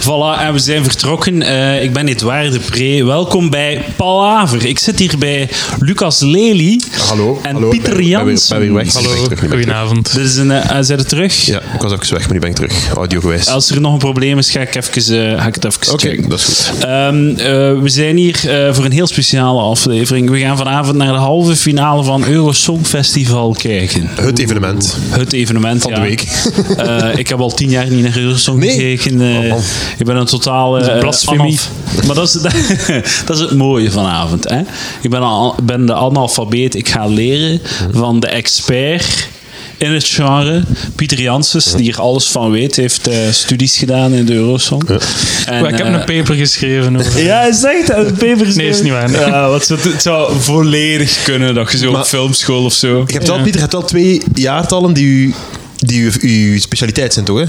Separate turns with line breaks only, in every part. Voilà, en we zijn vertrokken. Eh, ik ben Edouard de Pre. Welkom bij Palaver. Ik zit hier bij Lucas Lely
Hallo.
en
hallo.
Pieter
Ik ben weer-
Jansen.
ben weer weg. Ik ben
Hallo,
terug, nu ben ik terug.
goedenavond.
Dit is een, eh, zijn er terug?
Ja, ik was even weg, maar nu ben ik terug. Audio gewijs. Oké,
Als er nog een probleem is, ga ik, even, eh, ga ik het even checken.
dat is goed.
Ehm, eh, we zijn hier eh, voor een heel speciale aflevering. We gaan vanavond naar de halve finale van Eurosong Festival kijken.
Het evenement.
Het evenement van
de week.
ik heb al tien jaar niet naar Eurosong
Nee.
gekeken. eh,
Oh, man.
ik ben een totale eh,
blasfemie.
analf- Maar dat is, dat is het mooie vanavond. Hè? Ik ben, al, ben de analfabeet. Ik ga leren van de expert in het genre. Pieter Janssens, die er alles van weet, heeft eh, studies gedaan in de Eurosong. En,
Maar ik heb
eh,
een paper geschreven over...
ja, is echt een papers.
Nee, is niet waar, nee.
Ja, want het, het zou volledig kunnen dat je zo op
Maar-
filmschool of zo.
Je hebt wel, Pieter, je hebt wel twee jaartallen die u... Die uw, uw specialiteit zijn, toch? Hè?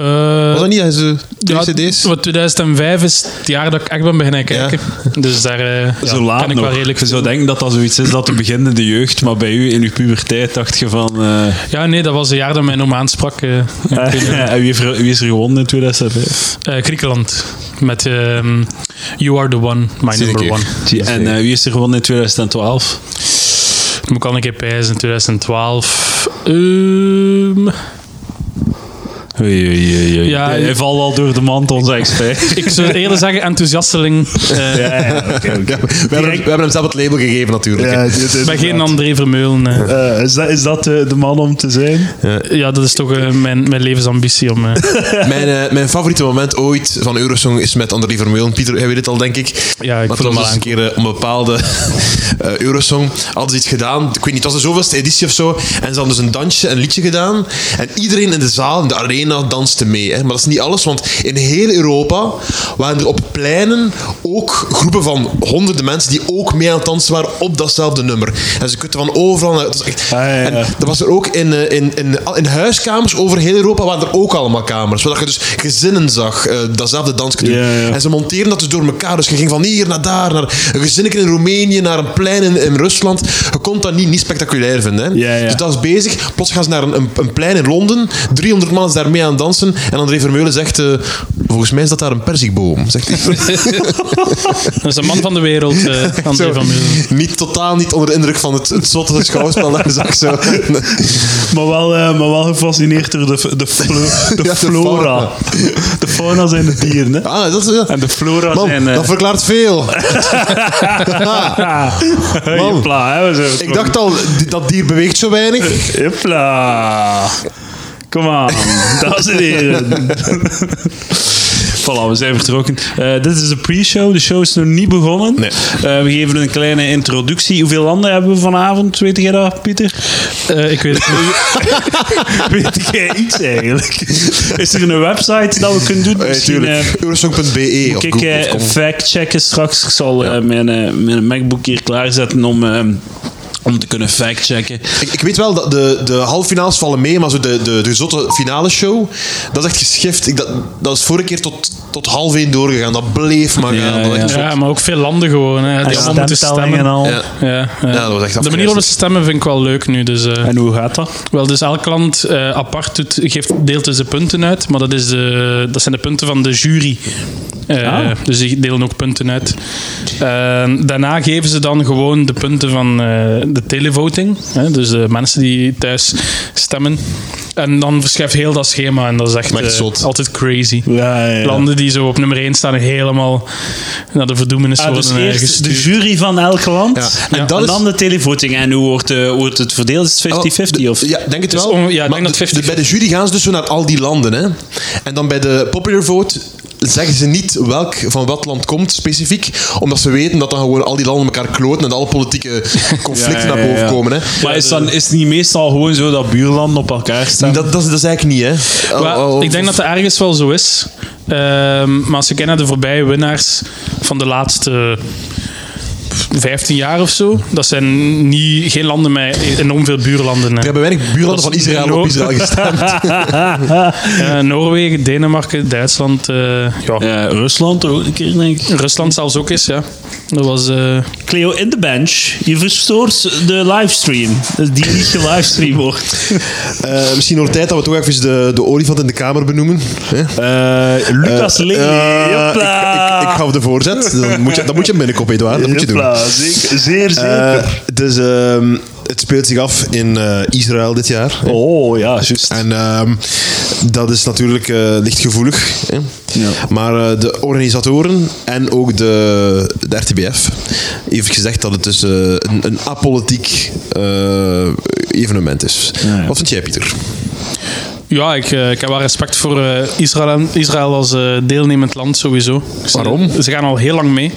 Eh,
Was dat niet dat je
ja,
twee cd's?
wat 2005 is het jaar dat ik echt ben beginnen kijken. Dus daar eh,
Zo
ja,
laat
kan ik
nog.
wel redelijk...
je zou denken dat dat zoiets is dat de beginnende jeugd, maar bij u in uw puberteit dacht je van... eh,
Ja, nee, dat was het jaar dat mijn oom aansprak. eh, ik weet niet.
en wie, heeft er- wie is er gewonnen in 2005?
Eh, Griekenland. Met ehm, You Are The One, My
Zie ik
Number
hier.
One.
En eh, wie is er gewonnen in 2012?
Dat moet ik al een keer pijzen. 2012... Ehm,
Oei, oei, oei, oei.
Ja,
Hij- Hij
ik-
valt al door de mand, onze expert.
ik zou eerder zeggen enthousiasteling. eh,
Ja, we, hebben hem, we hebben hem zelf het label gegeven, natuurlijk. hè.
Ik ben geen André Vermeulen. eh.
is dat, is dat de man om te zijn?
Ja, dat is toch eh, mijn, mijn levensambitie om... eh,
Mijn, eh, mijn favoriete moment ooit van Eurosong is met André Vermeulen. Pieter, jij weet het al, denk ik.
Ja, ik
maar
voel
het was
hem al
dus een keer eh, om een bepaalde eh, Eurosong. Hadden ze iets gedaan. Ik weet niet, het was de zoveelste editie of zo. En ze hadden dus een dansje, een liedje gedaan. En iedereen in de zaal, in de arena, danste mee. Hè. Maar dat is niet alles, want in heel Europa waren er op pleinen ook groepen van honderden mensen die ook mee aan het dansen waren op datzelfde nummer. En ze kutten van overal... naar- Het was echt,
Ah, ja, ja.
En dat was er ook in, eh, in, in, in huiskamers over heel Europa waren er ook allemaal kamers. Zodat je dus gezinnen zag, eh, datzelfde dansje doen.
Ja, ja.
En ze monteren dat dus door elkaar. Dus je ging van hier naar daar, naar een gezinnetje in Roemenië, naar een plein in, in Rusland. Je kon dat niet, niet spectaculair vinden. Hè?
Ja, ja.
Dus dat is bezig. Plots gaan ze naar een, een, een plein in Londen. 300 man is daar mee aan het dansen. En André Vermeulen zegt, eh, volgens mij is dat daar een perzikboom. Zegt hij.
Dat is een man van de wereld, eh André
Zo.
van Meulen.
niet, totaal niet onder de indruk van het, het zotte schouwspel dat hij zag. Zo.
Maar wel, eh, maar wel gefascineerd door de, de, flo-
Ja,
de
de
flora.
fauna.
De fauna zijn de dieren, hè?
Ah, dat is... ja.
En de flora
Man,
zijn... eh,
dat verklaart veel.
Ah, Jepla, hè, we zijn
Ik dacht al, di- dat dier beweegt zo weinig.
Eh, Jepla. Kom aan, dames en heren. Voilà, we zijn vertrokken. Eh, dit is de pre-show. De show is nog niet begonnen.
Nee.
Eh, we geven een kleine introductie. Hoeveel landen hebben we vanavond? Weet jij dat, Pieter?
Eh, ik weet het niet.
Weet jij iets eigenlijk? Is er een website dat we kunnen doen?
Eh,
Misschien,
tuurlijk.
eh,
Eurosong.be E of
Kijk,
Google.
eh,
of com.
fact-checken straks. Ik zal eh, mijn, eh, mijn MacBook hier klaarzetten om, eh, om te kunnen fact-checken.
Ik, ik weet wel dat de, de halffinales vallen mee, maar zo de, de, de zotte finale show, dat is echt geschift. Ik, dat, dat is vorige keer tot, tot half één doorgegaan. Dat bleef maar gaan. Dat was echt-
Ja, maar ook veel landen gewoon. Hè, die allemaal moeten stemmen.
al.
Ja.
Ja, ja.
dat was echt
de manier waarop ze stemmen vind ik wel leuk nu. Dus, eh,
En hoe gaat dat?
wel, dus elk land eh, apart doet, geeft, deelt dus de punten uit. Maar dat, is de, dat zijn de punten van de jury. Eh,
Ah.
Dus die delen ook punten uit. Eh, daarna geven ze dan gewoon de punten van eh, de televoting. Hè, dus de mensen die thuis stemmen. En dan verschuift heel dat schema. En dat is echt
Maar echt
eh,
zot.
altijd crazy.
Ja, ja, ja.
landen die zo op nummer 1 staan en helemaal naar de verdoemenis
Ah, dus
worden eh,
eerst de
gestuurd.
jury van elk land.
Ja,
En,
en dat is-
dan de televoting. En hoe wordt, eh, wordt het verdeeld? Is
Oh,
het 50-50?
de-
of?
Ja, denk het wel.
on- ja, ik
Maar de-
denk dat
de-
50-50.
bij de jury gaan ze dus zo naar al die landen. Hè? En dan bij de popular vote zeggen ze niet welk van wat land komt specifiek, omdat ze weten dat dan gewoon al die landen elkaar kloten en dat alle politieke conflicten
Ja, ja,
naar
ja,
boven
ja.
komen. Hè?
Maar is, dan, is het niet meestal gewoon zo dat buurlanden op elkaar staan?
Dat, dat, is- dat is eigenlijk niet, hè? Oh,
Maar
oh, oh.
ik denk dat dat ergens wel zo is. Ehm, maar als je kijkt naar de voorbije winnaars van de laatste 15 jaar of zo. Dat zijn niet, geen landen met enorm veel buurlanden. hè.
Er hebben weinig buurlanden
Dat
van
is
Israël
no-
op Israël gestemd.
Eh, Noorwegen, Denemarken, Duitsland. eh, ja.
Eh, Rusland ook een keer, denk ik.
Rusland zelfs ook eens, ja. Dat was... eh,
Cleo in de bench. Je verstoort de livestream. Dus die niet gelivestreamd wordt.
Eh, misschien wordt het tijd dat we toch even de, de olifant in de kamer benoemen. hè?
Eh, Lucas
Eh,
Lely.
eh,
Jopla.
ik, ik, ik hou de voorzet. Dan moet je, dan moet je hem binnenkopen, Edouard. Dat moet je doen.
Jopla, zeker- zeer zeker.
Eh, dus ehm, het speelt zich af in eh, Israël dit jaar.
oh, ja, juist.
En ehm, dat is natuurlijk eh, licht gevoelig. Hè?
Ja.
Maar eh, de organisatoren en ook de, de RTBF heeft gezegd dat het dus eh, een, een apolitiek eh, evenement is.
Ja, ja.
Wat vind jij, Pieter?
Ja, ik, eh, ik heb wel respect voor eh, Israël, Israël als eh, deelnemend land sowieso. Ze-
Waarom?
Ze gaan al heel lang mee.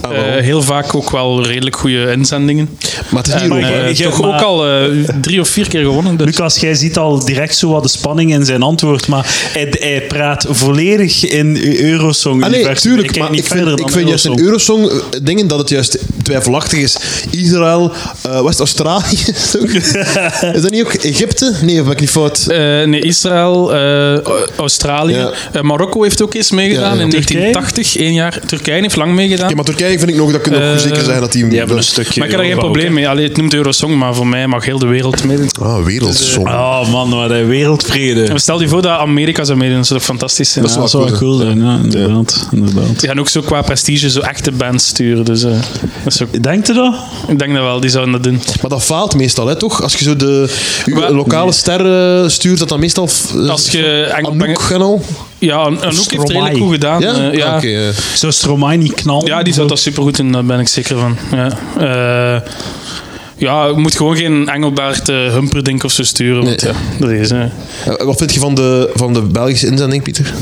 Ah, waarom?
Eh, heel vaak ook wel redelijk goede inzendingen.
Maar het is niet
En,
Europa.
maar
hè?
eh,
je-
toch
maar-
ook al eh, drie of vier keer gewonnen. Dus.
Lucas, jij ziet al direct zo wat de spanning in zijn antwoord, maar hij, hij praat volledig in eurosong
Ah, nee, tuurlijk, maar ik vind, ik vind juist in Eurosong eh, dingen dat het juist twijfelachtig is. Israël, eh, West-Australië. is ook- is dat niet ook Egypte? Nee, of ben ik niet fout?
Eh, nee, Israël, eh, Australië.
Ja.
Eh, Marokko heeft ook eens meegedaan
Ja, ja.
in
Turkije?
1980, één jaar. Turkije heeft lang meegedaan.
Ja, maar Turkije vind ik nog, dat kunnen we ook
Eh,
zeker zijn dat die...
Die hebben een stukje.
maar ik heb daar geen
Europa ook,
probleem mee. Allee, het noemt Eurosong, maar voor mij mag heel de wereld meedoen.
Ah, wereldsong.
Dus, eh,
hè. Oh man, wat een wereldvrede.
En Stel je voor dat Amerika zou meedoen, dat zou toch fantastisch zijn.
Dat is
Dat
wel
zou
cool,
cool zijn, ja, inderdaad. inderdaad.
Ze gaan ook zo qua prestige zo echte bands sturen. Dus, eh, dat is ook-
Denkt u dat?
ik denk dat wel, die zouden dat doen.
Maar dat faalt meestal, hè, toch? Als je zo de uw
Wel,
lokale ster eh, stuurt, dat dan meestal... f- eh,
Als je enkel-
Anouk en al.
Ja, en en ook heeft het redelijk
Stromae.
goed gedaan.
Ja?
eh, ja.
Ah, oké, eh.
Zou Stromae niet knallen?
ja, die zou dat supergoed doen, daar ben ik zeker van. Ja, Eh, ja je moet gewoon geen Engelbert eh, Humperdinck of zo sturen. Want,
Nee.
ja, dat is, eh.
Eh, Wat vind je van de, van de Belgische inzending, Pieter?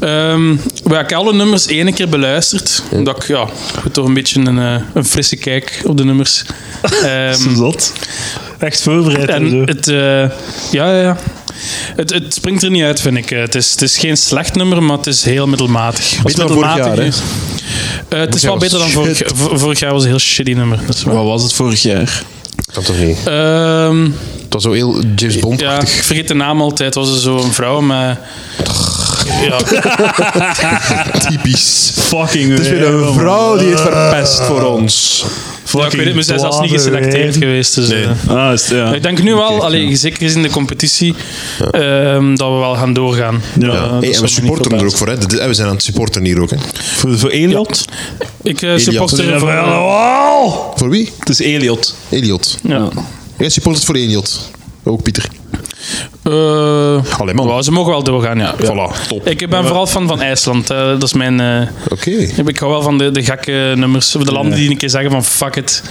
Ehm, we hebben alle nummers één keer beluisterd. Omdat ik ja, goed, toch een beetje een, eh, een frisse kijk op de nummers. Ehm,
Zo zot. Echt voorbereid en
En
zo.
het, eh, ja, ja, ja. Het, het springt er niet uit, vind ik. Eh, Het is, het is geen slecht nummer, maar het is heel middelmatig. Als
Beter dan
middelmatig
vorig jaar,
is- Eh, het is
jaar
wel
was
beter dan
shit.
vorig jaar. Vor- Vorig jaar was een heel shitty nummer. Dat is waar.
Wat was het vorig jaar?
Kan toch niet?
Ehm,
Het was zo heel James Bond.
ja, ik vergeet de naam altijd. Was er zo'n vrouw, maar... Ja,
Typisch.
Fucking Ah,
Het is weer een vrouw die het verpest voor ons.
ja, ik weet het, maar zij is zelfs niet geselecteerd geweest. Dus, eh.
Ah, is- ja.
Ik denk nu wel, allee, zeker gezien de competitie, ehm, dat we wel gaan doorgaan.
Ja.
Eh, dat
Hey, en
zou
we
me niet
supporten er ook
verbazen.
voor. Hè. Dit- en We zijn aan het supporten hier ook. Hè.
Voor, voor Eliot?
Ik eh, support
Elias.
er voor...
Wow!
Voor wie?
Het is Eliot.
Eliot.
Ja.
Jij support het voor Eliot. Ook Pieter.
Eh,
Allee, man.
wel, ze mogen wel doorgaan, ja.
Voilà, top.
Ik ben vooral fan van IJsland. eh, dat is mijn... eh,
Oké.
ik hou wel van de, de gekke nummers. Of de landen die een keer zeggen van fuck it.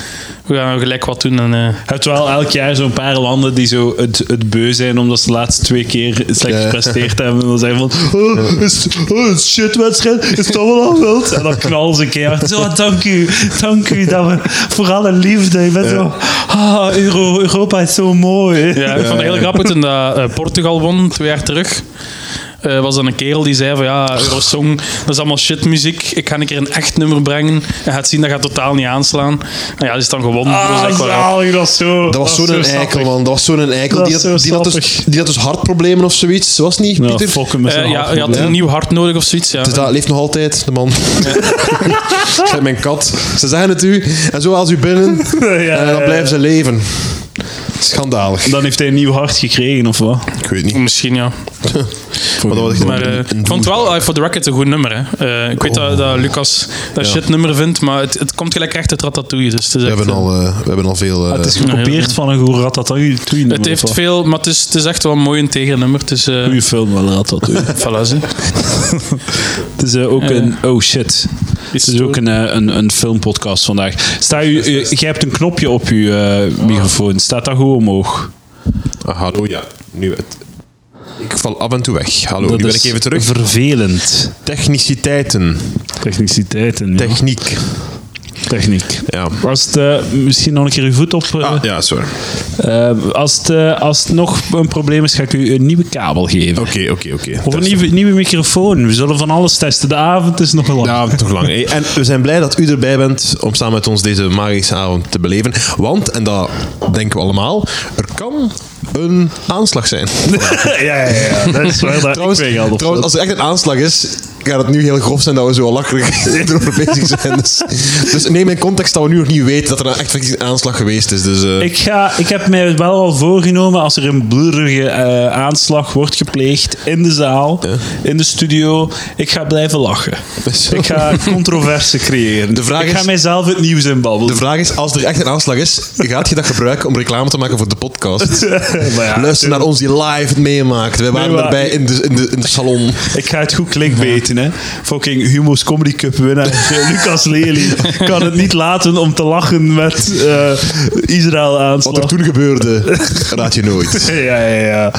We gaan nou gelijk wat doen. En, eh,
Je hebt wel elk jaar zo'n paar landen die zo het, het beu zijn omdat ze de laatste twee keer slecht
Ja.
gepresteerd hebben. En dan zeggen van, oh, is, oh, is shitwedstrijd, is dat wel al wild? En dan knallen ze een keer hard. Zo, dank u, dank u dat we, voor alle liefde. Je bent zo, ah, Euro, Europa is zo mooi.
ja, ik vond het heel grappig toen dat, eh, Portugal won, twee jaar terug. eh, was dan een kerel die zei van ja, Eurosong, dat is allemaal shitmuziek. Ik ga een keer een echt nummer brengen. En gaat zien, dat gaat totaal niet aanslaan. Nou ja, die is dan gewonnen. dus dat
Ah,
is wel raar.
zalig, dat is zo.
Dat was zo'n
zo
eikel,
sappig.
man. Dat was zo'n eikel.
Dat
Die
is
had,
zo
die, had dus,
sappig.
die had dus hartproblemen of zoiets. Was het niet,
Ja,
Pieter?
fokken met
Eh,
zijn
ja, je had
hartprobleem.
een nieuw hart nodig of zoiets. Ja.
Dus dat leeft nog altijd, de man. Kijk, mijn kat. Ze zeggen het u. En zo als u binnen.
Ja,
en dan
ja,
blijven ze leven. Schandalig.
Dan heeft hij een nieuw hart gekregen, of wat?
Ik weet niet.
Misschien ja.
Maar dat was echt
Maar
een-
eh,
een Oh.
ik vond het wel eh, voor de record een goed nummer. Hè. Eh, ik weet dat, dat Lucas dat shit nummer vindt, maar het, het komt gelijk echt uit Ratatouille. Dus het, is
We
echt,
hebben
eh,
al, eh, we hebben al veel... eh,
het is gekopieerd van een goede ratatouille.
het heeft veel, maar het is, het is echt wel een mooi integer nummer. Het is, eh,
Goeie film, wel ratatouille.
voilà, zie.
Het is eh, ook een. Oh shit. Het is
het
ook een, eh, een, een filmpodcast vandaag. Sta u, u- jij hebt een knopje op je eh, microfoon. Staat dat goed omhoog?
Ah, hallo, ja. Nu het... Ik val af en toe weg. Hallo,
dat
nu ben
is
ik even terug.
Vervelend.
Techniciteiten.
Techniciteiten. ja.
Techniek.
techniek.
Ja.
Als het, eh, misschien nog een keer uw voet op. eh,
Ah, ja, sorry.
eh, als, het, eh, als het nog een probleem is, ga ik u een nieuwe kabel geven.
Oké, oké, oké.
Of een nieuwe, nieuwe microfoon. We zullen van alles testen. De avond is nog lang.
Ja, toch lang. hè. En we zijn blij dat u erbij bent om samen met ons deze magische avond te beleven. Want, en dat denken we allemaal, er kan een aanslag zijn.
ja, ja, ja. Dat is waar. Dat
trouwens,
ik weet al of
trouwens, als er echt een aanslag is, gaat het nu heel grof zijn dat we zo lacherig erover bezig zijn. Dus, dus neem in context dat we nu nog niet weten dat er een echt een aanslag geweest is. Dus, eh,
Ik, ga, ik heb mij wel al voorgenomen als er een bloederige eh, aanslag wordt gepleegd in de zaal, in de studio, ik ga blijven lachen.
Zo.
Ik ga controverse creëren.
De vraag
ik
is-
ga mijzelf het nieuws
De
inbabbelen.
vraag is, als er echt een aanslag is, gaat je dat gebruiken om reclame te maken voor de podcast?
Maar ja,
Luister naar ons die live het meemaakt. Wij waren
Nee, maar-
erbij in de, in, de, in de salon.
Ik ga het goed klinkbeten, hè. Fucking Humo's Comedy Cup winnaar eh, Lucas Lely kan het niet laten om te lachen met eh, Israël-aanslag.
Wat er toen gebeurde, raad je nooit.
Ja, ja, ja.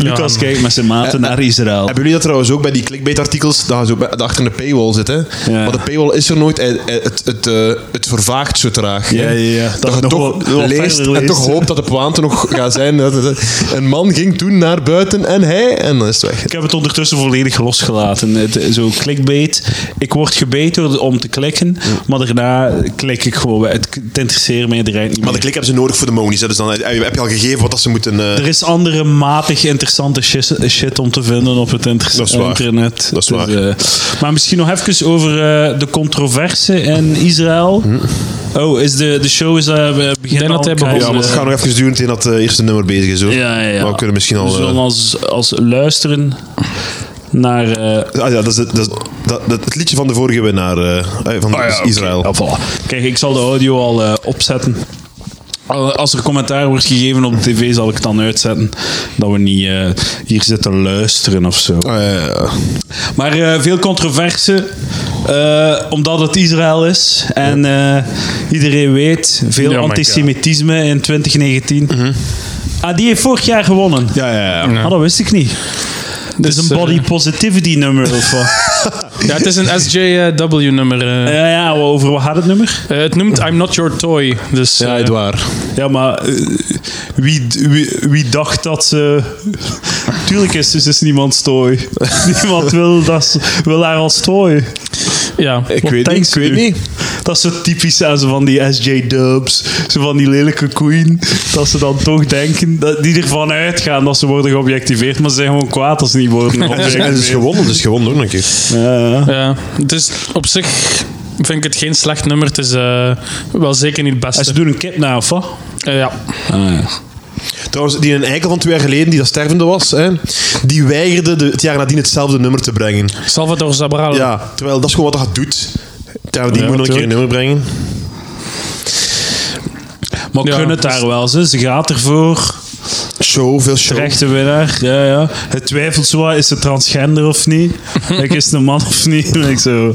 Lucas
man.
kijkt met zijn maten
Eh,
naar Israël.
Hebben jullie dat trouwens ook bij die clickbait-artikels? Dat ze ook bij- dat achter een paywall zitten.
Ja.
Want de paywall is er nooit. eh, eh, Het, het, eh, het vervaagt zo traag.
Ja, ja, ja.
Dat,
Dat
je
het nog
toch
wel- wel
leest
verder
en
leest.
toch hoopt dat de pointe nog gaat zijn. Dat het- Een man ging toen naar buiten en hij... En dan is het weg.
Ik heb het ondertussen volledig losgelaten. Het, zo clickbait. Ik word gebeten om te klikken, maar daarna klik ik gewoon. Het, het interesseert mij direct niet
Maar de
meer.
klik hebben ze nodig voor de monies. hè. Dus dan heb je al gegeven wat dat ze moeten... eh,
Er is andere matig interessante shis- shit om te vinden op het inter-
Dat is waar.
internet.
Dat is waar.
eh, maar misschien nog even over eh, de controverse in Israël.
Hm.
Oh, is de, de show is eh we beginnen
dat
al
hij
een keer-
begon.
Ja, want het gaat nog even duren tegen dat eh, eerste nummer bezig is. Hoor.
Ja, ja, Dus ja.
Maar we kunnen misschien al...
We
eh,
zullen als, als luisteren naar... eh,
ah, ja, dat is, het- dat, is- dat, dat- het liedje van de vorige winnaar eh, eh,
Oh
van
Ah ja, oké.
Israël.
Ja, voilà. Kijk, ik zal de audio al eh, opzetten. Al- Als er commentaar wordt gegeven op de tv, zal ik het dan uitzetten. Dat we niet eh, hier zitten luisteren of zo.
Ah, ja, ja, ja.
Maar eh, veel controverse, eh, omdat het Israël is. En eh, iedereen weet, veel
Ja, maar ik,
antisemitisme in 2019. Ah, die heeft vorig jaar gewonnen.
Mhm. Ja, ja, ja.
Ah, dat wist ik niet. Het is
Dus,
een body
eh,
positivity nummer of wat?
Ja, het is een SJW-nummer.
ja, ja, over wat gaat het nummer?
eh. het noemt I'm Not Your Toy. Dus, eh,
Edouard.
Ja, maar eh, wie, wie, wie dacht dat ze... Tuurlijk is ze is niemand stooi. niemand wil, dat ze- wil haar als stooi.
ja.
Ik
Wat
weet niet,
denkt
ik weet
u?
niet.
Dat is zo typisch aan zo van die SJ-dubs. Zo van die lelijke queen. Dat ze dan toch denken... Dat, die ervan uitgaan dat ze worden geobjectiveerd. Maar ze zijn gewoon kwaad als ze niet worden
En het is
geobjectiveerd.
gewonnen, dus gewonnen ook nog een keer.
Ja, ja.
Ja, het is op zich vind ik het geen slecht nummer. Het is eh, wel zeker niet het
En ze
beste.
doen een kip na, of wat?
Eh, ja.
Trouwens, die een eikel van twee jaar geleden, die dat stervende was, hè, die weigerde de, het jaar nadien hetzelfde nummer te brengen.
Salvador Zabral.
Ja, terwijl dat is gewoon wat dat doet. Terwijl die
Oh. Ja,
moet nog een keer een
tuurlijk.
nummer brengen.
Maar
Ja,
kunnen het
dus-
daar wel, ze. Ze gaat ervoor.
Show, veel show.
Rechte winnaar, ja, ja. Hij twijfelt zo, wat, is ze transgender of niet? ik is het een man of niet? En ik zo.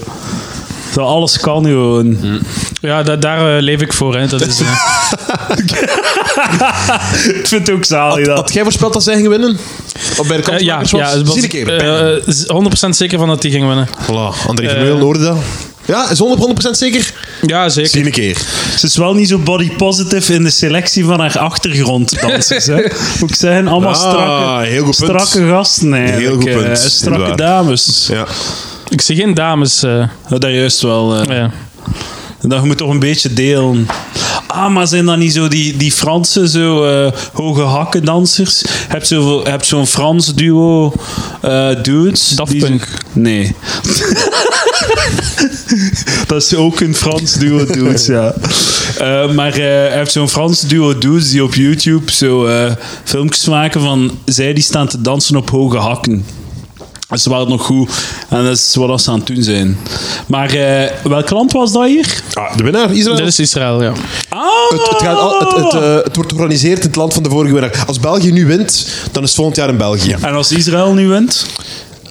Zo, alles kan gewoon.
Mm.
Ja, da- daar eh, leef ik voor. Hè. Dat is, eh,
Ik vind het ook zalig dat.
Had jij voorspeld dat zij ging winnen? Of bij de
eh, ja,
kansmakers
ja,
was?
het was-
Zie een keer.
eh, eh, z- 100% zeker van dat die ging winnen.
voilà, André
eh,
Vermeulen hoorde dat. Ja, is 100% zeker?
Ja, zeker.
Zie een keer.
Ze is wel niet zo body positive in de selectie van haar achtergronddansers. hè. Moet ik zeggen, allemaal
Ah,
strakke,
heel goed punt.
strakke gasten eigenlijk.
Heel goed
eh,
punt,
strakke
inderdaad.
dames.
Ja.
Ik zie geen dames. eh,
Dat juist wel. eh.
ja.
Dat je moet toch een beetje delen. Ah, maar zijn dat niet zo die, die Franse zo, eh, hoge hakken dansers? Heb zo, heb zo'n Frans duo eh dudes?
Daft
die zo-
Punk.
Nee. dat is ook een Frans duo dudes, ja. Eh, maar eh heb zo'n Frans duo dudes die op YouTube zo eh, filmpjes maken van zij die staan te dansen op hoge hakken. Dus Ze waren nog goed en dat is wat ze aan het doen zijn. Maar eh, welk land was dat hier?
Ah, de winnaar, Israël.
Dit is Israël, ja.
Ah!
Het, het, gaat al, het, het, eh, het wordt georganiseerd in het land van de vorige winnaar. Als België nu wint, dan is het volgend jaar in België.
En als Israël nu wint?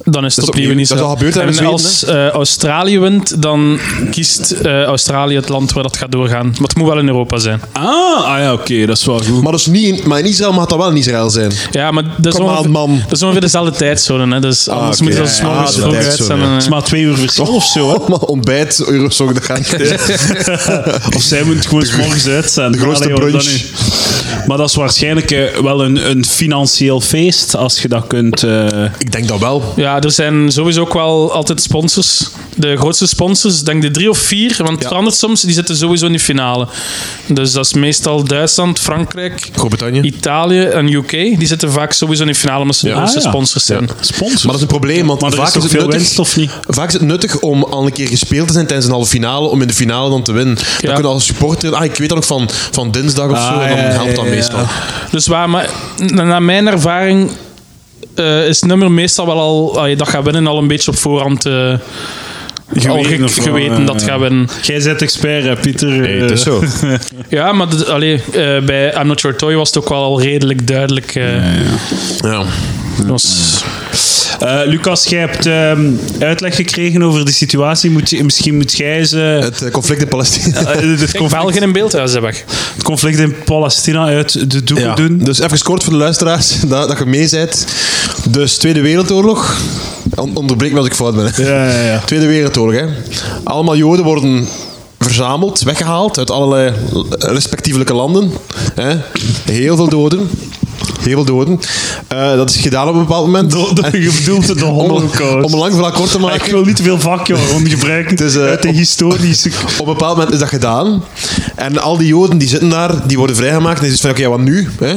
dan is het
is
opnieuw
opnieuw-
niet zo.
dat is al gebeurd, hè,
en
met Zweden,
als eh, Australië wint, dan kiest eh, Australië het land waar dat gaat doorgaan. Maar het moet wel in Europa zijn.
Ah, ah ja, oké, dat is wel goed.
Maar, dus niet in, maar in Israël mag dat wel in Israël zijn.
Ja, maar dat is,
Kom aan,
ongeveer,
man. Ah,
dat is ongeveer dezelfde tijdzone. Hè. Dus anders
oké.
moeten ze als
Ja, ja,
morgens
de
vroeg uit
tijdzone,
zijn.
ja.
en,
Het is
eh,
maar twee uur verschil of zo, hè?
Allemaal Oh, ontbijt, Eurosong, dat gaat niet.
Of zij moet gewoon 's morgens uit zijn.
de grootste
Allee, hoor,
brunch.
dan nu. Maar dat is waarschijnlijk eh, wel een, een financieel feest, als je dat kunt... eh,
Ik denk dat wel.
Ja, er zijn sowieso ook wel altijd sponsors. De grootste sponsors, ik denk de drie of vier, want het verandert soms, die zitten sowieso in de finale. Dus dat is meestal Duitsland, Frankrijk,
Groot-Brittannië.
Italië en UK. Die zitten vaak sowieso in de finale omdat ze de
Ah,
grootste
ja.
sponsors zijn.
Ja, Sponsors.
Maar dat is een probleem, want
Maar er
vaak
is
is,
toch
het
veel
nuttig,
winst, of niet?
Vaak is het nuttig om al een keer gespeeld te zijn tijdens een halve finale, om in de finale dan te winnen. Dan kunnen als supporter... Ah, ik weet dat nog van, van dinsdag of zo, en dan
Ah, ja,
helpt dat
ja, ja.
meestal.
Dus waar, maar na- naar mijn ervaring eh, is het nummer meestal wel al, allee, dat gaat winnen, al een beetje op voorhand eh, al ge- geweten,
of wel, eh,
dat gaat winnen.
Jij bent expert, hè, Pieter.
Nee, het is
Eh,
zo.
Ja, maar dat- allee, eh, bij I'm Not Your Toy was het ook wel al redelijk duidelijk. eh,
Ja.
was-
Eh, Lucas, jij hebt ehm, uitleg gekregen over de situatie. Moet je, misschien moet jij ze.
Het eh, conflict in Palestina.
eh, het,
Kijk,
conflict,
België in beeld, ja, ze weg.
het conflict in Palestina uit de doeken doen.
Dus even kort voor de luisteraars, dat, dat je mee bent. Dus Tweede Wereldoorlog. On- onderbreek me als ik fout ben. hè.
Ja, ja, ja.
Tweede Wereldoorlog, hè. Allemaal Joden worden verzameld, weggehaald uit allerlei respectievelijke landen. Hè. Heel veel doden. Heel veel doden. Eh, dat is gedaan op een bepaald moment. En-
Je bedoelt de
om,
Holocaust.
om een lang verhaal kort te
Maar Ah, ik
maken.
wil niet te veel vakje om gebruiken.
Het is, eh,
uit de
op-
historische.
Op een bepaald moment is dat gedaan. En al die Joden die zitten daar, die worden vrijgemaakt. En die is van, oké, ja, wat nu? Hè?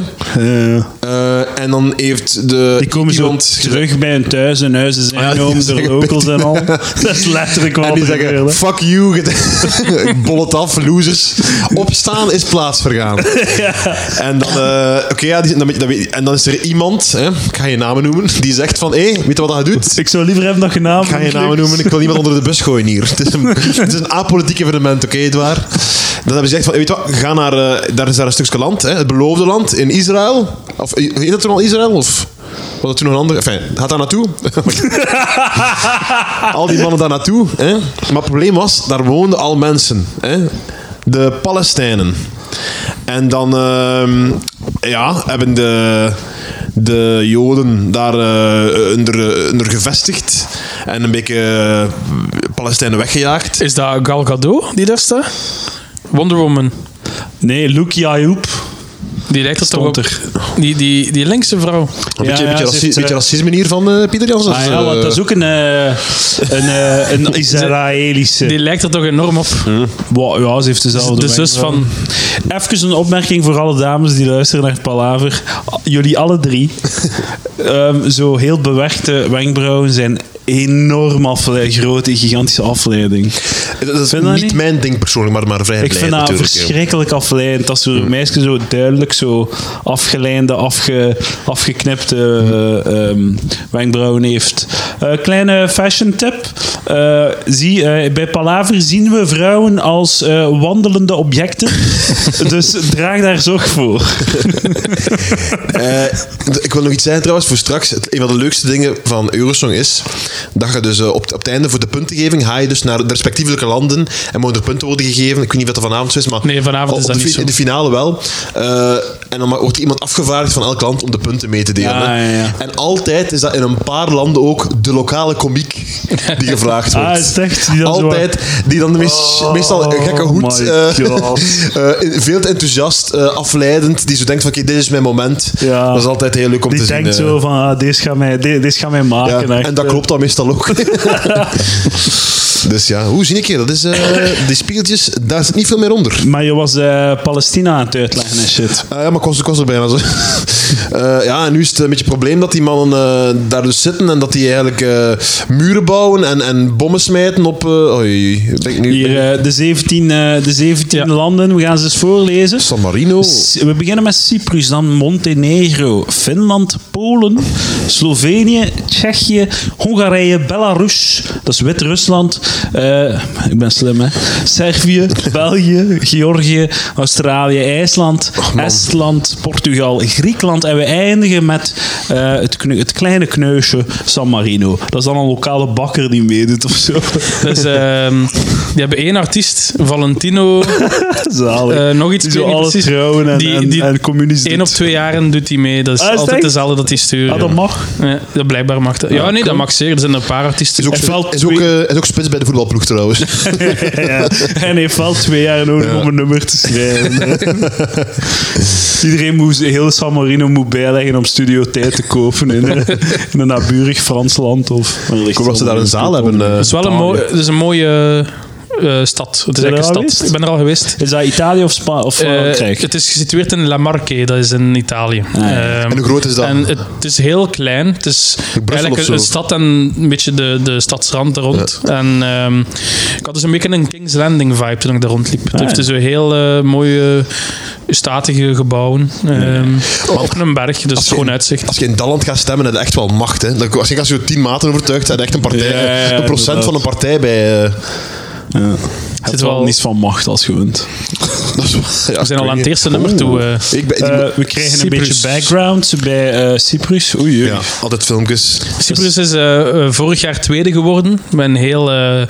Eh, en dan heeft de
die komen zo
iemand gezegd-
terug bij hun thuis. Hun huizen zijn
Ah, ja, die
genomen door
zeggen-
locals en al. Dat is letterlijk
En
wat
die
er
zeggen,
gebeurde.
fuck you, get- ik bol het af, losers. Opstaan is plaatsvergaan. En dan, eh, oké, ja, die, dan, dan weet- en dan is er iemand, hè, ik ga je namen noemen, die zegt van, hé, weet je wat dat doet?
Ik zou liever hebben dat je naam.
Ik ga je namen noemen, ik wil niemand onder de bus gooien hier. Het is een, het is een apolitiek evenement, oké, Edouard? Dan hebben ze gezegd van, weet je wat, ga naar, eh, daar is daar een stukje land, hè, het beloofde land, in Israël. Of, eh, heet dat toen al Israël, of... Was dat toen nog een ander? Enfin, gaat daar naartoe. al die mannen daar naartoe. Hè? Maar het probleem was, daar woonden al mensen. Hè? De Palestijnen. En dan ehm, ja, hebben de, de Joden daar eh, onder, onder gevestigd. En een beetje eh, Palestijnen weggejaagd.
Is dat Gal Gadot die daar staat? Wonder Woman.
Nee, Luke Ayoub.
Die lijkt er toch
Stond
op. Die, die, die linkse vrouw.
Een beetje,
ja,
beetje,
ze
raci-
heeft, eh,
beetje racisme hier van eh, Pieter Jansen.
Ah ja, want dat is ook een, eh, een, eh, een Israëlische.
Die lijkt er toch enorm op.
Wow, ja, ze heeft dezelfde.
De zus
wenkbrauwen. Even een opmerking voor alle dames die luisteren naar het Palaver. Jullie alle drie. Ehm, zo heel bewerkte wenkbrauwen zijn enorm afle- grote, gigantische afleiding.
Dat is
Vind je dat
niet
niet?
mijn ding persoonlijk, maar, maar vrij
Ik
blij
vind dat
natuurlijk. hè. Mm.
verschrikkelijk afleidend. Als zo'n meisje zo duidelijk zo afgeleide, afge, afgeknipte eh, ehm, wenkbrauwen heeft. Eh, kleine fashion tip. Eh, zie, eh, bij Palaver zien we vrouwen als eh, wandelende objecten. dus draag daar zorg voor.
Eh, d- ik wil nog iets zeggen trouwens voor straks. Het- Een van de leukste dingen van Eurosong is dat je dus eh, op, op het einde voor de puntengeving ga je dus naar de respectievelijke landen en mogen er punten worden gegeven. Ik weet niet wat er vanavond zo is, maar
Nee, vanavond
op-
is
op
dat
de, fi-
niet zo.
in de finale wel. Eh, en dan ma- wordt iemand afgevaardigd van elk land om de punten mee te delen.
Ja,
hè.
ja, ja.
En altijd is dat in een paar landen ook de lokale komiek die gevraagd wordt.
Ah, is het echt? Die dan zo-
altijd die dan de meest,
Oh,
meestal een gekke hoed
my
eh,
God.
eh, in- veel te enthousiast, eh, afleidend, die zo denkt van oké, dit is mijn moment.
Ja.
Dat is altijd heel leuk om
Die
te
denkt
zien. eh.
zo van, ah, deze gaat mij, de- deze gaat mij
Ja,
maken. echt. eh.
en dat klopt dan meestal ook. dus ja, hoe zie ik je? Dat is, eh, die spiegeltjes, daar zit niet veel meer onder.
Maar je was eh, Palestina aan het uitleggen en shit.
Ah ja, maar kost kost er bijna zo. Eh, ja, en nu is het een beetje het probleem dat die mannen eh, daar dus zitten en dat die eigenlijk eh, muren bouwen en, en bommen smijten op... eh oei, ben ik nu...
Hier, eh, de 17, eh, de 17
Ja.
landen, we gaan ze eens voorlezen.
San Marino.
S- We beginnen met Cyprus, dan Montenegro, Finland, Polen, Slovenië, Tsjechië, Hongarije, Hongarije, Belarus, dat is Wit-Rusland. eh, ik ben slim, hè? Servië, België, Georgië, Australië, IJsland, Estland, Portugal, Griekenland. En we eindigen met eh, het, kne- het kleine kneusje San Marino. Dat is dan een lokale bakker die meedoet of zo.
Dus, ehm, die hebben één artiest, Valentino.
Zalig.
Eh, nog iets,
Die zo
ik weet niet
alle
precies.
trouwen en,
Die-
en,
die-
en communies
Eén
doet.
op twee jaren doet hij mee. Dat is
Ah, is het
altijd
echt?
dezelfde dat hij stuurt.
Ah, dat mag.
Ja, dat blijkbaar mag dat. Ja, nee, dat mag zeker. Er zijn een paar artiesten.
Is ook,
Hij valt
is, ook,
twee-
eh, is ook spits bij de voetbalploeg trouwens.
ja. En heeft wel twee jaar nodig om een nummer te schrijven. Iedereen moest, heel San Marino moet bijleggen om studio tijd te kopen in, eh, in een naburig Frans land. Of,
Ik hoop dat ze daar een zaal hebben. eh.
Het is wel een, mooi, het is een mooie eh, stad. Het is
je er
eigenlijk een
al
stad.
geweest?
Ik ben er al geweest.
Is dat Italië of, Spa of
Eh,
Frankrijk?
het is gesitueerd in La Marque, dat is in Italië.
ja.
Ehm,
Ah, En hoe groot is dat?
En het, is heel klein. Het is eigenlijk
of
een,
zo?
een stad en een beetje de, de stadsrand er rond. En ehm, ik had dus een beetje een King's Landing vibe toen ik daar rondliep. Het
Ah,
heeft
ja.
dus een heel eh, mooie, statige gebouwen. ehm, Op een berg, dus
je-
gewoon uitzicht.
Oh, Als je in dat land gaat stemmen, heb je echt wel macht. Hè. Dan- Als je als je tien maten overtuigt, heb je echt een, partij,
Ja, ja, ja,
een procent
inderdaad.
van een partij bij... eh,
ja. Het
zit
is wel
wel-
niets van macht als je wint.
dat is- ja,
We zijn al
ik
aan het
weet
eerste
niet.
nummer toe. eh.
Oeh. Ik ben, die-
Eh, we kregen een
Cyprus.
beetje background bij eh, Cyprus. Oei, oei.
ja, altijd filmpjes.
Dus Cyprus is eh, eh, vorig jaar tweede geworden met een heel eh,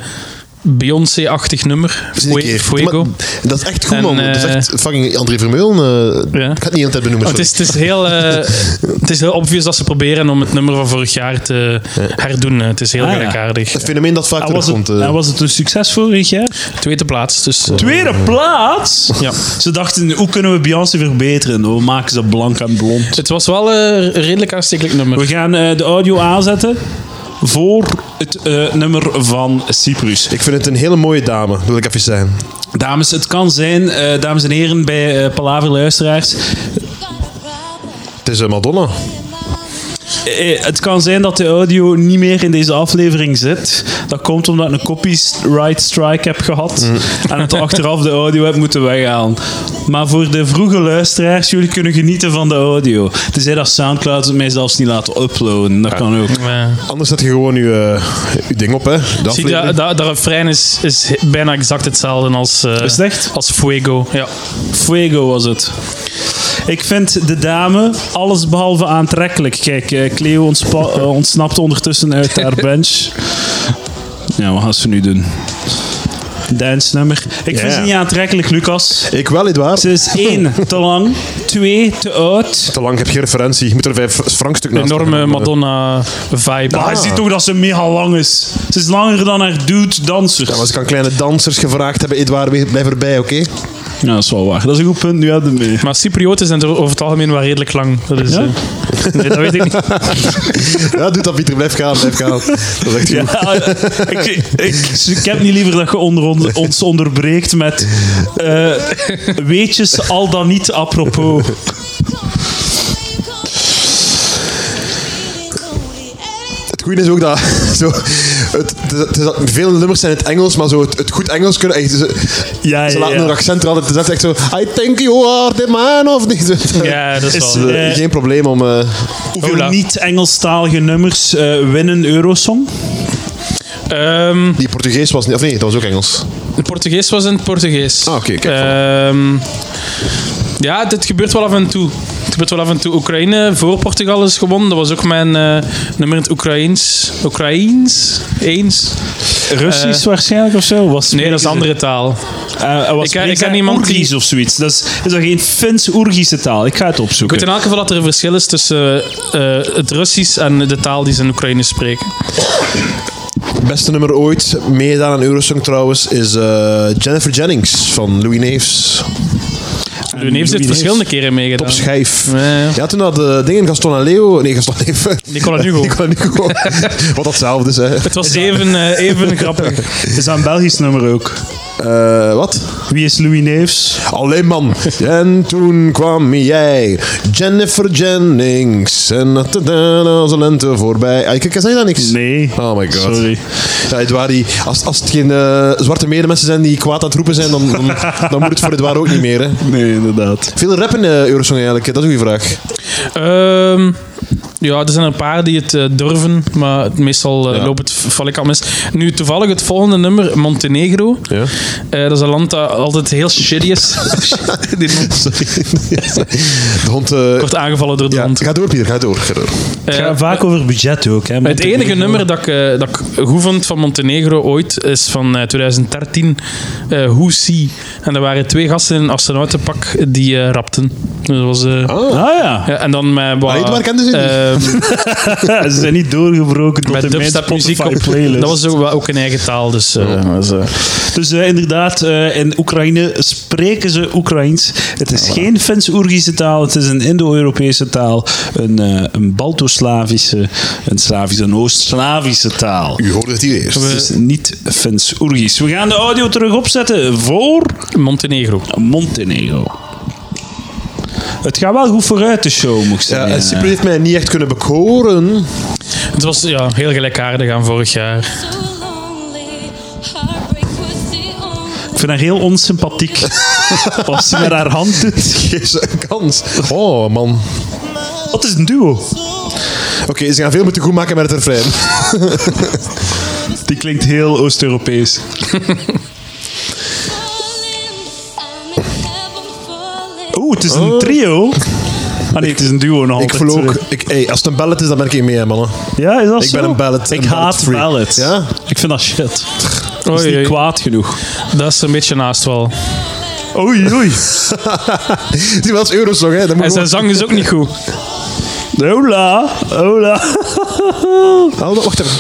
Beyoncé-achtig nummer.
Eens een
Fue-
keer.
Fuego.
Maar dat is echt goed,
En,
man. Dat is
eh,
echt fucking André Vermeulen. eh,
Ja.
Ik ga het niet aan het benoemen,
Maar Oh, het,
sorry.
is, het, is heel, eh, het is heel obvious dat ze proberen om het nummer van vorig jaar te herdoen. hè. Het is heel
Ah, ja.
gelijkaardig.
Een fenomeen dat vaak
En was,
terugkomt.
het,
eh.
en was het een succes vorig jaar?
Tweede plaats. Dus, eh,
Tweede plaats?
ja.
Ze dachten, hoe kunnen we Beyoncé verbeteren? Nou, We maken ze blank en blond.
Het was wel een redelijk aanstekelijk
We
nummer.
gaan eh, de audio aanzetten voor het eh, nummer van Cyprus.
Ik vind het een hele mooie dame, wil ik even zijn.
Dames, het kan zijn, eh, dames en heren, bij eh, Palaver Luisteraars.
Het is eh, Madonna.
eh, eh, het kan zijn dat de audio niet meer in deze aflevering zit. Dat komt omdat ik een copyright strike heb gehad. En het achteraf de audio heb moeten weghalen. Maar voor de vroege luisteraars, jullie kunnen genieten van de audio. Tenzij dat Soundcloud het mij zelfs niet laat uploaden. Dat kan ook.
Maar-
Anders zet je gewoon je, eh, je ding op, hè. De
Zie, je, dat,
aflevering.
dat, dat refrein is, is bijna exact hetzelfde als, eh,
Is het echt?
als Fuego. Ja.
Fuego was het. Ik vind de dame alles behalve aantrekkelijk. Kijk, eh, Cleo ontspa- eh, ontsnapt ondertussen uit haar bench. Ja, wat gaan ze nu doen? Dance nummer. Ik
Ja.
vind ze niet aantrekkelijk, Lucas.
Ik wel, Edouard.
Ze is één, te lang. Twee, te oud.
Te lang, ik heb geen referentie. Je moet er vijf frankstuk naast eh.
Enorme
doen.
Madonna-vibe.
Hij ziet toch dat ze mega lang is. Ze is langer dan haar dude dansers.
Ja, maar ze kan kleine dansers gevraagd hebben. Edouard, we- blijf erbij, oké?
Ja, dat is wel waar. Dat is een goed punt, nu hadden we mee.
Maar Cyprioten zijn er over het algemeen wel redelijk lang. Dat is,
Ja?
eh, nee, dat weet ik niet.
Ja, doe dat, Pieter. Blijf gaan, blijf gaan. Dat is echt goed.
Ja, Ah, ik, ik, ik heb niet liever dat je onder, on- ons onderbreekt met eh, weetjes al dan niet apropos.
Het goede is ook dat... Zo, het, het, is- het is dat- vele nummers zijn in het Engels, maar zo het, het goed Engels kunnen... Echt, ze
Ja,
ze
ja,
laten
ja.
hun accent er altijd... Het is echt zo... I think you are the man, of niet?
Ja, dat is
Is-
wel...
Eh,
eh,
geen probleem om... eh,
Hoeveel
Hola.
niet-Engelstalige nummers eh, winnen Eurosong?
Ehm,
die Portugees was niet... Of nee, dat was ook Engels.
Het Portugees was in het Portugees.
Ah, oké, kijk,
Ehm, ja, dit gebeurt wel af en toe. Het gebeurt wel af en toe. Oekraïne voor Portugal is gewonnen. Dat was ook mijn eh, nummer in het Oekraïens. Oekraïens? Eens?
Russisch waarschijnlijk of zo? Was Eh,
Nee, dat is een andere taal.
was
Ik ken- ik ken iemand die-
Oergies of zoiets. Dat is, is dat geen Fins-Oergische taal? Ik ga het
Ik weet in
opzoeken.
elk geval dat er een verschil is tussen eh, eh, het Russisch en de taal die ze in Oekraïne spreken.
Beste nummer ooit, meegedaan aan Eurosong trouwens, is eh, Jennifer Jennings van Louis Neefs.
U heeft dit
Louis
verschillende keren meegedaan.
Op schijf.
Ja, ja.
Ja, toen had de dingen Gaston en Leo... Nee, Gaston en Leo.
Nicola Nugo.
Nicola Nugo. Wat datzelfde is, hè.
Het was even, eh, even grappig.
Is dat een Belgisch nummer ook?
Eh, wat?
Wie is Louis Neefs?
Alleen man. En toen kwam jij, Jennifer Jennings. En dat als de lente voorbij. Ah, Kijk, zei dat niks?
Nee.
Oh my god.
Sorry.
Ja, Edouard, die- als, als het geen eh, zwarte medemensen zijn die kwaad aan het roepen zijn, dan, dan, dan moet het voor Edouard ook niet meer, hè.
Nee, inderdaad.
Veel rappen in eh, Eurosong eigenlijk, dat is een goede vraag.
Ehm, Ja, er zijn er een paar die het eh, durven, maar meestal eh,
Ja.
loopt het val ik al mis. Nu, toevallig het volgende nummer, Montenegro.
Ja.
Eh, dat is een land dat altijd heel shitty is. die
Sorry. De hond... eh,
wordt aangevallen door de
ja,
hond.
ga door, Pieter. Ga door. Ga door.
Eh,
Het gaat vaak over budget ook. Hè.
het enige nummer dat ik, eh, dat ik goed vond van Montenegro ooit is van eh, 2013, eh Who See. En er waren twee gasten in een astronautenpak die eh, rapten. Dus dat was, eh,
Oh.
Ah ja.
ja, en dan met wat...
Ah, Edouard kende ze
eh,
Ja, ze zijn niet doorgebroken tot
met
in mijn
dubstep muziek
Spotify
op.
playlist.
Dat was ook, wel ook in eigen taal, dus... eh, was, eh,
Dus eh, inderdaad, eh, in Oekraïne spreken ze Oekraïens. Het is geen Fins-Oergische taal, het is een Indo-Europese taal, een, eh een Balto-Slavische, een Slavische, een Oost-Slavische taal.
U hoorde het hier eerst.
Het is niet Fins-Oergisch. We gaan de audio terug opzetten voor
Montenegro.
Montenegro. Het gaat wel goed vooruit, de show, moet ik
Ja,
zeggen.
en Cypri heeft mij niet echt kunnen bekoren.
Het was ja, heel gelijkaardig aan vorig jaar.
ik vind haar heel onsympathiek. Als ze met haar hand doet.
Geef ze een kans. Oh, man.
Wat is een duo?
Oké, ze gaan veel moeten goed maken met het refrein.
Die klinkt heel Oost-Europees. Oeh, het is een trio. Ah nee, het is een duo nog
Ik
altijd.
voel ook...
sorry.
Ik, hey, als het een ballet is, dan ben ik hier mee, hè, mannen.
Ja, is dat
Ik
zo?
ben een ballad-
Ik
een
haat
ballad-freak.
ballads.
Ja?
Ik vind dat shit. Dat is
Oei,
niet
oei.
kwaad genoeg.
Dat is een beetje naast wel.
Oei, oei.
Die was Eurosong, hè. Dat moet
En
gewoon...
zijn zang is ook niet goed.
Hola, hola.
Oh, wacht even.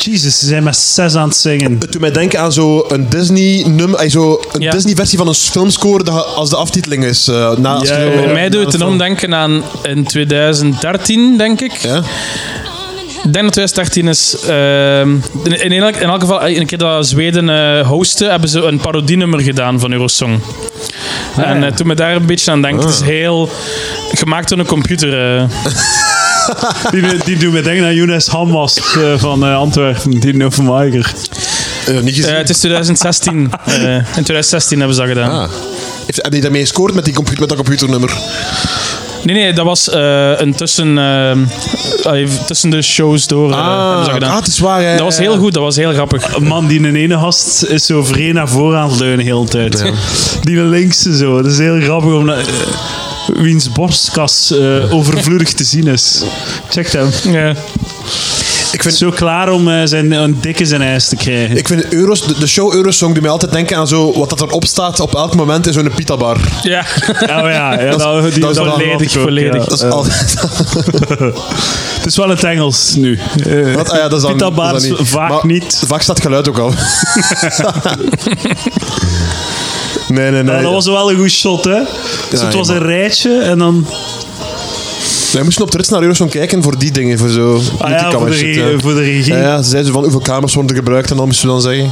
Jezus, ze zijn met zes aan het zingen.
Het doet mij denken aan zo'n Disney-nummer... eh, Zo een
Ja.
Disney-versie van een filmscore dat als de aftiteling is. eh, na, als
Ja,
je zo-
ja, ja.
Dus Bij mij doet
na
het
de
enorm
film.
denken aan in 2013, denk ik.
Ja?
Ik denk dat 2013 is. ehm, in, in, elk, in elk geval, eh, een keer dat Zweden eh hosten, hebben ze een parodienummer gedaan van Eurosong.
Ah,
en eh, toen me daar een beetje aan denken, het is heel gemaakt door een computer. eh.
Die, die doen me denken aan Younes Hammas eh, van eh, Antwerpen, die Novemaiker.
Eh, niet gezien.
Eh, het is 2016. eh, in 2016 hebben ze dat gedaan.
Ah. Heeft, heb je daarmee gescoord met, die computer, met dat computernummer?
Nee, nee, dat was eh, een tussen, eh, allee, tussen de shows door. eh, hebben ze dat gedaan.
ah, het is waar. hè.
dat was heel goed, dat was heel grappig.
Een man die in een ene gast is zo vreemd naar voren aan het leunen heel de tijd. Die naar links en zo. Dat is heel grappig om naar, eh, wiens borstkas eh, overvloedig te zien is. Check hem.
Ja.
Ik vind,
Zo klaar om eh, zijn, een dikke zijn ijs te krijgen.
ik vind Euros, de, de show Eurosong doet mij altijd denken aan zo, wat dat erop staat op elk moment in zo'n pitabar.
ja.
Oh ja, ja dat, die
dat is wel
handig ook, ja.
Dat is altijd...
Het is wel het Engels nu. Eh,
Wat? Ah ja, dat is dan,
Pita
dat is
bars
dan niet.
vaak
Maar
niet.
Vaak staat geluid ook al. nee, nee, nee.
Ja, dat was wel een goed shot, hè? dus het
ja, Ah,
was
man.
een rijtje en dan.
Wij moesten op de rits naar Eurosong kijken voor die dingen, voor zo...
Ah ja, voor de,
multicamer shit,
re-
ja.
voor de regie.
Ja, ja, ze zeiden zo van hoeveel kamers worden er gebruikt en dan moesten we dan zeggen.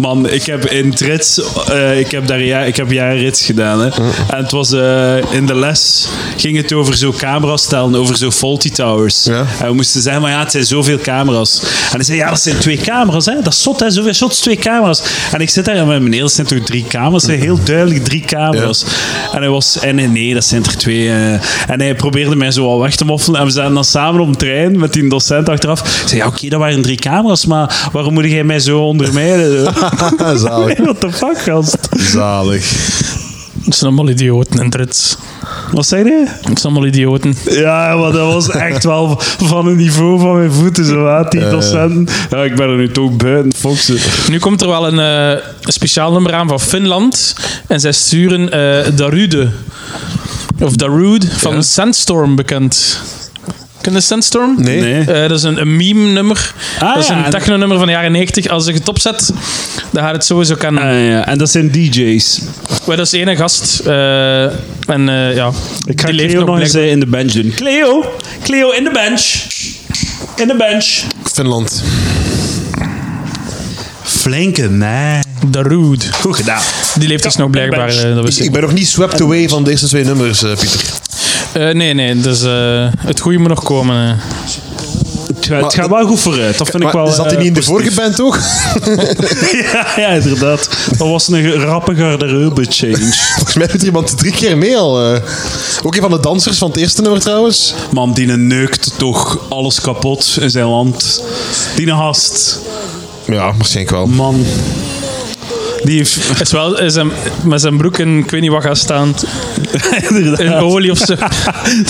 Man, ik heb in Trits, eh, ik heb daar ja, ik heb jaren rits gedaan. Hè. En het was eh, in de les ging het over zo'n camera's stellen, over zo'n faulty towers.
Ja.
En we moesten zeggen, maar ja, het zijn zoveel camera's. En ik zei, ja, dat zijn twee camera's, hè? Dat is zot, hè? Zoveel shots, twee camera's. En ik zit daar en mijn meneer, dat zijn toch drie camera's? Het zijn heel duidelijk drie camera's. En hij was, en nee, nee, dat zijn er twee. eh. En hij probeerde mij zo al weg te moffelen. En we zaten dan samen op een trein met die docent achteraf. Ik zei, ja, oké, dat waren drie camera's, maar waarom moet jij mij eh? zo ondermijden? zo?
Zalig.
Hey, what the fuck, gast?
Zalig.
Het zijn allemaal idioten en trits.
Wat zei je?
Het zijn allemaal idioten.
Ja, maar dat was echt wel van een niveau van mijn voeten, zo wat, die docenten. Ja, ik ben er nu toch buiten, foxen.
Nu komt er wel een, eh, een speciaal nummer aan van Finland. En zij sturen eh Darude. Of Darude van Sandstorm bekend. Ken je Sandstorm?
Nee.
Nee.
Eh, dat is een, een meme-nummer.
Ah,
dat is
ja,
een
en-
techno-nummer van de jaren 90. Als ik het opzet, dan gaat het sowieso kennen.
ja, en dat zijn DJ's.
Wij, dat is ene gast. eh, en eh, ja,
Ik ga
die leeft
Cleo nog eens
blijkbaar.
eh, in de bench doen. Cleo! Cleo, in de bench! In de bench!
Finland.
Flinke man.
Darude.
Goed gedaan.
Die leeft dus nog blijkbaar. eh, dat
Ik,
wist ik.
ik ben nog niet swept away van deze twee nummers, eh, Pieter.
Eh, nee, nee. Dus eh, het goede moet nog komen. eh.
het, gaat- het gaat wel goed vooruit. Dat vind ik
Maar
wel.
zat hij
eh,
niet in de vorige band ook?
ja, ja, inderdaad. Dat was een rappe garderobe change.
Volgens mij doet er iemand drie keer mee al. eh. Ook een van de dansers van het eerste nummer trouwens.
Man, die neukt toch alles kapot in zijn land. Die hast.
Ja, waarschijnlijk wel.
Man. Die heeft...
Is wel is hem, met zijn broek in, ik weet niet wat gaat staan,
inderdaad.
in olie of zo.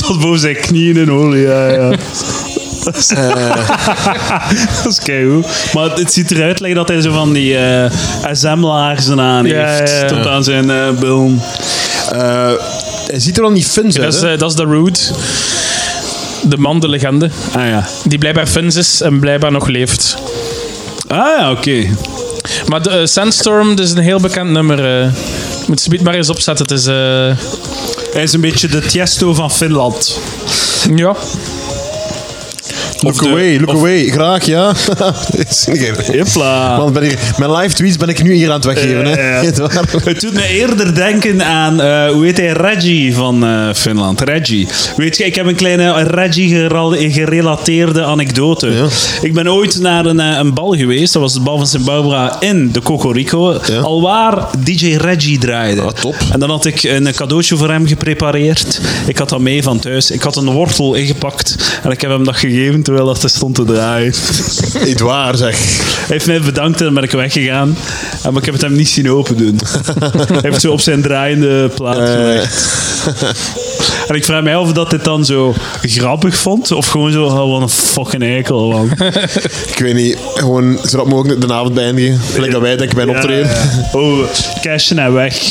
Tot boven zijn knieën in olie, ja, ja. Dat is-
Eh.
dat is keigoed. Maar het ziet eruit like dat hij zo van die eh SM-laarzen aan
Ja,
heeft.
ja, ja.
Tot aan zijn eh bilm.
Eh, hij ziet er dan niet fins
Dat
uit.
is,
hè?
eh, dat is de Rude. De man, de legende.
Ah ja.
Die blijkbaar Fins is en blijkbaar nog leeft.
Ah ja, oké.
Maar de, eh, Sandstorm, dat is een heel bekend nummer. eh. Moet ze maar eens opzetten. Het is... eh,
Hij is een beetje de Tiesto van Finland.
ja.
Look
eh, de-
away, look away. Graag, ja. Is niet geen-
Hopla.
Want ben ik, mijn live tweets ben ik nu hier aan het weggeven.
Eh,
hè.
eh.
Niet waar?
Het doet me eerder denken aan, eh, hoe heet hij, Reggie van eh, Finland. Reggie. Weet je, ik heb een kleine Reggie geral- gerelateerde anekdote. Ik ben ooit naar een, eh, een bal geweest, dat was de bal van Sint Barbara in de Cocorico,
Ja.
alwaar DJ Reggie draaide.
Ah, top.
En dan had ik een cadeautje voor hem geprepareerd. Ik had dat mee van thuis. Ik had een wortel ingepakt en ik heb hem dat gegeven terwijl dat hij stond te draaien.
Niet waar, zeg.
Hij heeft mij bedankt en dan ben ik weggegaan. Eh, Maar ik heb het hem niet zien open doen. Hij heeft zo op zijn draaiende plaat
Eh,
gelegd. En ik vraag mij af of dat dit dan zo grappig vond. Of gewoon zo, oh, wat een fucking eikel. Man.
Ik weet niet, gewoon zo rap mogelijk de avond beëindigen. Gelijk dat wij denken bij een optreden.
Ja. Oh, cashen en weg.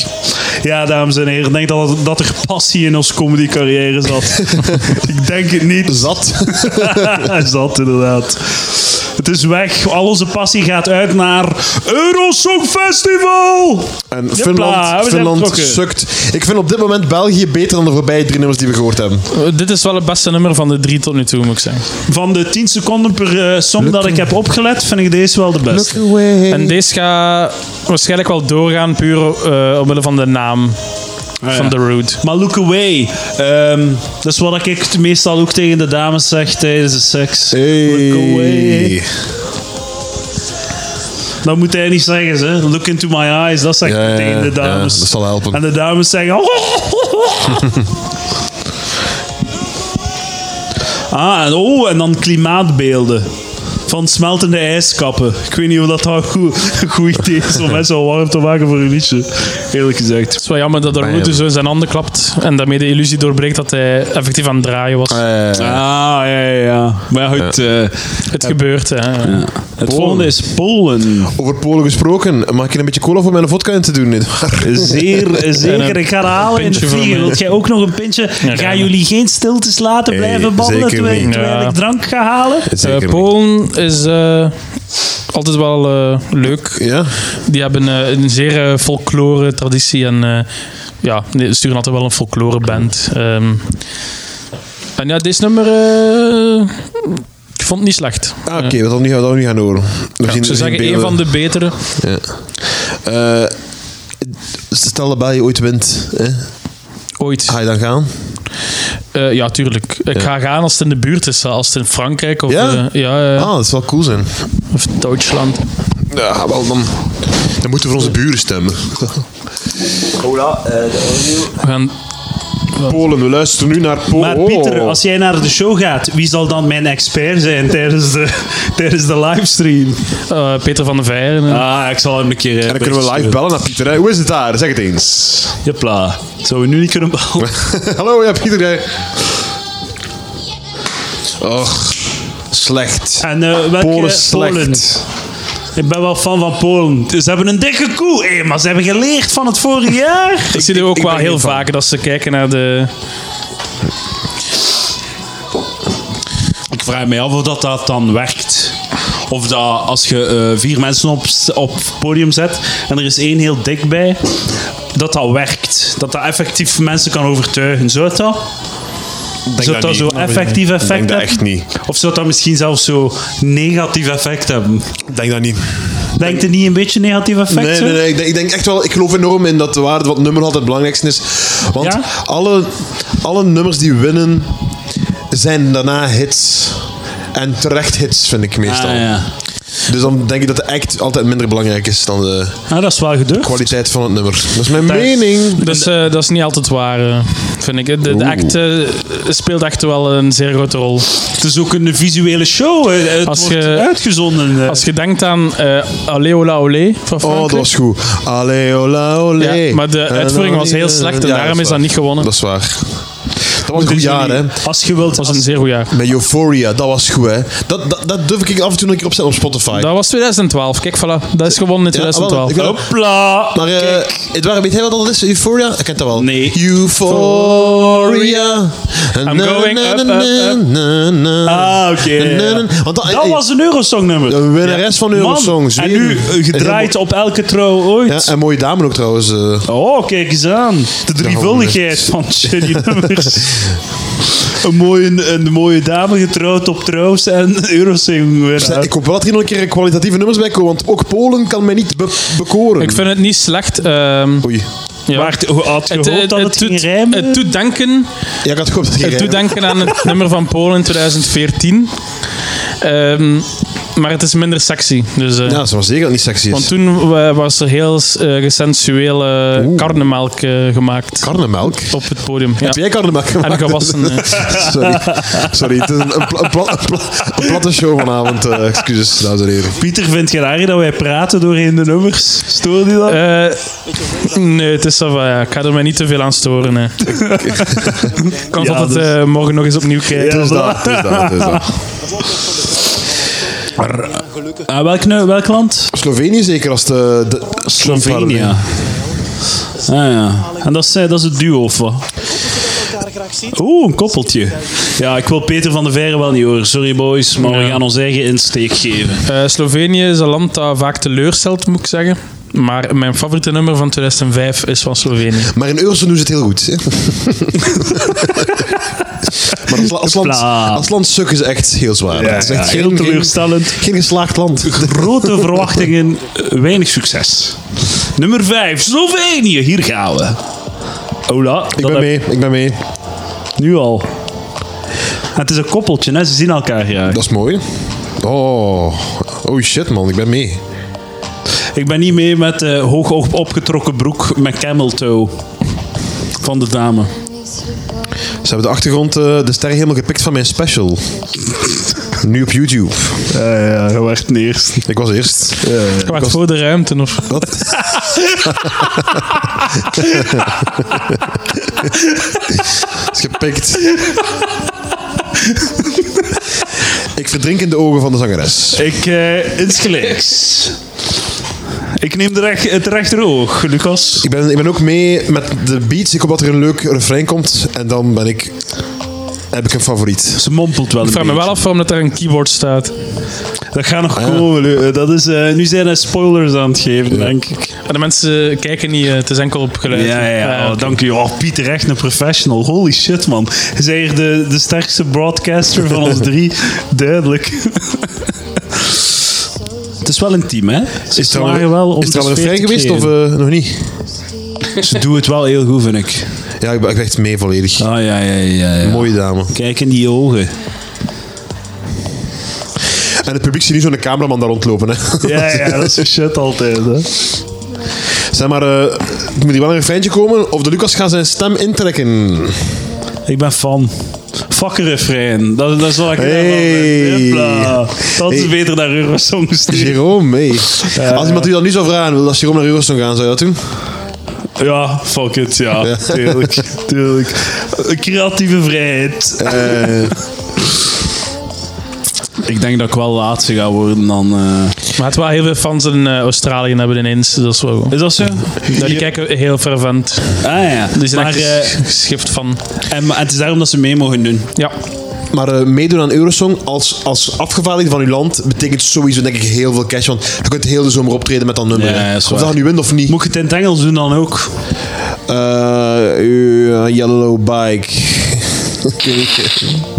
Ja, dames en heren. Ik denk dat, dat er passie in ons comedy carrière zat. ik denk het niet.
Zat.
is dat inderdaad. Het is weg. Al onze passie gaat uit naar Eurosong Festival.
En
Jepla, we
Finland,
zijn
Finland
vertrokken.
sukt. Ik vind op dit moment België beter dan de voorbije drie nummers die we gehoord hebben.
Eh, Dit is wel het beste nummer van de drie tot nu toe, moet ik zeggen.
Van de 10 seconden per eh, som dat ik heb opgelet, vind ik deze wel de beste.
away.
En deze gaat waarschijnlijk wel doorgaan, puur eh, omwille van de naam van The Rude.
Maar look away. Ehm, dat is wat ik t- meestal ook tegen de dames zeg tijdens de seks. Look away.
Hey.
Dat moet hij niet zeggen, hè. Look into my eyes, dat zeg ik
Ja, ja,
tegen de
ja,
dames.
dat zal helpen.
En de dames zeggen... "Oh." ah, en, oh, en dan klimaatbeelden. Van smeltende ijskappen. Ik weet niet of dat nou goed, een goed idee is om mensen al warm te maken voor hun liedje. Eerlijk gezegd.
Het is wel jammer dat de Rude zo in zijn handen klapt en daarmee de illusie doorbreekt dat hij effectief aan het draaien was.
Eh,
Ah, ja, ja, ja. Maar goed, eh,
het gebeurt, hè.
het volgende is Polen.
over Polen gesproken, mag ik een beetje cola voor mijn vodka in te doen? Niet waar?
Zeer, zeker. Ik ga het halen in de
pintje voor
vlieger.
me.
Wilt jij ook nog een pintje? Gaan
graag.
jullie geen stiltes laten
Nee,
blijven babbelen
Eh, zeker
terwijl,
niet.
terwijl
Ja.
ik drank ga halen?
Zeker
Eh,
niet.
Polen is eh, altijd wel eh, leuk.
Ja? Ah,
Die hebben eh, een zeer eh, folklore traditie en eh, ja, die sturen altijd wel een folklore band. Ehm, en ja, deze nummer, eh, ik vond het niet slecht.
Ah, oké, wat dan nu, wat dan nu gaan horen. We zien-
Ik
we
zou
zien
zeggen, een
beelden.
van de betere.
Ja. Eh, stel dat België ooit wint, hè?
Ooit.
ga je dan gaan?
Eh, ja, tuurlijk. Ik ga gaan als het in de buurt is. hè. Als het in Frankrijk of,
Ja?
eh, ja, ja,
Ah, dat zou wel cool zijn.
of Duitsland.
Ja, wel dan. Dan moeten we voor onze buren stemmen.
We gaan...
Polen, we luisteren nu naar Oh. Polen.
Maar Pieter, als jij naar de show gaat, wie zal dan mijn expert zijn tijdens de, tijdens de livestream?
eh, Peter van der Veijren. eh.
Ah, ik zal hem een keer...
En dan kunnen we live bellen naar Pieter. Hè? Hoe is het daar? Zeg het eens.
Jepla. Zouden we nu niet kunnen bellen?
Hallo, ja, Pieter. hè. Och, slecht.
En eh, welke...
Polen is slecht.
Ik ben wel fan van Polen. Dus Ze hebben een dikke koe, eh, maar ze hebben geleerd van het vorige jaar.
Ik zie er ook
ik
wel
ben
heel
geen fan.
vaak dat ze kijken naar de...
Ik vraag me af of dat, dat dan werkt. Of dat als je eh, vier mensen op s- op het podium zet en er is één heel dik bij, dat dat werkt. Dat dat effectief mensen kan overtuigen. Zou het dat? zou dat,
dat niet.
zo effectief effect
Ik denk dat
hebben?
echt niet.
Of zou dat misschien zelfs zo negatief effect hebben?
Ik denk dat niet.
Denkt het niet een beetje negatief effect?
Nee,
zo?
nee, nee. Ik denk, ik denk echt wel, ik geloof enorm in dat de waarde wat nummer altijd het belangrijkste is. Want
Ja?
alle, alle nummers die winnen zijn daarna hits. En terecht hits vind ik meestal.
Ah, ja.
Dus dan denk ik dat de act altijd minder belangrijk is dan de
Ah, dat is wel gedurfd.
kwaliteit van het nummer. Dat is mijn mening.
Dat is, eh, dat is niet altijd waar, eh, vind ik. hè. De, de act eh, speelt echt wel een zeer grote rol.
Het is ook een visuele show. hè. Het
Als
wordt
je-
uitgezonden. eh.
Als je denkt aan eh Aleola Olé van
Oh,
Frankrijk.
dat was goed. Allee, ola, olé.
Ja, maar de uitvoering was heel slecht en
eh, Ja,
daarom is dat
waar.
niet gewonnen.
Dat is waar. Dat was een goed
Dus
jaar, hè.
jullie- Als je wilt...
Dat was een zeer goed jaar.
Met Euphoria, dat was goed, hè. Dat, dat, dat durf ik af en toe een keer opzetten op Spotify.
Dat was 2012. Kijk, voilà. Dat is gewonnen in
Ja, wel,
2012.
ik wil-
Hopla!
Maar eh Edouard, weet jij wat dat is? Euphoria? Ik kent dat wel.
Nee.
Euphoria.
I'm going up, up, up.
Ah, oké.
Want dat,
Dat was een Eurosong nummer.
De winnares van Eurosong.
Man, en nu eh, gedraaid op elke trouw
Ja,
ooit.
en mooie dame ook trouwens. eh.
Oh, kijk eens aan. De drievuldigheid van shitty nummers. Een mooie, een mooie dame getrouwd op trouws en Eurosong
Zeg,
winnaar.
Ik hoop wel dat hier nog een keer kwalitatieve nummers bij komen, want ook Polen kan mij niet be- bekoren.
Ik vind het niet slecht. ehm,
Oei.
ja.
Maar het- hoe had je
Het,
gehoopt
het,
dat het,
het
ging
doet-
rijmen?
het doet denken
Ja, ik had gehoopt dat
Het
het
doet denken aan het nummer van Polen in 2014. Ehm, maar het is minder sexy. Dus, eh,
Ja, ze was zeker dat niet sexy is.
Want toen eh, was er heel eh, gesensuele karnemelk eh, gemaakt
Karnemelk?
op het podium.
Heb
Ja.
jij karnemelk gemaakt?
En gewassen. eh.
Sorry. Sorry, het is een, een, pla- een pla- een pla- een platte show vanavond. eh, excuses, dames en heren.
Pieter, vind je daar dat wij praten doorheen de nummers? Stoor die dat?
Eh, nee, het is zo van, ja, ik ga er mij niet te veel aan storen. hè. Kans
Ja,
dat het
dus-
eh, morgen nog eens opnieuw kijkt.
Het is dat, het is dat, het is dat.
Ah, welk, nu- welk land?
Slovenië zeker als de... de
Slovenië. Ah ja. En dat is, eh, dat is het duo of wat? Oeh, een koppeltje. Ja, ik wil Peter van der Veire wel niet horen. Sorry boys, maar we gaan ons eigen insteek geven.
Eh, Slovenië is een land dat vaak teleurstelt, moet ik zeggen. Maar mijn favoriete nummer van 2005 is van Slovenië.
Maar in Eurozone doen ze het heel goed. hè. maar als, la- als, land,
Pla.
als land sukken ze echt heel zwaar.
Ja,
Het is echt
ja, heel teleurstellend.
Geen, geen geslaagd land.
Grote verwachtingen, eh, weinig succes. Nummer 5, Slovenië. Hier gaan we. Ola,
Ik ben
dat heb
mee, ik ben mee.
ik nu al. En het is een koppeltje, hè? ze zien elkaar graag.
Dat is mooi. Oh, oh shit man, ik ben mee.
Ik ben niet mee met eh hoog op- opgetrokken broek met camel toe van de dame.
Ze hebben de achtergrond, eh, de sterren helemaal gepikt van mijn special. nu op YouTube.
Eh, ja, je werd eerst.
Ik was eerst.
Ik wacht voor de ruimte. Of...
Wat? is gepikt. ik verdrink in de ogen van de zangeres.
Ik eh insgelijks. Ik neem de rech- het rechteroog, Lucas.
Ik ben, ik ben ook mee met de beats. Ik hoop dat er een leuk refrein komt. En dan ben ik, heb ik een favoriet.
Ze mompelt wel een
Ik vraag me wel af waarom dat er een keyboard staat.
beetje. Dat gaat nog komen. Lu. Dat is, eh, nu zijn er spoilers aan het geven, denk ik.
Maar de mensen kijken niet, eh, het is enkel op geluid.
Ja, ja, ja.
Eh,
Oh, dank u. Oh, Pieter, echt een professional. Holy shit, man. Hij is hier de, de sterkste broadcaster van ons drie. Duidelijk. Het is wel intiem, hè? Ze
Is er al,
slagen wel om
is er al
de
een
sfeer
refrein
te
geweest of
creëren.
eh, nog niet?
Ze doen het wel heel goed, vind ik.
Ja, ik ben, ik ben echt mee volledig.
Ah, ja, ja, ja. ja.
Mooie dame.
Kijk in die ogen.
En het publiek ziet nu zo'n cameraman daar rondlopen. Hè.
Ja, ja, dat is de shit altijd, hè.
Zeg maar, eh, moet hier wel een refreintje komen? Of de Lucas gaat zijn stem intrekken?
Ik ben fan. Fuck een refrein. Dat, dat is wat ik
Hey.
daarvan ben. Hupla. Dat is
Hey.
beter dan Eurosong sturen.
Jerome, Eh. mee. Als iemand u dat nu zou vragen, wil als Jerome naar Eurosong gaan, zou je dat doen?
Ja, fuck it, ja. Tuurlijk, tuurlijk. Creatieve vrijheid.
Eh,
Ik denk dat ik wel laatste ga worden dan... eh,
Maar het wel heel veel fans in eh, Australië hebben ineens, dus dat is wel goed.
Is dat zo?
Ja, die kijken heel fervent.
Ah ja.
Die zijn
maar,
echt
eh,
ges- geschift van.
en, maar het is daarom dat ze mee mogen doen.
Ja,
maar eh, meedoen aan Eurosong als, als afgevaardigde van uw land betekent sowieso denk ik heel veel cash. Want je kunt heel de zomer optreden met dat nummer.
Ja,
hè.
ja, is
of
waar.
dat je nu wint of niet.
Moet ik het in het Engels doen dan ook?
Eh, uw yellow bike.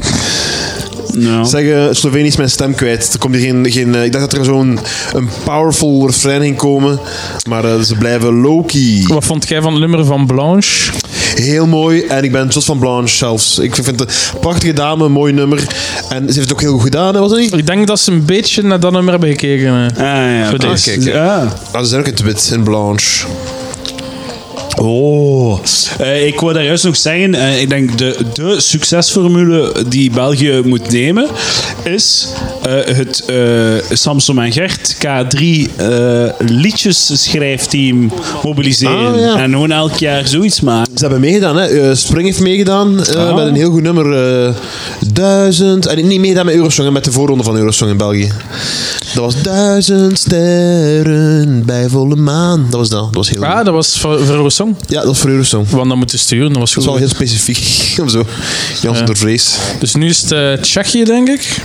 Nou.
Zeg, eh, Slovenië is mijn stem kwijt. Er komt hier geen, geen, eh, ik dacht dat er zo'n een powerful refrein ging komen. Maar eh, ze blijven low-key.
wat vond jij van het nummer van Blanche?
heel mooi. En ik ben Jos van Blanche zelfs. Ik vind het een prachtige dame, een mooi nummer. En ze heeft het ook heel goed gedaan, hè, was het niet?
Ik denk dat ze een beetje naar dat nummer hebben gekeken. eh.
Ah, ja.
Voor
oké.
deze.
Kijk, hè.
Ja.
Ah, ze zijn ook in het wit, in Blanche.
Oh, Eh, ik wou daar juist nog zeggen, eh, ik denk de, de succesformule die België moet nemen, is eh, het eh Samson en Gert K3 eh, liedjesschrijfteam mobiliseren.
Ah, ja.
En gewoon elk jaar zoiets maken.
Ze hebben meegedaan, hè? Eh, Spring heeft meegedaan eh,
Ah.
met een heel goed nummer. eh, duizend. En niet meegedaan met Eurosong, hè, met de voorronde van Eurosong in België. Dat was duizend sterren bij volle maan. Dat was dat. Dat was heel
Ah,
goed.
dat was voor, voor een song.
Ja, dat was voor Eurosong. Dat
Want dat moeten sturen, dat was
is
goed.
wel heel specifiek. of zo. Jans door Vrees.
Dus nu is het eh, Tsjechië, denk ik.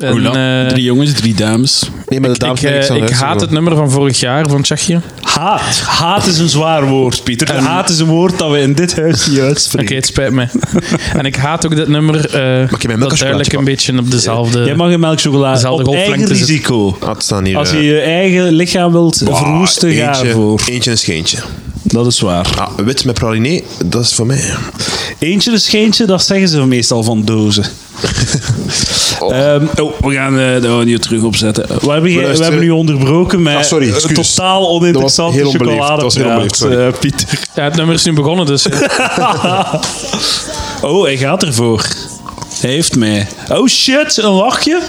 En, eh,
Drie jongens, drie dames.
Nee, maar de
ik,
dames
eh,
ben zo,
ik
hè, zo.
haat het nummer van vorig jaar van Tsjechië.
Haat. Haat is een zwaar woord, Pieter. Haat is een woord dat we in dit huis niet
Oké,
uitspreken.
het spijt me. en ik haat ook dit nummer. eh,
mijn melk
dat
als
duidelijk
chocolaatje
een beetje op dezelfde.
Jij mag een melkchocolade
Dezelfde
op eigen
Eh, golflengte zit-
risico.
Ah, het staan hier.
Als
eh,
je je eigen lichaam wilt
ah,
verwoesten, ga
eentje,
ervoor.
Eentje en scheentje.
Dat is waar.
Ah, wit met praliné, dat is voor mij.
Eentje is geentje, dat zeggen ze meestal van dozen.
Oh.
Ehm, oh, we gaan eh de audio terug opzetten. We hebben, je- we
luisteren-
hebben u onderbroken met
Ah, sorry,
een
excuus.
totaal
Dat was
oninteressante
heel onbeleefd.
chocoladepraat,
Dat was heel onbeleefd, sorry.
eh, Pieter.
Ja, het nummer is nu begonnen, dus.
Oh, hij gaat ervoor. Hij heeft mij. Oh shit, een lachje?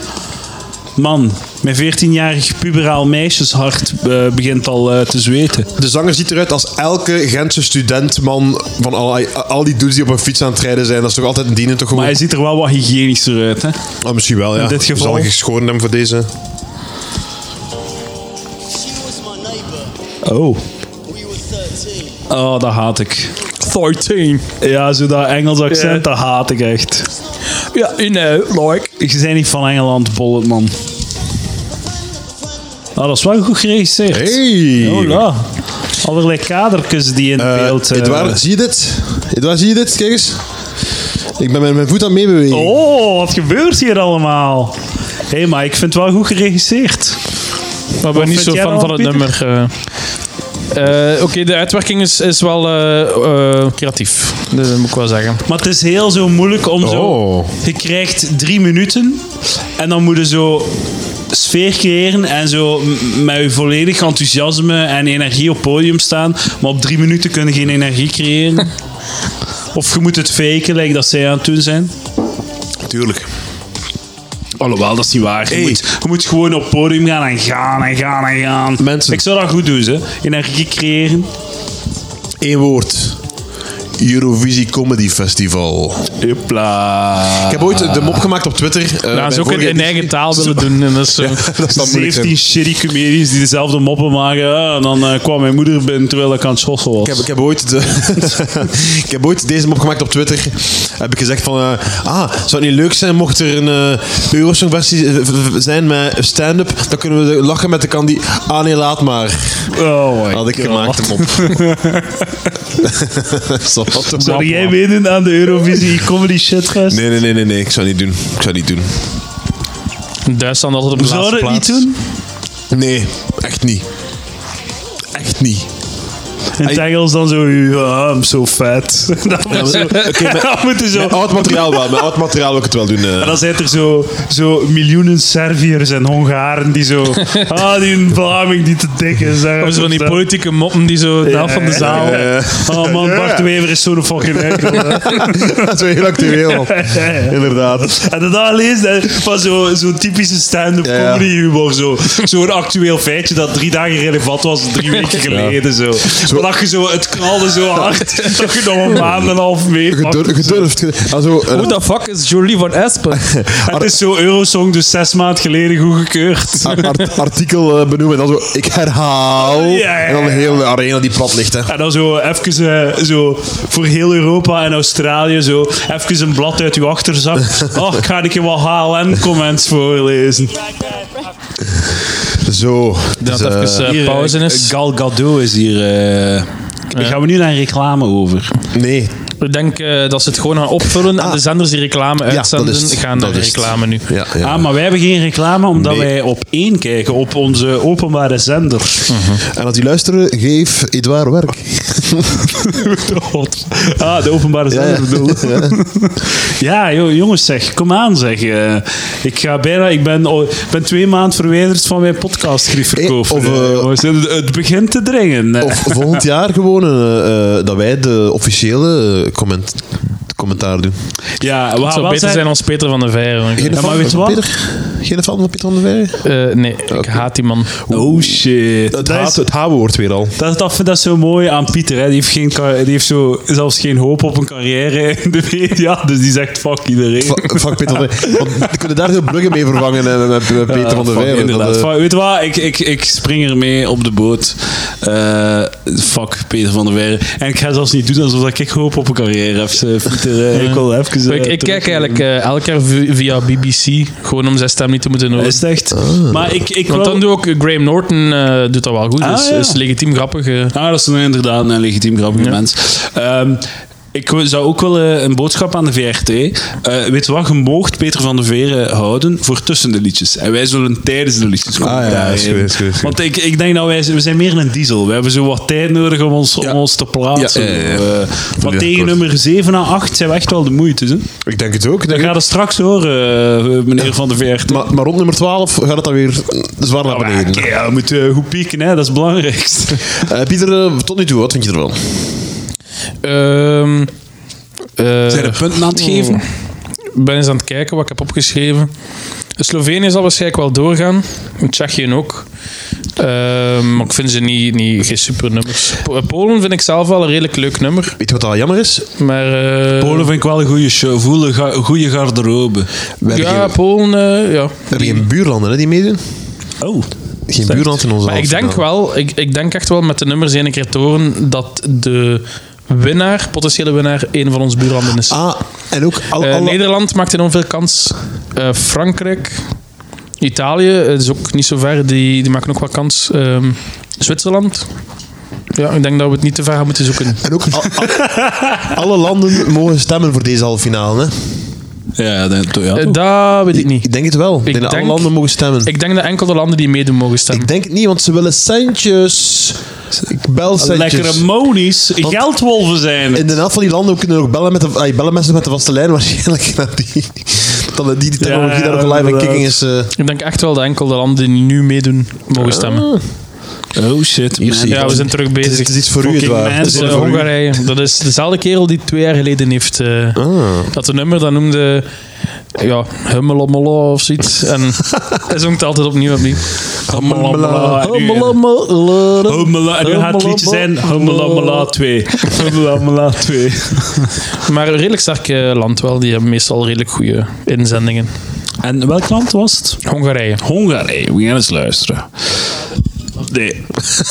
Man, mijn 14-jarig puberaal meisjeshart eh, begint al eh, te zweten.
De zanger ziet eruit als elke Gentse studentman van al, al die dudes die op een fiets aan het rijden zijn. Dat is toch altijd een dienen toch gewoon.
Maar hij ziet er wel wat hygiënischer uit, hè?
Ah, misschien wel, ja.
In dit geval.
Zal ik geschoren hebben voor deze?
She was my neighbour.
Oh.
We were 13.
Oh, dat haat ik.
13.
Ja, zo dat Engels accent,
Ja.
dat haat ik echt.
Ja, you know, like.
Je bent niet van Engeland, bollet man. Ah, dat is wel goed geregistreerd.
Hey!
Hola. Allerlei kadertjes die in
Eh,
beeld... eh,
Edouard, zie je dit? Edouard, zie je dit? Kijk eens. Ik ben met mijn voet aan het meebewegen.
Oh, wat gebeurt hier allemaal? Hé, maar ik vind het wel goed geregisseerd.
Maar ik ben niet
vind
zo
jij
fan
dan,
van het
Pieter?
nummer. eh. Eh, Oké, de uitwerking is, is wel eh, eh, creatief. Dat moet ik wel zeggen.
Maar het is heel zo moeilijk om zo...
Oh.
Je krijgt drie minuten en dan moet je zo sfeer creëren en zo m- met je volledig enthousiasme en energie op podium staan. Maar op drie minuten kun je geen energie creëren. of je moet het faken, like dat zij aan het doen zijn.
Tuurlijk.
Alhoewel, dat is niet waar. Je,
Hey.
moet, je moet gewoon op het podium gaan en gaan en gaan en gaan.
Mensen.
Ik zou dat goed doen, hè. Energie creëren.
Eén woord. Eurovisie Comedy Festival.
Ah. Hopla.
Ik heb ooit de mop gemaakt op Twitter. eh,
Nou,
bij
ze ook in,
vorige
in eigen taal willen doen. En dat is, eh,
Dat is dan moeilijk. zijn.
17 shitty comedians die dezelfde moppen maken. Ja, en dan eh, kwam mijn moeder binnen terwijl ik aan het schossen was.
Ik heb, ik, heb ooit de, ik heb ooit deze mop gemaakt op Twitter. Heb ik gezegd van... eh, ah, zou het niet leuk zijn mocht er een eh Eurosongversie eh, v- v- zijn met stand-up? Dan kunnen we de- lachen met de kandie. Ah nee, laat maar.
oh my
Had ik
God.
gemaakt hem op. Zal dat toch
Zou
wel?
jij meedoen aan de Eurovisie Comedy Shitfest?
Nee, nee, nee, nee, nee. Ik zou niet doen. Ik zou niet doen.
Duitsland altijd op de
Zou
laatste
je dat
plaats.
niet doen?
Nee, echt niet. Echt niet.
In het Engels dan zo, ja, I'm so fat. Dat moet zo... dat moet je zo...
Met oud materiaal wel. Met oud materiaal wil ik het wel doen. eh.
En dan zijn er zo, zo miljoenen Serviërs en Hongaren die zo... Ah, die Vlaming die te dik is. hè.
Of zo van die
Dat-
politieke moppen die zo de helft van de zaal.
Eh,
Oh man, Bart de Wever is zo'n fucking eikel. hè.
dat is wel heel actueel. Inderdaad.
En dat daar leest, hè, van zo'n zo typische stand-up
Ja, ja.
comedy humor. zo. Zo'n actueel feitje dat drie dagen relevant was, drie weken geleden. Zo. Maar dat je zo, het knalde zo hard, dat je nog een maand en een half mee pakt.
Gedur- Gedurfd. ge- Also, eh,
Who the fuck is Jolie van Espen?
Het is zo Eurosong, dus zes maanden geleden goedgekeurd.
ar- ar- artikel eh, benoemen. En dan zo, ik herhaal.
Ja, ja,
En dan de
ja.
hele arena die plat ligt. Hè.
En dan zo even eh, zo voor heel Europa en Australië zo even een blad uit uw achterzak. Oh, ik ga een keer wat HLN-comments voorlezen.
Zo. Dus,
Dat even
eh,
eh, pauze is.
Gal Gadot is hier. eh, Gaan we nu naar reclame over?
nee.
Ik denk eh, dat ze het gewoon gaan opvullen. En
Ah.
de zenders die reclame
Ja,
uitzenden,
dat is het.
gaan
Dat
naar de
is het.
reclame nu.
Ja, ja.
Ah, maar wij hebben geen reclame omdat
Nee.
wij op één kijken, op onze openbare zender.
En als die luisteren, geef Edouard werk.
de hot. Ah, de openbare zender
ja.
bedoel. Ja, joh, jongens zeg, kom aan zeg. Eh, ik, ga bijna, ik ben, al- ik ben twee maanden verwijderd van mijn podcast, Griefverkoop.
Eh, of, eh,
het begint te dringen. Eh,
Of volgend jaar gewoon eh, eh, dat wij de officiële eh, comment, commentaar doen.
ja, we gaan
Het zou
wel
beter zijn als Peter van der Veijer.
Geen
Ja,
fan
maar weet je
van
wat?
Peter? Geen fan van Peter van der Weijer?
Eh, nee, ik haat die man.
Oh shit.
Dat,
haat-
is het H-woord weer al.
Dat, dat, dat is zo mooi aan Pieter. Hè. Die heeft, geen, kar- die heeft zo, zelfs geen hoop op een carrière in de media. Dus die zegt fuck iedereen.
Fuck Peter van der Weijer. Want we kunnen daar heel bruggen mee vervangen eh, met, met Peter van der
Fuck,
Weijer.
inderdaad.
Dat, eh,
Fuck, weet je wat? Ik, ik, ik spring ermee op de boot. Eh, fuck Peter van der Weijer. En ik ga zelfs niet doen alsof dat ik hoop op een carrière heb. eh, Pieter, eh, ik wil even... eh,
ik,
terug-
ik kijk eigenlijk eh, elk jaar vi- via BBC, gewoon om zijn stem niet te moeten horen.
Is het echt? Maar ik, ik
Want
wil-
dan doe ook eh, Graham Norton, eh, doet dat wel goed.
Ah,
dus
ja.
is legitiem grappig. eh.
Ah, dat is een, inderdaad een legitiem grappigement. Ehm, ik wou- zou ook wel eh, een boodschap aan de VRT. Eh, weet je wat, je moogt Peter van der Veren houden voor tussen de liedjes. En wij zullen tijdens de liedjes komen.
Ah, ja,
daarin.
is goed, is goed, is goed.
Want ik, ik denk dat wij, we zijn meer een diesel. We hebben zo wat tijd nodig om ons, om ons te plaatsen.
Ja, ja, ja, ja.
Eh, maar
Ja,
tegen
kort.
nummer 7 à 8 zijn we echt wel de moeite. Hè?
Ik denk het ook. ik
We
denk
gaan
het.
dat straks horen, eh, meneer van der VRT.
Maar, maar rond nummer 12 gaat het dan weer zwaar naar
Ja,
beneden.
oké, ja, we moeten eh, goed pieken, hè? dat is het belangrijkste.
Eh, Pieter, eh, tot nu toe, wat vind je ervan?
Ehm, eh,
Zijn er punten aan het geven?
Ik ben eens aan het kijken wat ik heb opgeschreven. Slovenië zal waarschijnlijk wel doorgaan. Tsjechië ook. Ehm, maar ik vind ze niet, niet, geen super nummers. Polen vind ik zelf wel een redelijk leuk nummer.
Weet je wat dat jammer is?
Maar, eh,
Polen vind ik wel een goede show. Voelen ga- goede garderobe.
We hebben,
Ja,
geen,
Polen, eh, ja.
we hebben geen buurlanden hè, die meedoen.
Oh.
Geen buurland in onze
Maar ik
halve
denk
finale.
wel, ik, ik denk echt wel met de nummers één keer te horen dat de winnaar, potentiële winnaar, een van ons buurlanden is.
Ah, en ook al,
Eh,
alle-
Nederland maakt enorm veel kans. Eh, Frankrijk, Italië eh, is ook niet zo ver. Die, die maken ook wel kans. Ehm, Zwitserland. Ja, ik denk dat we het niet te ver gaan moeten zoeken.
En ook al- al- alle landen mogen stemmen voor deze halve finale. Hè?
Ja, dat, ja
Eh,
toch?
dat weet ik niet.
Ik denk het wel. Ik denk dat alle
denk-
landen mogen stemmen. Ik,
Ik denk dat enkel de landen die meedoen mogen stemmen.
denk het niet, want ze willen centjes. Ik bel centjes.
Lekkere monies. Geldwolven zijn het.
In de helft van die landen kunnen ook bellen met de, ah, bellen mensen met de vaste lijn waarschijnlijk. naar die, dat die, die technologie
Ja,
daar ook live en
inderdaad.
kicking is. eh,
Ik denk echt wel dat enkel de landen die nu meedoen mogen stemmen.
Oh shit, man.
zie je.
Ja, we zijn terug
Ah, het, is, het
bezig.
is iets voor u,
Fucking
het waar. Het is
Dus,
mensen.
iets
eh,
voor u.
Hongarije, dat is dezelfde kerel die twee jaar geleden heeft. eh,
Ah.
Dat een nummer, dat noemde. Ja, Hummelommelo of zoiets. En hij zongt altijd opnieuw opnieuw.
Hummelammela. En nu, eh, Hummela. En nu gaat het liedje zijn Hummelammela 2. Hummelammela 2.
Maar een redelijk sterk eh, land wel. Die hebben meestal redelijk goede inzendingen.
En welk land was het?
Hongarije.
Hongarije. We gaan eens luisteren. Nee.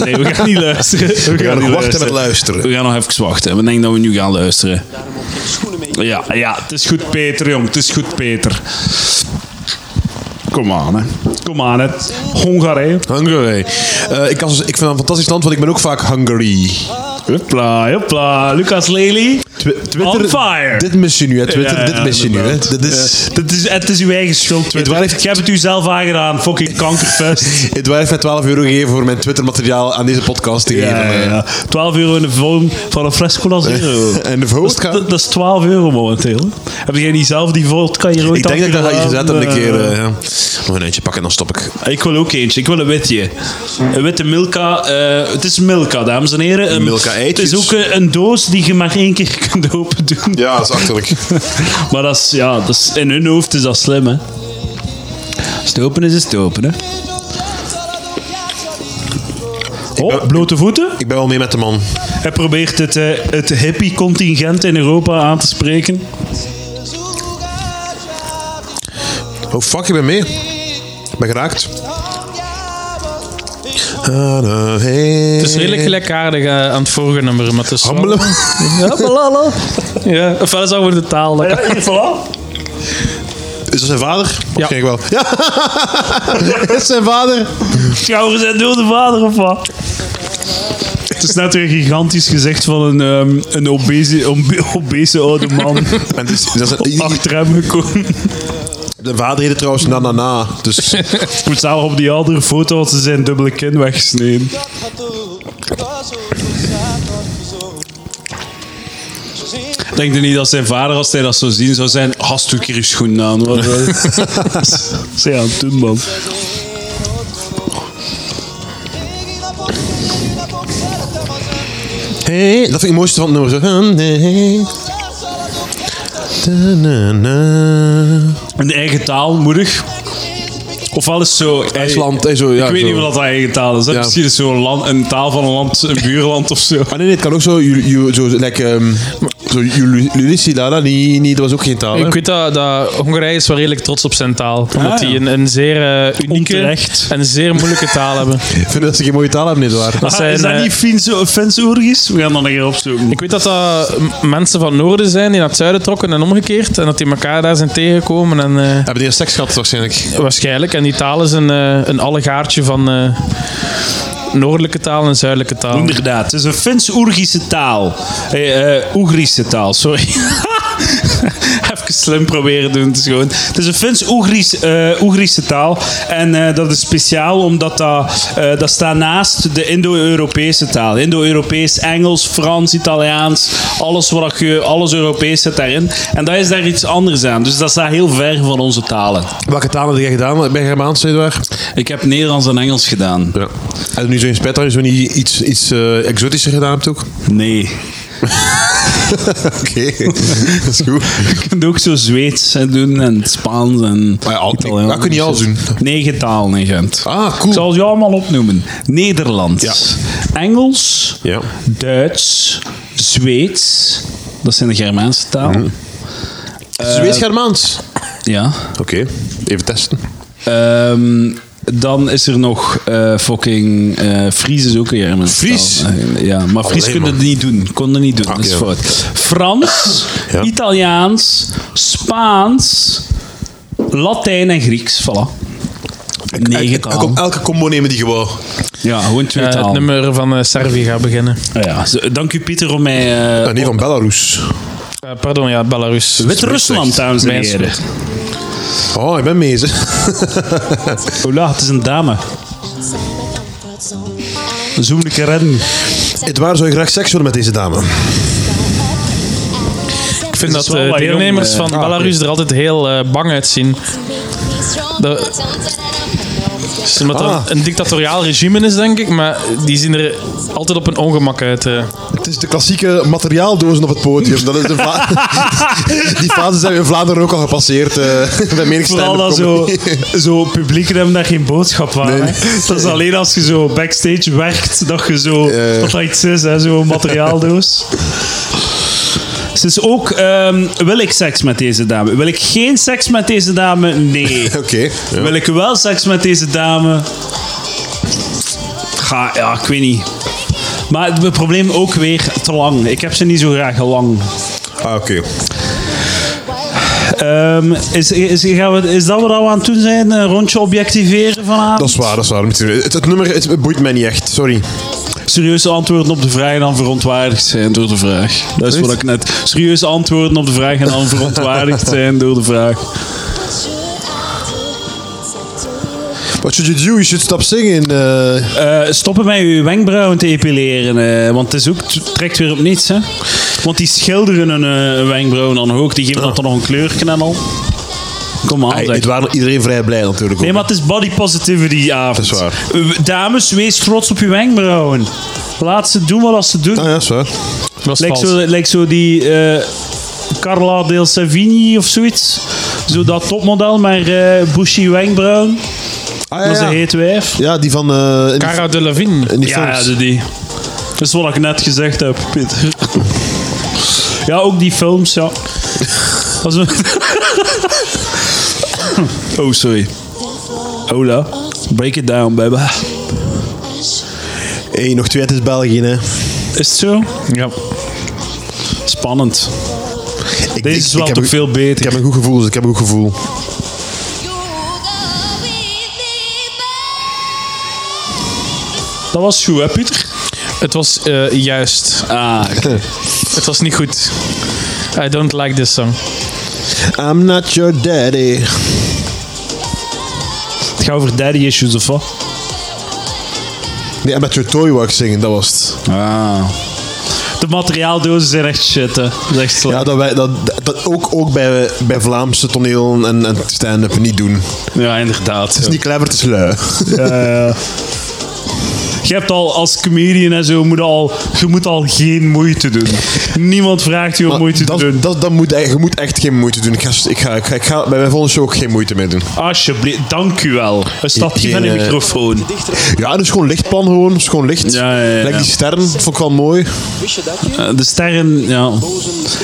Nee, we gaan niet luisteren. We gaan,
We gaan
niet
nog wachten met luisteren.
We gaan nog even wachten. We denken dat we nu gaan luisteren. Ja, ja, het is goed Peter, jong. Het is goed Peter. Kom aan, hè. Kom aan, hè. Hongarije.
Hungary. Eh, ik, kan, ik vind dat een fantastisch land, want ik ben ook vaak Hungary.
Hopla, hopla. Lucas Lely.
Twi- Twitter,
On fire.
Dit mis je nu, hè. Twitter,
Ja, ja,
dit mis je nu. Hè.
inderdaad.
Dit is,
Ja, dit is, het is uw eigen schuld, Twitter.
waar heeft-
Je hebt het u zelf aangedaan, fucking kankerfest.
Het werd mij 12 euro gegeven voor mijn Twitter-materiaal aan deze podcast te geven.
Ja, ja,
eh.
ja. 12 euro in de vorm van een fles cola zero.
En de host eh, gaat...
Dat, dat is 12 euro momenteel. Heb jij niet zelf die vodka hier ooit
Ik denk dat ik daar ga je gezet
afgedaan?
heb een keer.
Eh,
eh, ja. Nog een eentje pakken en dan stop ik.
Ik wil ook eentje. Ik wil een witje. Een witte Milka. eh, het is Milka, dames en heren. Een-
Milka
Het
eitjes.
is ook eh, een doos die je maar één keer kunt open doen.
Ja, dat is achterlijk.
Maar dat is, ja, dat is, in hun hoofd is dat slim, hè. Als het open is, is het open, hè. Oh, blote voeten.
ik ben wel mee met de man.
Hij probeert het, eh, het hippie-contingent in Europa aan te spreken.
Oh fuck, ik ben mee. Ik ben geraakt.
Het is redelijk gelijkaardig eh, aan het vorige nummer. Maar het is wel-
Hammelen.
Ja, ofwel is dat over de taal. dat kan-
hier,
Is dat zijn vader? Ja. Kijk wel. Ja. is zijn vader.
Schouwers en dode vader of wat? Het is net weer een gigantisch gezicht van een, ehm, een obese, obe- obese oude man
En het is, dat is een,
achter hem gekomen.
de vader heette trouwens na na na. Dus
Ik moet zelf op die andere foto, want ze zijn dubbele kin weggesneden.
Denk je niet dat zijn vader, als hij dat zou zien, zou zijn... Hast doe ik hier je schoenen aan. Wat is hij aan het doen, man?
Hey, dat vind ik het mooiste van het nummer. Zo. Hey, hey. Da, na, na.
Een eigen taal, moedig. Ofwel is zo... hey,
IJsland, hey, zo, ja,
ik weet
zo.
niet of dat eigen taal is. Hè?
Ja.
Misschien is het zo'n land- een taal van een land, een buurland of zo.
Ah nee, nee, het kan ook zo, ju- ju- zo like, ehm, zo Lulissilada, die, die, dat was ook geen taal. hè?
Ik weet dat, dat Hongarije is wel redelijk trots op zijn taal. Omdat
Ah,
ja.
die een, een zeer eh, unieke
Onterecht.
en een zeer moeilijke taal hebben.
Ik vind dat ze geen mooie taal hebben, niet waar?
Dat
Ah,
zijn,
is dat
eh,
niet Finse- Fins-Oergis? We gaan dat een keer opzoeken.
Ik weet dat dat m- mensen van het noorden zijn die naar het zuiden trokken en omgekeerd. En dat die elkaar daar zijn tegengekomen. En, eh,
Hebben die een seks gehad waarschijnlijk?
waarschijnlijk. En die taal is een, eh, een allegaartje van eh, noordelijke taal en zuidelijke taal.
Inderdaad, het is een Fins-Oergische taal. Eh, eh, Oegrische taal, sorry. Even slim proberen doen, het is gewoon... Het is een Fins-Oegrische taal. En eh, dat is speciaal omdat dat, eh, dat staat naast de Indo-Europese taal. Indo-Europees, Engels, Frans, Italiaans. Alles wat je... Alles Europees zit daarin. En dat is daar iets anders aan. Dus dat staat heel ver van onze talen.
Welke taal heb jij gedaan? Ben je Germaans, niet waar?
Ik heb Nederlands en Engels gedaan.
Ja. En nu zo in spijt dat je zo niet iets, iets eh, exotischer gedaan hebt ook?
Nee.
Oké, dat is goed.
Je kunt ook zo Zweeds eh, doen en het Spaans en...
Maar ja, al-
Italiaans. Dus
dat kun je niet alles doen.
Negen talen in Gent.
Ah,
Ik
cool.
zal ze allemaal opnoemen. Nederlands, Engels,
Ja.
Duits, Zweeds. Dat zijn de Germaanse talen.
Mhm. Dus
Eh,
Zweeds-Germaans.
Ja.
Oké, even testen.
Ehm, dan is er nog eh, fucking... eh Fries is ook een Germaanse
Fries?
taal. Eh, Ja, maar Fries
Allee,
konden
man.
het niet doen. Konden niet doen, dat is
Oké.
fout. Frans,
Ja.
Italiaans, Spaans, Latijn en Grieks. Voilà. Negen
Ik kon
talen.
elke combo nemen die gewoon.
Ja, gewoon twee
Eh, het
talen.
nummer van eh, Servië gaat beginnen.
Ah Ja, zo- dank u Pieter om mij... eh,
Ah, nee, van Belarus.
Eh, pardon, ja, Belarus.
Wit-Rusland, dames en
Mijn
heren.
Oh, ik ben mee. ze.
Ola, het is een dame. Zoem de keer redden.
Edouard, zou je graag seks willen met deze dame?
Ik vind dat
wel
de
wat jong,
deelnemers
eh,
van
ah,
Belarus er altijd heel eh, bang uitzien. Dat-
De...
Dus omdat
Ah.
dat een dictatoriaal regime is, denk ik. Maar die zien er altijd op een ongemak uit. eh.
Het is de klassieke materiaaldozen op het podium. Dat is de va- die fase zijn we in Vlaanderen ook al gepasseerd. eh bij menig
Vooral dat zo,
stand-up
zo publieken hebben daar geen boodschap aan.
Nee,
hè.
nee.
Dat is alleen als je zo backstage werkt, dat je zo...
Ja.
Dat dat iets is, hè, zo'n materiaaldoos. Ze is ook... ehm, wil ik seks met deze dame? Wil ik geen seks met deze dame? Nee.
comedy. Oké. ja.
Wil ik wel seks met deze dame? Ga, ja, ik weet niet. Maar het probleem ook weer te lang. Ik heb ze niet zo graag lang.
Ah, oké.
Ehm, is, is, gaan we, is dat wat we aan het doen zijn? Een rondje objectiveren vanavond?
Dat is waar, dat is waar. Het, het nummer het boeit mij niet echt, sorry.
Serieuze antwoorden op de vraag en dan verontwaardigd zijn door de vraag. Dat is wat ik net... Serieuze antwoorden op de vraag en dan verontwaardigd zijn door de vraag.
What should you do? You should stop singing. eh.
Eh, stoppen met uw wenkbrauwen te epileren, eh, want het is ook, het trekt weer op niets. Hè? Want die schilderen hun eh, wenkbrauwen dan ook, die geven dat dan nog een kleurknemmel. Kom aan,
Hey,
zeg.
het waren iedereen vrij blij natuurlijk.
Nee, maar het is body positivity avond.
Dat is
Eh, Dames, wees trots op uw wenkbrauwen. Laat ze doen wat ze doen.
Ah, ja, dat is waar.
Dat is
Lijkt
vals.
zo, lijkt zo die eh, Carla Del Savini of zoiets. Zo dat topmodel, maar eh bushy wenkbrauwen.
Ah,
Dat is
ja,
een
ja.
heet wijf.
ja, die van... eh, in die-
Cara Delevingne.
in die
Ja,
films.
ja, de- die. Dat is wat ik net gezegd heb, Pieter. ja, ook die films, ja. Dat is een- oh, sorry. Hola. Break it down, baby.
Hey, nog twee, het is België, hè.
Is het zo?
Ja.
Spannend.
Ik,
Deze
ik-
is
ik
wel
heb
toch
een-
veel beter.
Ik heb een goed gevoel, dus ik heb een goed gevoel.
Dat was goed, hè, Pieter?
Het was eh, juist.
Ah,
Het was niet goed. I don't like this song.
I'm not your daddy.
het gaat over daddy issues of wat?
Nee, I'm not your toy, wou ik zingen, dat was het.
Ah. De materiaaldozen zijn echt shit, hè. Dat is echt slecht.
Ja, dat, wij, dat, dat ook, ook bij, bij Vlaamse toneel en, en stand-up niet doen. Het
Ja, inderdaad.
is niet clever, het is lui.
Je hebt al als comedian en zo, moet al, je moet al geen moeite doen. Niemand vraagt je om moeite
dat,
te doen.
Dat, dat moet, echt- je moet echt geen moeite doen. Ik ga, ik ga, ik ga, ik ga bij mijn volgende show ook geen moeite mee doen.
Alsjeblieft, dank u wel. Een stapje van een
Geen, eh,
microfoon.
Ja, dus gewoon lichtplan gewoon. Dus gewoon licht.
Ja, ja, ja.
Lijkt die sterren, vond ik wel mooi.
Eh, De sterren, ja.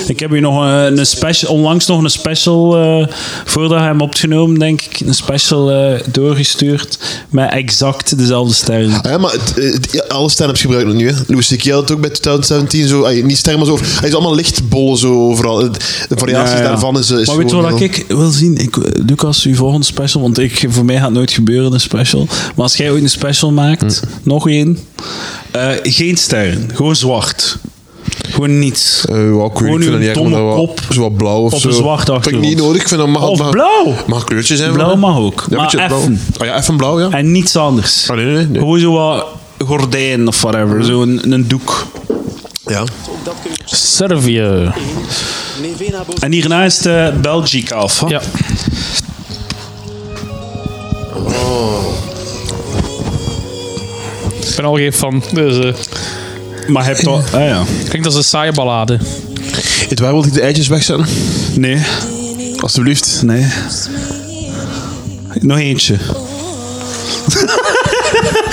Ik heb hier nog eh, een special, onlangs nog een special, eh, voordat hij hem opgenomen, denk ik, een special eh, doorgestuurd met exact dezelfde sterren.
Ah ja, maar het, het- ja, alle stand-ups gebruiken dat nu. Hè. Louis C.K. had het ook bij 2017. Zo, ay, niet sterren, maar zo. Hij is allemaal lichtbollen zo overal. Het- De variaties
Ja, ja.
daarvan is, eh, is
maar weet je
gewoon
wat
heel-
ik wil zien? Ik, eh, Lucas, uw volgende special, want ik, voor mij gaat het nooit gebeuren, een special. Maar als jij ooit een special maakt,
Hm.
nog één, eh, geen sterren, gewoon zwart. Gewoon niets.
Eh, ja, ik weet-
Gewoon
ik vind
uw
dat niet echt,
domme
maar dat wel-
kop
zo wat blauw of
op
zo.
een zwart
Dat vind ik niet
achtergrond.
nodig. Ik vind dat mag,
Of
mag,
blauw.
Mag een kleurtje zijn.
Blauw
maar-
mag ook,
Ja,
maar
beetje blauw.
effen.
Oh ja, even blauw, ja.
En niets anders.
Ah, nee, nee, nee.
Gewoon zo wat gordijn of whatever, zo een, een doek.
Ja.
Servië.
Nevé na boven.
En hierna is eh, de Belgica af. hè?
Ja. Ik ben al geen fan, dus eh,
Maar heb je al- Ah ja.
klinkt als een saaie ballade.
Het waar wilde ik de eitjes wegzetten?
Nee,
Alsjeblieft.
nee. Nog eentje.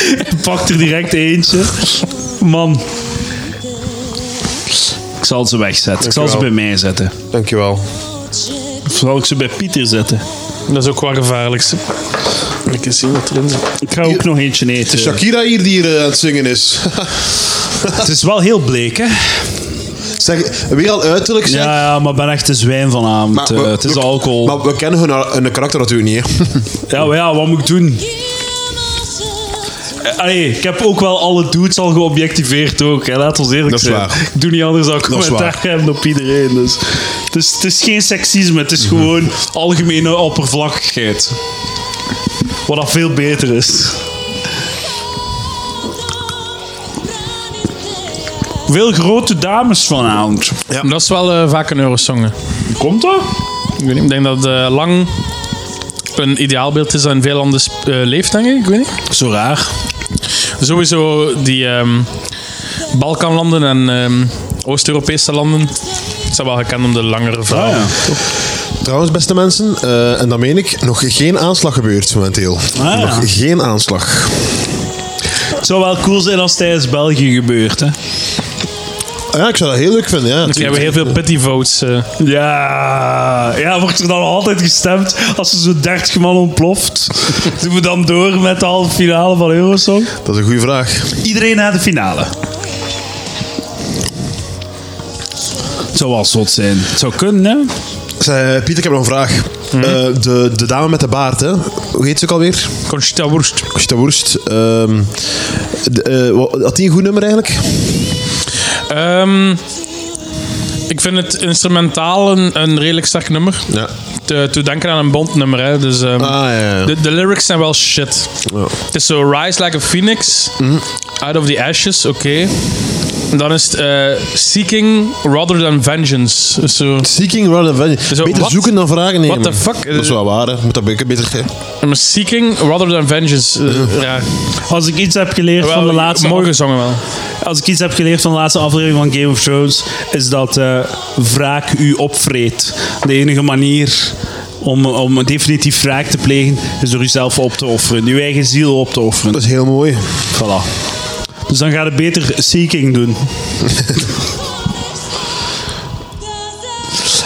Hij pakt er direct eentje. Man. Ik zal ze wegzetten. Ik zal ze bij
Dankjewel.
mij zetten.
Dankjewel.
Of zal ik ze bij Pieter zetten?
Dat is ook wel gevaarlijkste. Ik eens zien wat erin zit.
Ik ga ook nog eentje eten.
Shakira hier die hier eh, aan het zingen is.
Het is wel heel bleek, hè?
zeg, weer al uiterlijk zeg.
Ja, ja, maar ik ben echt een zwijn vanavond.
Maar
Eh, het is alcohol.
Maar we kennen hun, hun karakter natuurlijk niet. hè.
Ja, maar ja, wat moet ik doen? Eh, Allee, ik heb ook wel alle dudes al geobjectiveerd ook. Hè. Laat ons eerlijk
Dat is
zijn.
waar.
Ik doe niet anders dan
is
commentaar hebben op iedereen. Dus. Het, is, het is geen seksisme. Het is gewoon algemene oppervlakkigheid. Wat dat veel beter is. Veel grote dames vanavond.
Dat is wel eh, vaak een eurosong. hè.
Komt dat?
Ik, weet niet, ik denk dat eh, lang een ideaalbeeld is dat in veel landen sp- eh, leeft, denk ik. ik weet niet.
Zo raar.
Sowieso die ehm, Balkanlanden en ehm, Oost-Europese landen zijn wel gekend om de langere
Ah,
verhalen.
ja.
Trouwens, beste mensen, eh, en dat meen ik, nog geen aanslag gebeurd momenteel.
Ah, ja.
Nog geen aanslag.
Het zou wel cool zijn als het tijdens België gebeurt. Hè?
Ah ja, ik zou dat heel leuk vinden. Ja.
Dus die hebben heel veel pity votes. eh.
Ja, ja, wordt er dan altijd gestemd als er zo'n 30 man ontploft? Doen we dan door met de halve finale van Eurosong?
Dat is een goede vraag.
Iedereen naar de finale. Het zou wel zot zijn. Het zou kunnen, hè?
Zeg, Pieter, ik heb nog een vraag. Eh, de, de dame met de baard, hè? hoe heet ze ook alweer?
Conchita Wurst.
Conchita Wurst. ehm, de- eh, wa- had die een goed nummer eigenlijk?
Ehm, ik vind het instrumentaal een, een redelijk sterk nummer.
Ja.
Te, te denken aan een Bond-nummer. hè. Dus, ehm,
Ah ja. ja.
de, de lyrics zijn wel shit.
Ja.
Het is zo Rise Like a Phoenix, Out of the Ashes, oké. En dan is het eh, Seeking Rather Than Vengeance. Dus zo,
Seeking rather than
Zo,
Beter
wat-
zoeken dan vragen nemen.
what the fuck?
Dat is wel waar, hè. Moet dat beter. beter hè.
maar seeking Rather Than Vengeance. eh, ja.
Als ik iets heb geleerd
Wel,
van de laatste
mooi gezongen wel.
Als ik iets heb geleerd van de laatste aflevering van Game of Thrones, is dat eh wraak u opvreet. De enige manier om, om een definitief wraak te plegen, is door uzelf op te offeren. Uw eigen ziel op te offeren.
Dat is heel mooi.
Voilà. Dus dan ga je beter seeking doen.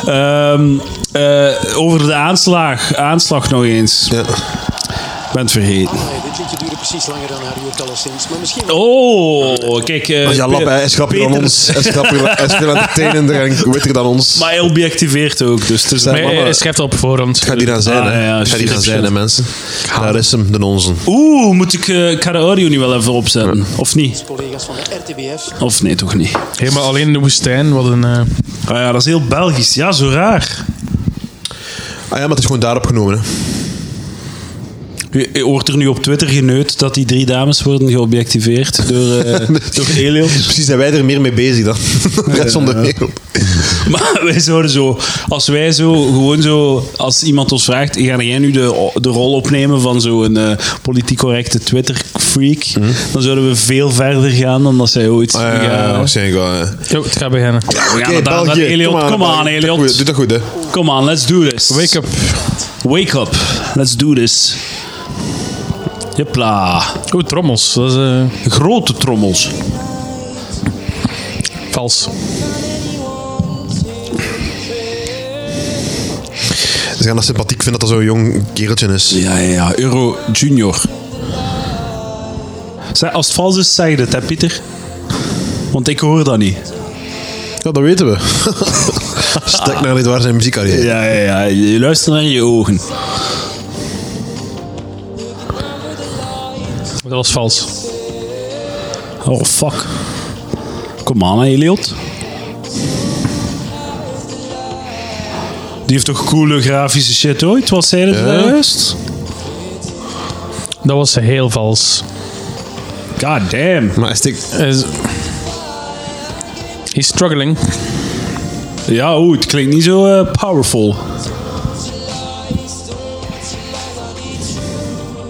Ehm, eh, over de aanslag, aanslag nog eens.
Ja.
Ik ben het vergeten.
Nee, dit liedje duurde precies langer dan haar uur alleszins. Maar misschien wel
Oh, kijk. eh,
ja, lap, hè. hij is grappiger dan
Peter-
ons. Hij is grappiger- hij is veel entertainender en witter dan ons.
Maar hij objectiveert ook, dus het is
Zeg,
Nee,
maar-
hij schrijft op voorhand.
Het gaat hier aan zijn,
Ah,
hè.
ja,
Het gaat hier aan
shit,
zijn, hè,
shit.
mensen. Daar is hem, de onze.
Oeh, moet ik, eh, ik ga de audio nu wel even opzetten. Of niet?
collega's van de RTBF.
Of nee, toch niet?
Helemaal alleen in de woestijn. Wat een, eh,
Ah ja, dat is heel Belgisch. Ja, zo raar.
Ah ja, maar het is gewoon daarop genomen, hè.
U, u hoort er nu op Twitter geneut dat die drie dames worden geobjectiveerd door, eh door aliens.
Precies, zijn wij er meer mee bezig dan de rest van de wereld.
Maar wij zouden zo, als wij zo, gewoon zo, als iemand ons vraagt, ga jij nu de, de rol opnemen van zo'n eh politiek correcte Twitter-freak, dan zouden we veel verder gaan dan dat zij ooit
Ah, ja,
gaan.
waarschijnlijk wel. ja. Oké,
Yo, oh, het gaat beginnen.
maar daar-
België,
daar- Elliot,
aan,
come on,
België. Doe dat
Elliot.
goed, Doe dat goed, hè.
Come on, let's do this.
Wake up.
Wake up. Let's do this. Jepla.
Oeh, Oh, trommels. Dat is eh,
Grote trommels.
vals.
Ze gaan dat sympathiek vinden dat dat zo'n jong kereltje is.
Ja, ja, ja. Euro Junior. Zeg, als het vals is, zeg je het, hè, Pieter? Want ik hoor dat niet.
Ja, dat weten we. Stek naar dit waar zijn muziekcarrière.
Ja, ja, ja. Je luistert naar je ogen.
Dat was vals.
Oh, fuck. Kom aan, hè, Elliot. Die heeft toch coole grafische shit ooit? Wat zei dat
Ja.
juist?
Dat was heel vals.
God damn.
Maar stek...
Is- He's struggling.
Ja, oeh, het klinkt niet zo eh, powerful.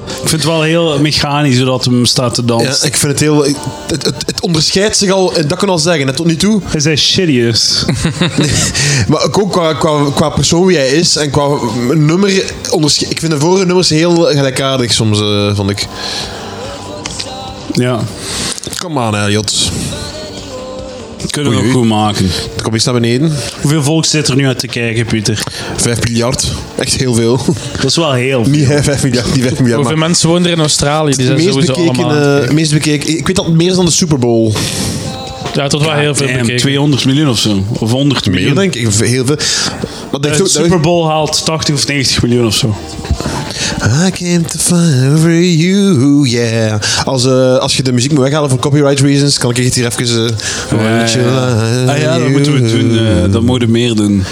Ik vind het wel heel mechanisch zodat hem staat te
Ja,
dansen.
ik vind het heel... ik- Het, het, het onderscheidt zich al, dat kan ik al zeggen, hè, tot nu toe.
Hij zei serieus.
Maar ook ook qua, qua, qua persoon wie hij is en qua nummer... ondersche- Ik vind de vorige nummers heel gelijkaardig soms, eh, vond ik.
Ja.
Kom aan, Elliot.
Kunnen we
Oei,
ook
oei.
goed maken.
Kom eens naar beneden.
Hoeveel volk zit er nu uit te kijken, Pieter?
Vijf miljard. Echt heel veel.
Dat is wel heel
Niet hè, vijf miljard, niet vijf miljard.
Hoeveel
Maar
mensen wonen er in Australië? Die zijn
meest
sowieso
bekeken,
allemaal... aan het
eh, meest bekeken... Ik weet dat het meer is dan de Super Bowl.
kijken. ja, tot wel heel veel
Damn,
bekeken.
200 miljoen of zo. Of 100
Meer,
miljoen.
denk ik. Heel veel. Maar dat heeft
De
ook- dat-
Eh, Super Bowl haalt 80 of 90 miljoen of zo.
I came to find over you, yeah. Als, eh, als je de muziek moet weghalen voor copyright reasons, kan ik het hier even... eh, let you lie,
ah ja, dat moeten we
you.
doen. eh, dat moeten we meer doen.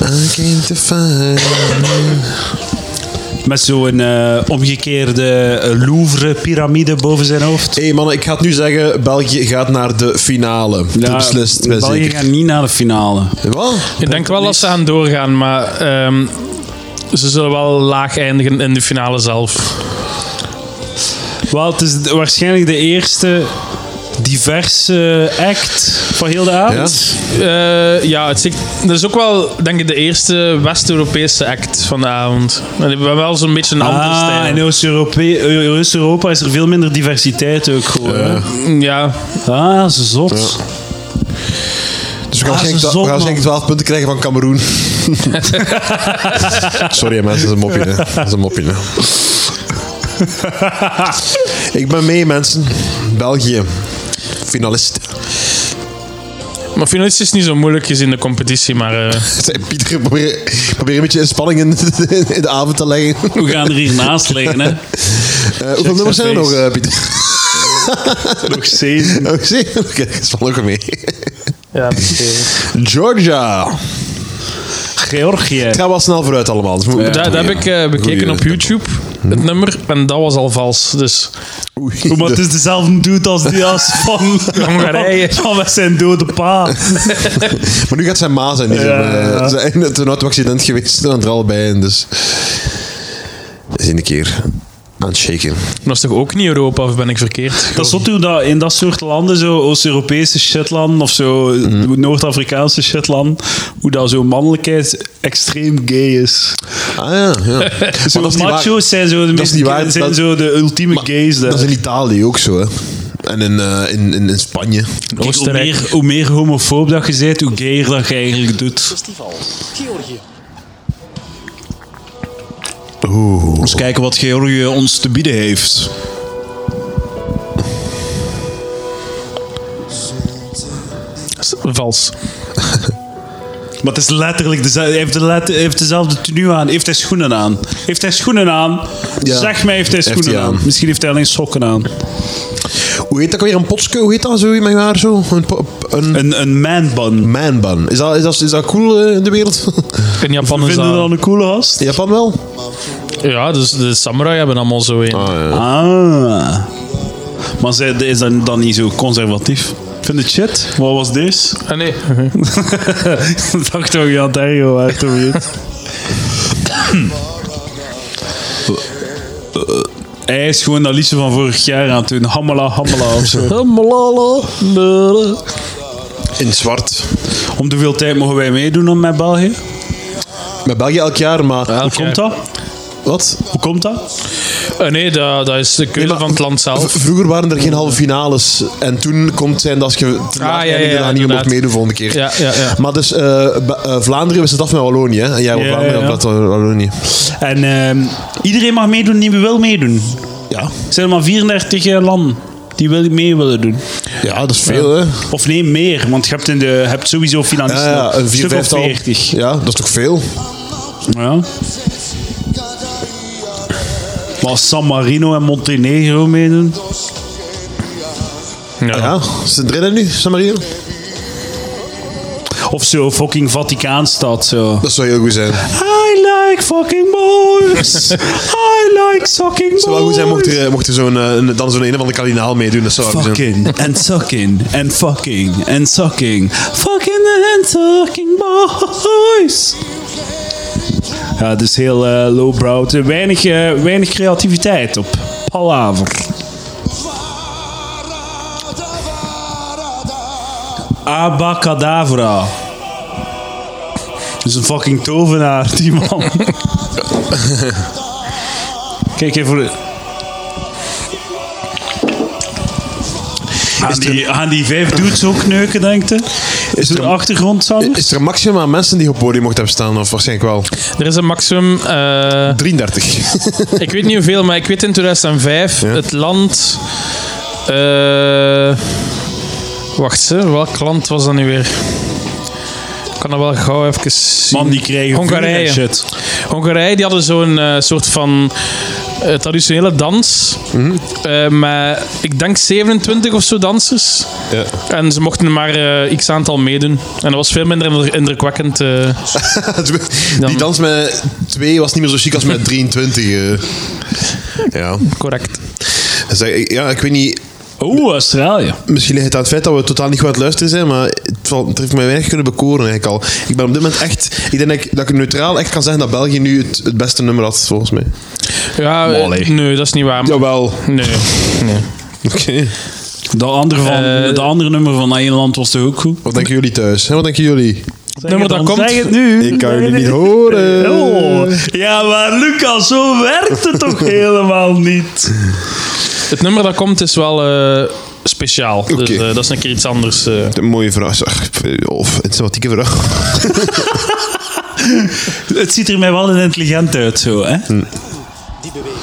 I came to find...
Met zo'n eh, omgekeerde eh, Louvre-piramide boven zijn hoofd.
Hé hey mannen, ik ga het nu zeggen, België gaat naar de finale. Ja, beslist, ben
België
zeker.
gaat niet naar de finale.
Wat?
Ik denk wel dat ze aan doorgaan, maar ehm, ze zullen wel laag eindigen in de finale zelf.
Wel, het is waarschijnlijk de eerste diverse eh, act van heel de avond.
Eh, ja, het is, echt- dat is ook wel, denk ik, de eerste West-Europese act van de avond. Maar We hebben wel zo'n beetje een andere
Ah, in
stijl.
Oost-Europe- eh, Oost-Europa is er veel minder diversiteit ook gewoon. hè.
Ja,
Ah, ze zot.
Dus we gaan,
Ah, ze
waarschijnlijk, twa- we gaan
zot,
waarschijnlijk 12 punten krijgen van Cameroen. Sorry hè, mensen, dat is een mopje. Hè. Dat is een mopje. Hè. ik ben mee mensen. België. Finalist.
maar finalist is niet zo moeilijk gezien de competitie, maar eh,
Zei Pieter, probeer, probeer een beetje in spanning in de, in de avond te leggen.
We gaan er hier naast liggen, hè.
Eh, hoeveel nummers zijn er nog, eh, Pieter?
Nog zeven.
Oh, zie je? Oké, dat is wel ook mee.
ja,
Georgia.
Georgië.
Het gaat wel snel vooruit allemaal. Dus we moeten
dat, dat heb ik eh, bekeken
Goeie
op
tempo.
YouTube, het nummer, en dat was al vals. Dus
Oei,
Oh, Maar het is dezelfde dude als die als van
Hongarije.
Van met zijn dode pa.
Maar nu gaat zijn ma zijn. Die
Ja, ja, ja.
zijn, eh, zijn toen auto accident geweest. Dan er allebei in. Dus. Eens een keer aan het shaken.
dat is toch ook niet Europa, of ben ik verkeerd?
Dat is zot hoe dat in dat soort landen, zo Oost-Europese shitlanden of zo
Mhm.
Noord-Afrikaanse shitlanden, hoe dat zo mannelijkheid extreem gay is.
Ah ja, ja. Maar
Zo,
dat is niet waar.
macho's zijn zo de,
is
meest,
niet waar,
zijn
dat-
zo de ultieme
Maar
gays. Daar.
Dat is in Italië ook zo, hè. En in, eh, in, in, in Spanje.
Kijk, hoe,
Oostenrijk.
meer, hoe meer homofoob dat je bent, hoe gayer dat je eigenlijk doet.
Festival. Georgië.
Eens kijken wat Georgië ons te bieden heeft.
S- Vals.
Maar het is letterlijk, deze- hij heeft, de let- hij heeft dezelfde tenue aan. Heeft hij schoenen aan? Heeft hij schoenen aan?
Ja.
Zeg mij, heeft hij
hij
schoenen aan.
aan.
Misschien heeft hij alleen sokken aan.
Hoe heet dat ook weer? Een potske? Hoe heet dat zo in mijn haar? Zo? Een, po- een
Een, een manbun.
manbun. Is dat, is, dat, is dat cool eh, in de wereld?
In Japan is
Vinden we
dat...
dat een coole gast?
In Japan wel?
Ja, dus de samurai hebben allemaal zo een.
Ah. Maar zij, is dat dan niet zo conservatief? Ik vind het shit. Wat was dit?
Ah, nee.
Ik dacht toch, ja, Dario, waar het over gaat. Hm. Eh, Hij is gewoon dat liedje van vorig jaar aan het doen. Hamala, hamala of zo.
In zwart.
Om de veel tijd mogen wij meedoen om met België.
Met België elk jaar, maar...
Hoe komt dat?
Wat?
Hoe komt dat?
Ah, nee, dat, dat is de keuze
maar-
van het land
V-
zelf.
Vroeger waren er geen halve finales. En toen komt het zijn dat als je te laat
Ah, ja, ja,
eindigde,
ja,
dan niet meer mocht
inderdaad.
meedoen volgende keer.
Ja, ja, ja.
Maar dus, eh, Ba- eh, Vlaanderen wist het af met Wallonië. Hè? En jij wordt
Ja,
Vlaanderen
ja.
en Wal- Wallonië.
En ehm, iedereen mag meedoen die wil meedoen.
Ja.
Er zijn maar 34 landen die wil, mee willen doen.
ja, dat is veel, hè?
Of nee, meer, want je hebt, in de, je hebt sowieso
Ja,
finalisten.
ja, een vier,
stuk of
vijftal.
40.
Ja, dat is toch veel?
Ja. Maar als San Marino en Montenegro meedoen.
Ja.
Ah, Ja. Ze trainen nu, San Marino?
Of zo, fucking Vaticaanstad zo.
Dat zou heel goed zijn. Het
I like fucking boys. I like sucking boys.
zou wel goed zijn mocht er, mocht er zo'n, eh, een- dan zo'n een van de kardinaal meedoen. Dat zou wel goed zijn.
Fucking and sucking and fucking and sucking. Fucking and sucking boys. Ja, het is heel eh, lowbrow. Er Weinig, eh, weinig creativiteit op. Palaver. Abacadabra. Dat is een fucking tovenaar, die man. Kijk even voor de... Gaan die, gaan die vijf dudes ook neuken, denkt je? Is het
er-
een achtergrondzang?
Is er een maximum aan mensen die op het podium mochten hebben staan? Of waarschijnlijk wel?
Er is een maximum. eh,
33.
ik weet niet hoeveel, maar ik weet in 2005 het land. eh, wacht, hè, welk land was dat nu weer? Ik kan dat wel gauw even zien.
Man, die krijgen vuur en
Hongarije.
shit.
Hongarije die hadden zo'n eh, soort van eh, traditionele dans.
Mhm.
Eh, met, ik denk 27 of zo dansers.
Ja.
En ze mochten maar eh, x aantal meedoen. En dat was veel minder indru- indrukwekkend. eh.
Die dans met 2 was niet meer zo chic als met 23. eh. Ja.
correct.
Zeg, ik- ja, ik weet niet.
Oeh, Australië.
Misschien ligt het aan het feit dat we totaal niet goed aan het luisteren zijn, maar het, valt, het heeft mij weinig kunnen bekoren eigenlijk al. Ik ben op dit moment echt... Ik denk dat ik, dat ik neutraal echt kan zeggen dat België nu het, het beste nummer had, volgens mij.
Ja, eh,
Molly.
nee, dat is niet waar.
Jawel.
Nee. nee.
Oké.
De andere, van,
Eh,
de andere nummer van Nederland was toch ook goed?
Wat denken jullie thuis? hè? Wat denken jullie?
Zeg
nummer
het
dat
dan,
komt.
Zeg het nu.
Ik kan
Zeg
jullie
het
niet
nu.
horen.
Oh, ja, maar Lucas, zo werkt het toch helemaal niet?
Het nummer dat komt is wel eh, speciaal. Dus
Oké.
eh, dat is een keer iets anders. eh.
Een mooie vraag. zeg. Of een sympathieke vraag.
Het ziet er mij wel intelligent uit, zo, hè?
Hm.
Die beweegt.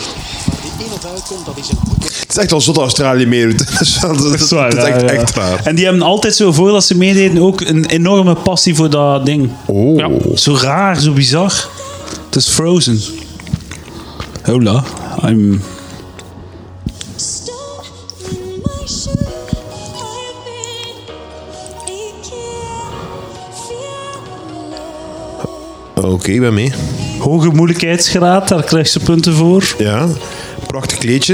Waar die in of uitkomt, dat is een goed
Het is echt wel zot dat Australië meedoet. Dat is, wel- dat is, dat is
ja,
echt,
ja.
echt raar.
En die hebben altijd zo, voordat ze meededen, ook een enorme passie voor dat ding.
Oh.
Ja.
Zo raar, zo bizar. Het is Frozen. Hola, I'm...
Oké, ik ben mee.
Hoge moeilijkheidsgraad, daar krijg ze punten voor.
Ja. Prachtig kleedje.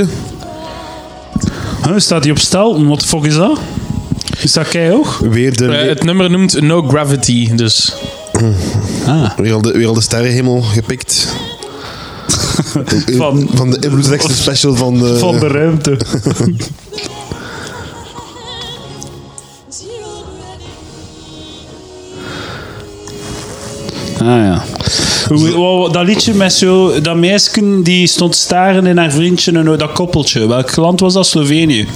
Huh, Ah, staat die op stel? Wat de fuck is dat? Is dat kei hoog?
Weer de,
Eh, het nummer noemt No Gravity. Dus
weer al de, weer al de sterrenhemel gepikt.
Van-
van de invloedrijkste special van eh, de...
Van de ruimte. Ah ja. Hoe, wat- dat liedje met zo, dat meisje die stond staren in haar vriendje en hoe dat koppeltje. Welk land was dat? Slovenië.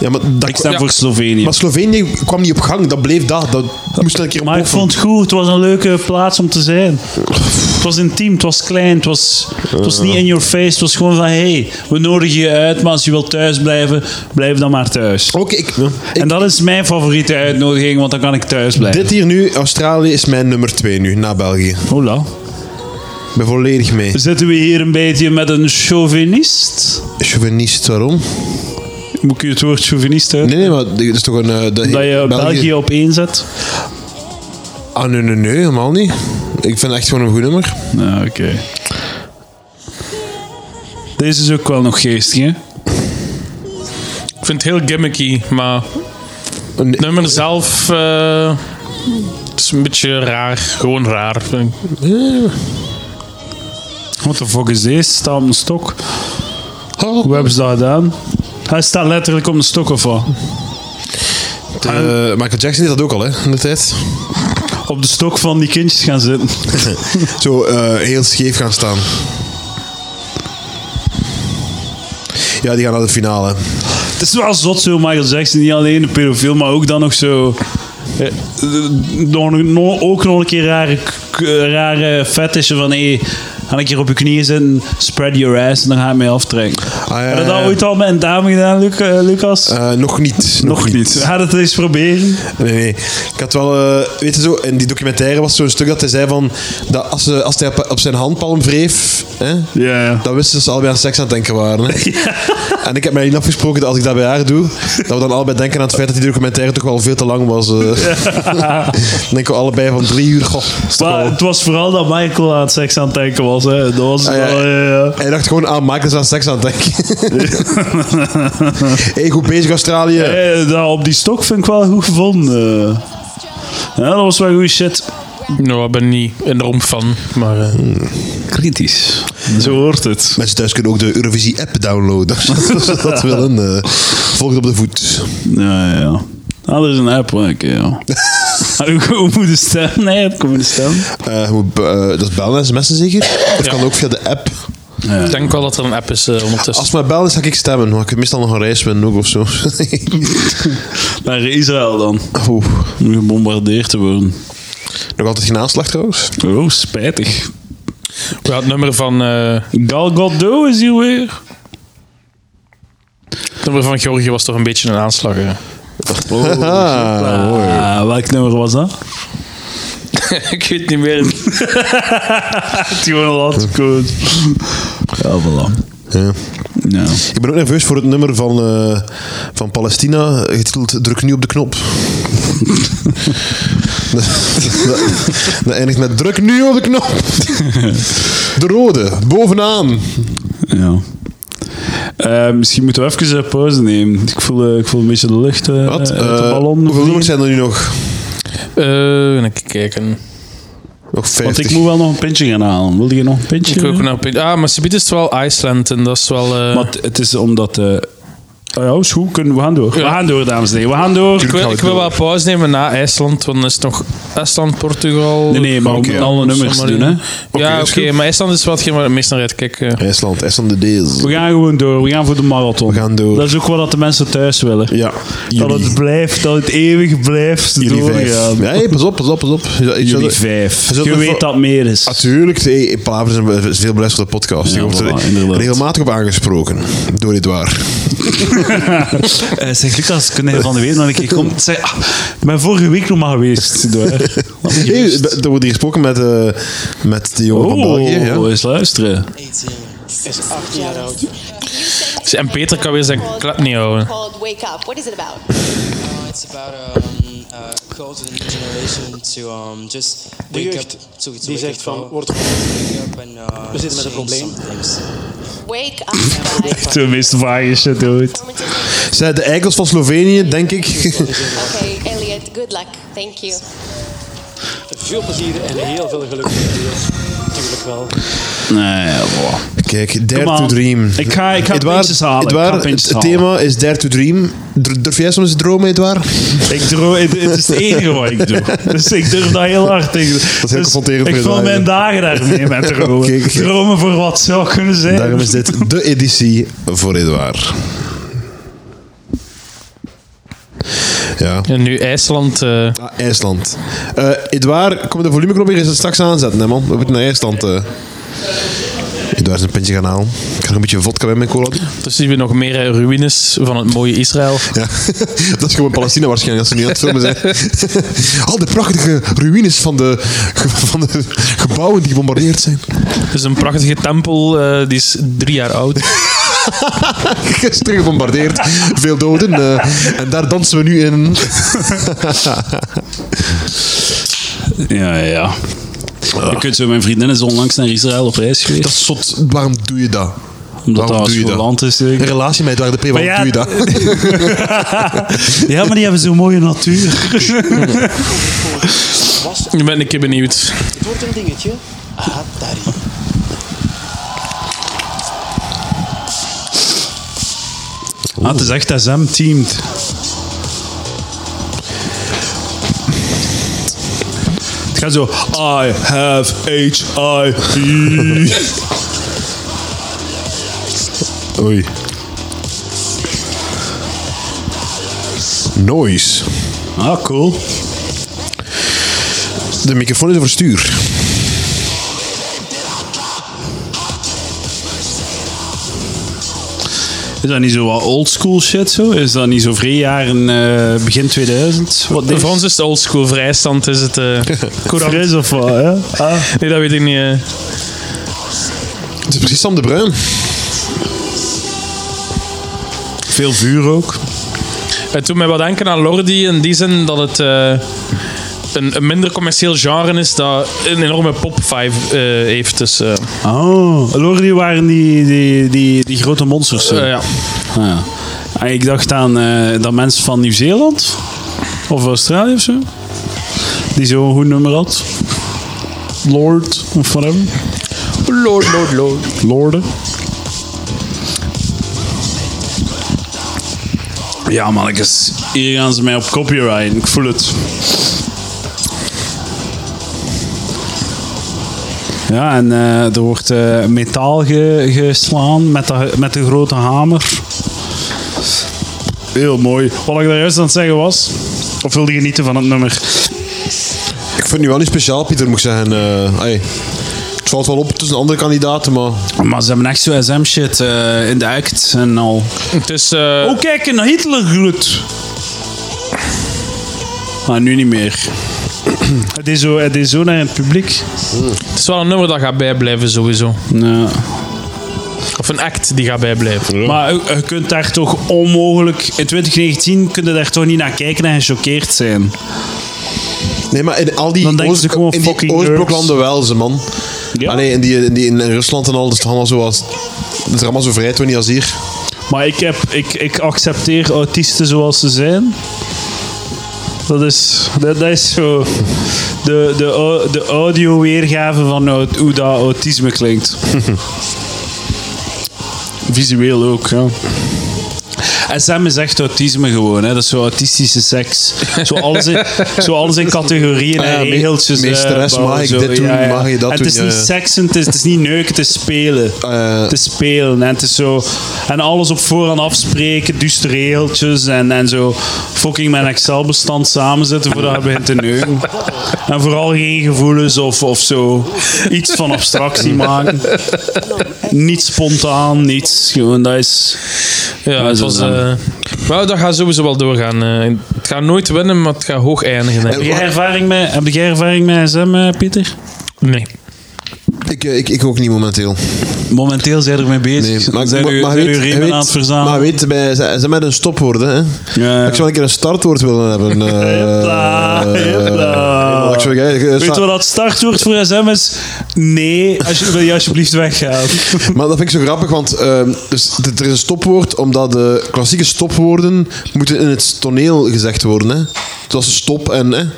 Ja, maar, dat,
Ik sta voor Slovenië.
maar Slovenië kwam niet op gang. Dat bleef daar. Dat moest een keer op
Maar ik
poffen.
vond het goed. Het was een leuke plaats om te zijn. Het was intiem, het was klein, het was, het was niet in your face. Het was gewoon van, hey, we nodigen je uit, maar als je wilt thuis blijven, blijf dan maar thuis.
Oké, ik, ik-
En dat is mijn favoriete uitnodiging, want dan kan ik thuis blijven.
dit hier nu, Australië is mijn nummer 2 nu, na België.
Hola.
Ik ben volledig mee.
Zitten we hier een beetje met een chauvinist?
Chauvinist, waarom?
Moet ik het woord chauvinist uit?
Nee, nee, maar dat is toch een... eh, de-
Dat je België, op één zet?
Ah, nee, nee, nee, helemaal niet. Ik vind het echt gewoon een goed nummer.
Nou, oké. Deze is ook wel nog geestig, hè?
Ik vind het heel gimmicky, maar het
Nee,
nummer zelf... eh, het is een beetje raar. Gewoon raar. vind ik.
What the fuck is deze? Staat op een stok.
Oh,
Hoe hebben ze dat gedaan? Hij staat letterlijk op een stok of wat?
eh, Michael Jackson deed dat ook al, hè, in de tijd.
Op de stok van die kindjes gaan zitten.
Zo eh, heel scheef gaan staan. Ja, die gaan naar de finale.
Het is wel zot zo, Michael Jackson. Niet alleen een pedofiel, maar ook dan nog zo... eh, eh, nog- nog- ook nog een keer rare, k- rare fetishen van... Hey, ga een keer op je knieën zitten, spread your ass en dan ga ik mij aftrekken.
Ah, ja,
Heb je
ja,
dat
ja.
ooit al met een dame gedaan, Luc- eh, Lucas?
Eh, nog niet. Nog,
Ga dat eens proberen.
Nee, nee. Ik had wel... eh, weet je zo, in die documentaire was zo'n stuk dat hij zei van... Dat als, ze- als hij op, op zijn handpalm wreef... Hè,
Ja, ja.
dan wisten ze dat ze allebei aan seks aan het denken waren. Hè. En ik heb mij niet afgesproken dat als ik dat bij haar doe... Dat we dan allebei denken aan het feit dat die documentaire toch wel veel te lang was. eh. Dan denken we allebei van drie uur... Goh, dat is toch
Maar
wel-
het was vooral dat Michael aan het seks aan het denken was. Hè. Dat was
Ah, ja.
wel, eh,
Hij dacht gewoon aan maken aan seks aan het denken. hey, goed bezig Australië.
eh, dat op die stok vind ik wel goed gevonden. Ja, dat was wel goede shit.
Nou, ik ben niet enorm fan, maar... eh,
Kritisch. Zo hoort het.
Mensen thuis kunnen ook de Eurovisie-app downloaden. Als ze dat willen. eh, volgt op de voet.
Ja, ja, ja. Ah, er is een app, oké, ja. Maar Hoe hoe moet je stemmen? Nee, ik moet je stemmen.
Eh, je moet be- eh, dat is bellen en sms'en zeker? Of kan ook via de app?
Ik denk wel dat er een app is eh, ondertussen.
Als het maar bellen is, ga ik stemmen. Maar ik heb meestal nog een reis winnen ook of zo.
Naar Israël dan.
Oeh.
Om gebombardeerd te worden.
Nog altijd geen aanslag trouwens.
Oh, spijtig.
Ja, het nummer van, eh,
Gal Gadot is hier weer.
het nummer van Georgië was toch een beetje een aanslag. hè?
Haha, mooi.
Ah, welk nummer was dat?
ik weet niet meer.
Het is gewoon een laatste code. Ja, voilà.
Ja.
Ja.
Ik ben ook nerveus voor het nummer van, eh, van Palestina, getiteld Druk nu op de knop. dat, dat, dat eindigt met Druk nu op de knop. de rode, bovenaan.
Ja. Eh, misschien moeten we even een pauze nemen. Ik voel, eh, ik voel een beetje de lucht eh
Wat?
uit de
Eh,
ballon.
hoeveel
vliegen.
nummers zijn er nu nog?
Eh, even kijken.
Nog
Want
50.
ik moet wel nog een pintje gaan halen. Wil je nog een pintje?
Ik wil ook naar op- Ah, maar Sabit is het wel IJsland en dat is wel. eh,
Maar het- het is omdat... eh oh ja, is goed. Kunnen, we gaan door. We gaan door, dames en heren. We gaan door.
ik wil,
gaan we
ik wil
door.
wel pauze nemen na IJsland, want dan is het nog IJsland, Portugal.
Nee, nee, maar we
Oké.
moeten alle nummers
Somalië.
doen, hè.
ja,
dat
oké,
is goed.
maar IJsland is wel hetgeen waar ik het meest naar uitkijk. eh.
IJsland, IJsland de Deels.
We gaan gewoon door. We gaan voor de marathon.
We gaan door.
Dat is ook wat de mensen thuis willen.
Ja,
Dat het
jullie.
blijft, dat het eeuwig blijft
Jullie vijf.
doorgaan.
Ja, hey, pas op, pas op, pas op. Je- je-
Jullie
je-
vijf.
je zult
Je
nog
weet
voor-
dat het meer is.
Natuurlijk, hey, Palaver is een veel beluisterde podcast. Je
Ja,
wordt
voilà,
er
inderdaad.
regelmatig op aangesproken door Edouard.
Eh, zeg Lucas, kun je van de week nog een keer komen? Zeg, ah, ik ben vorige week nog maar geweest. door. Laat me
Hey,
gerust.
d- er wordt hier gesproken met, eh, met de jongen van
Oh,
België. Ja.
eens luisteren.
is 18 jaar oud.
En Peter kan weer zijn klep niet houden.
Called Wake Up. What is it about?
Uh, it's about um, uh, call to the new generation to um, just
De
wake up
jeugd
to, to
die
wake
zegt
up,
van,
to
wordt
wake up and uh,
We zitten met
change
een probleem.
some things.
Wake Up. guys.
De meest vage shit ooit.
Zij de eikels van Slovenië, denk ik.
Okay, Elliot, good luck. Thank you.
Veel plezier en heel veel geluk. Natuurlijk wel.
Nee, boah.
Kijk, Dare
Come
to
on.
Dream.
Ik ga- ik ga pintjes halen,
Edouard,
ik ga pintjes
het
halen.
thema is Dare to Dream. Dur- Durf jij soms te dromen, Edouard?
Ik droom, het, het is het enige wat ik doe. Dus ik durf dat heel hard tegen. Dat is
confronterend
Ik
voor
vul
je
mijn dagen daarmee met dromen.
Oké, oké.
Dromen voor wat zou kunnen zijn.
Daarom is dit de editie voor Edouard. Ja,
En nu IJsland. eh,
Ah, IJsland. Eh Edouard, kom de volumeknop hier eens straks aanzetten, hè, man. We moeten naar IJsland. eh. Edouard is een pintje gaan halen. Ik ga nog een beetje vodka bij mijn cola doen.
dus zien we nog meer eh, ruïnes van het mooie Israël.
Ja, dat is gewoon Palestina waarschijnlijk, als ze nu aan het filmen zijn. Al de prachtige ruïnes van de, van de gebouwen die gebombardeerd zijn.
Het is een prachtige tempel, eh, die is drie jaar oud.
Gisteren gebombardeerd, veel doden. eh, en daar dansen we nu in.
Ja, ja. Je kunt zo, mijn vriendin is onlangs naar Israël op reis geweest.
Dat is zot. Waarom doe je dat?
Omdat
Waarom
dat
doe je dat?
land is. denk
Een
ik.
relatie met Edouard Depre, waarom
Maar
doe je
ja,
dat?
Ja, maar die hebben zo'n mooie natuur.
Was,
Nu ben ik een keer benieuwd.
het wordt een dingetje. Atari.
Ah, het is echt SM-teamed. Het gaat zo... I have HIV.
Oei. Noise.
Ah, cool.
De microfoon is overstuur.
Is dat niet zo wat oldschool shit zo? Is dat niet zo vrij jaren eh, begin 2000? Wat
Voor ons is het oldschool vrijstand. Is het, eh,
Fris of wat, hè? Ah.
nee, dat weet ik niet. eh.
Het is precies Sam de Bruin.
Veel vuur ook.
Het doet mij wat denken aan Lordi in die zin dat het eh, een, een minder commercieel genre is dat een enorme pop vibe eh, heeft. Dus, eh,
Oh, Lordi waren die, die, die, die grote monsters. zo.
eh, ja.
Ah, ja. Ah, Ik dacht aan eh, dat mensen van Nieuw-Zeeland of Australië of zo. Die zo'n goed nummer had. Lord of whatever.
Lord, lord, lord.
Lorden. Ja, mannetjes. Hier gaan ze mij op copyright. Ik voel het. Ja, en eh, er wordt eh, metaal ge- geslaan met de, met de grote hamer. Heel mooi. Wat ik daar juist aan het zeggen was. Of wilde je genieten van het nummer?
Ik vind nu wel niet speciaal, Pieter, moet ik zeggen. eh hey. Het valt wel op tussen andere kandidaten, maar...
Maar ze hebben echt zo SM-shit eh, in de act en al.
Het is, eh,
Oh, kijk, een Hitlergroet. Maar nu niet meer. het, is zo, het is zo naar het publiek.
het is wel een nummer dat gaat bijblijven sowieso.
Ja.
Of een act die gaat bijblijven.
Maar je je kunt daar toch onmogelijk... In 2019 kun je daar toch niet naar kijken en gechoqueerd zijn.
Nee, maar in al die,
Dan denken
oost-
ze gewoon
in die
fucking
Oostbloklanden wel, ze man.
Ja.
Allee, in, die, in, die, in Rusland en al, dat is toch allemaal zo als... Dat is allemaal zo vrij, toch niet als hier.
Maar ik, heb, ik, ik accepteer autisten zoals ze zijn. Dat is, dat, dat is zo... De, de, au- de audio-weergave van hoe- hoe dat autisme klinkt. Visueel ook, ja. SM is echt autisme gewoon, hè. dat is zo autistische seks. Zo alles in, zo alles in categorieën
Ah ja,
en
me-
regeltjes. eh,
meesteres,
bouwen,
mag ik
zo,
dit doen, mag je dat
En Het
doen,
is
ja,
niet
ja.
seksen, het is, het is niet neuken, het is spelen.
Eh.
Het is spelen en het is zo... En alles op voorhand afspreken, duistere regeltjes en, en zo fucking mijn Excel-bestand samenzetten voordat je begint te neuken. En vooral geen gevoelens of, of zo iets van abstractie maken. Niet spontaan, niets. Gewoon, dat is...
Ja,
Maar
het
zo
was,
dan.
eh, maar dat gaat sowieso wel doorgaan. eh. het gaat nooit winnen, maar het gaat hoog eindigen. denk
En-
ik.
Heb jij ervaring met, heb jij ervaring met SM, eh, Pieter?
Nee.
Ik, eh, ik, ik ook niet momenteel.
Momenteel zijn er mee bezig.
Nee, maar ik-
zijn
maar-
u,
maar
zijn
weet-
uw riemen
weet-
aan het verzamelen.
Maar weet, bij, ze, ze met een stopwoord, hè.
ja.
Ik zou wel een keer een startwoord willen hebben. eh,
Hupla, hupla.
eh, ik zou- eh, eh,
Weet
sta-
je wat dat startwoord voor SM is? Nee, als je, wil je alsjeblieft weggaan.
Maar dat vind ik zo grappig, want ehm, dus, d- er is een stopwoord omdat de klassieke stopwoorden moeten in het toneel gezegd worden. Hè? Zoals stop en... Hè?
Ja,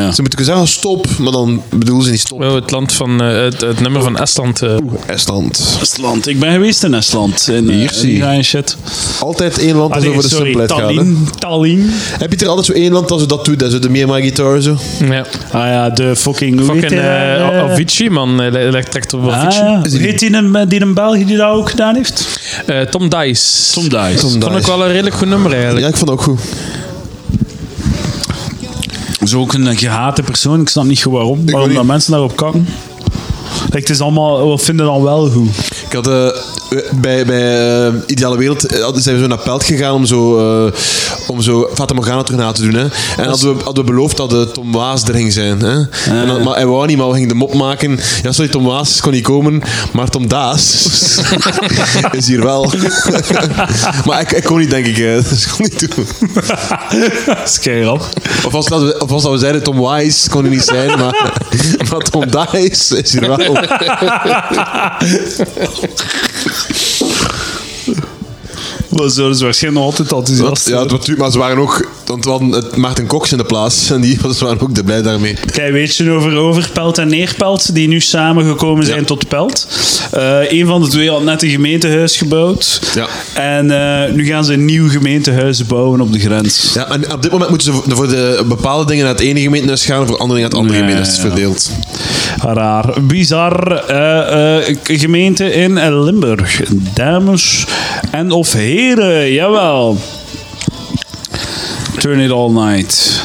ja.
Ze moeten zeggen stop, maar dan bedoelen ze niet stop.
Wel, het, land van, eh, het, het nummer van Estland. eh.
Estland.
Estland. Ik ben geweest in Estland. In, eh,
Hier zie je.
in Iran shit.
Altijd één land dat
Allee,
over de
sorry,
simpelheid gaat. Hè?
Tallinn. Tallinn.
Heb je er altijd zo één land dat zo dat doet? Dat zo de Myanmar Guitar zo.
ja.
Ah ja, de fucking... hoe
Fucking
heet die,
eh,
eh,
Avicii, man. Eh, le- le- trekt op
Ah,
Avicii.
ja. Hoe Heet die een, eh, die een Belg die dat ook gedaan heeft?
Eh, Tom Dice.
Tom Dice.
Tom
Vond ik
Dice.
wel een redelijk goed nummer eigenlijk.
Ja, ik vond dat ook goed.
is ook een gehate persoon. Ik snap niet goed waarom.
weet
Waarom dat
niet.
mensen daarop kakken. Like, het is allemaal... We vinden dan wel goed.
Ik had eh, bij, bij eh, Ideale Wereld eh, hadden- zijn we zo naar Pelt gegaan om zo, eh, om zo Fata Morgana terug na te doen. Hè. En hadden we, hadden we beloofd dat de Tom Waas er ging zijn. Hè. En dat, maar hij wou niet, maar we gingen de mop maken. Ja, sorry, Tom Waas kon niet komen, maar Tom Daas is hier wel. maar ik, ik kon niet, denk ik. Hè. Dus ik kon niet doen.
dat is kei rap.
Of was, dat we, of was dat we zeiden, Tom Wise kon er niet zijn, maar, maar Tom Dice is hier wel.
dan zullen ze waarschijnlijk nog altijd enthousiast
Dat, ja,
zijn.
het was duur, maar ze waren ook... Want we hadden het Maarten Cox in de plaats. En die was, waren ook de blij daarmee.
Kijk, weet je over Overpelt en Neerpelt, die nu samengekomen zijn
Ja.
tot Pelt. Eh een van de twee had net een gemeentehuis gebouwd.
Ja.
En eh, nu gaan ze een nieuw gemeentehuis bouwen op de grens.
Ja, en op dit moment moeten ze voor- voor de bepaalde dingen naar het ene gemeentehuis gaan. en Voor andere dingen naar het andere
Ja,
gemeentehuis. Het is
ja.
verdeeld.
Raar. Bizar. eh, eh, k- gemeente in Limburg. Dames en of heren, jawel. Turn it all night.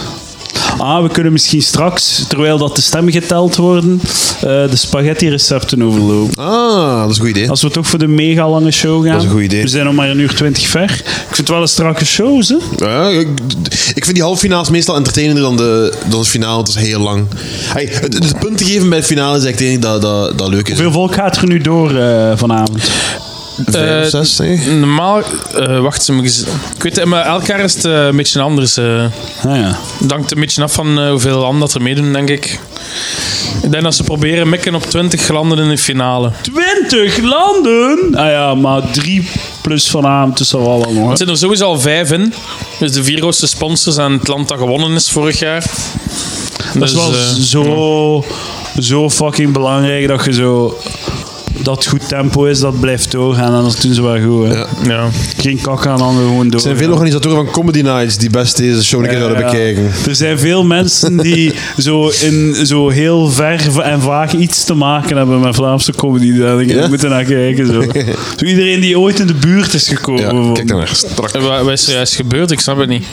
Ah, we kunnen misschien straks, terwijl dat de stemmen geteld worden, eh, de spaghetti-recepten overlopen.
Ah, dat is een goed idee.
Als we toch voor de mega lange show gaan.
Dat is een goed idee.
We zijn nog maar een uur twintig ver. Ik vind het wel een strakke show, hè?
Ja, ik, ik vind die halffinales meestal entertainender dan, de, dan het finale. Het is heel lang. Hey, het, het punt te geven bij het finale is eigenlijk het enige dat, dat, dat leuk is.
Hoeveel volk gaat er nu door eh, vanavond?
Vijf,
Eh,
zes, nee?
Normaal, eh, wacht, ze moeten- ik weet het, maar elk jaar is het eh, een beetje anders. eh.
Ah, ja.
Het hangt een beetje af van eh, hoeveel landen dat er meedoen, denk ik. Ik denk dat ze proberen mikken op 20 landen in de finale.
20 landen! Ah ja, maar drie plus vanavond, dus dat zal wel
Er
nog. hè.
zitten er sowieso al vijf in. Dus de vier grootste sponsors aan het land dat gewonnen is vorig jaar. Dus, eh,
Dat is eh, wel zo, zo fucking belangrijk dat je zo. Dat het goed tempo is, dat blijft doorgaan. En dat doen ze wel goed. Hè.
Ja.
Geen kak aan, dan gewoon door.
Er zijn veel organisatoren van comedy nights die best deze show een keer zouden
Eh, Ja,
bekijken.
Er zijn veel mensen die zo, in, zo heel ver v- en vaag iets te maken hebben met Vlaamse comedy. Daar denk ik,
Ja?
we moeten naar kijken. Zo. Zo iedereen die ooit in de buurt is gekomen.
Ja,
bijvoorbeeld.
kijk daarnaar. Strak.
En Wat, wat is er juist gebeurd? Ik snap het niet.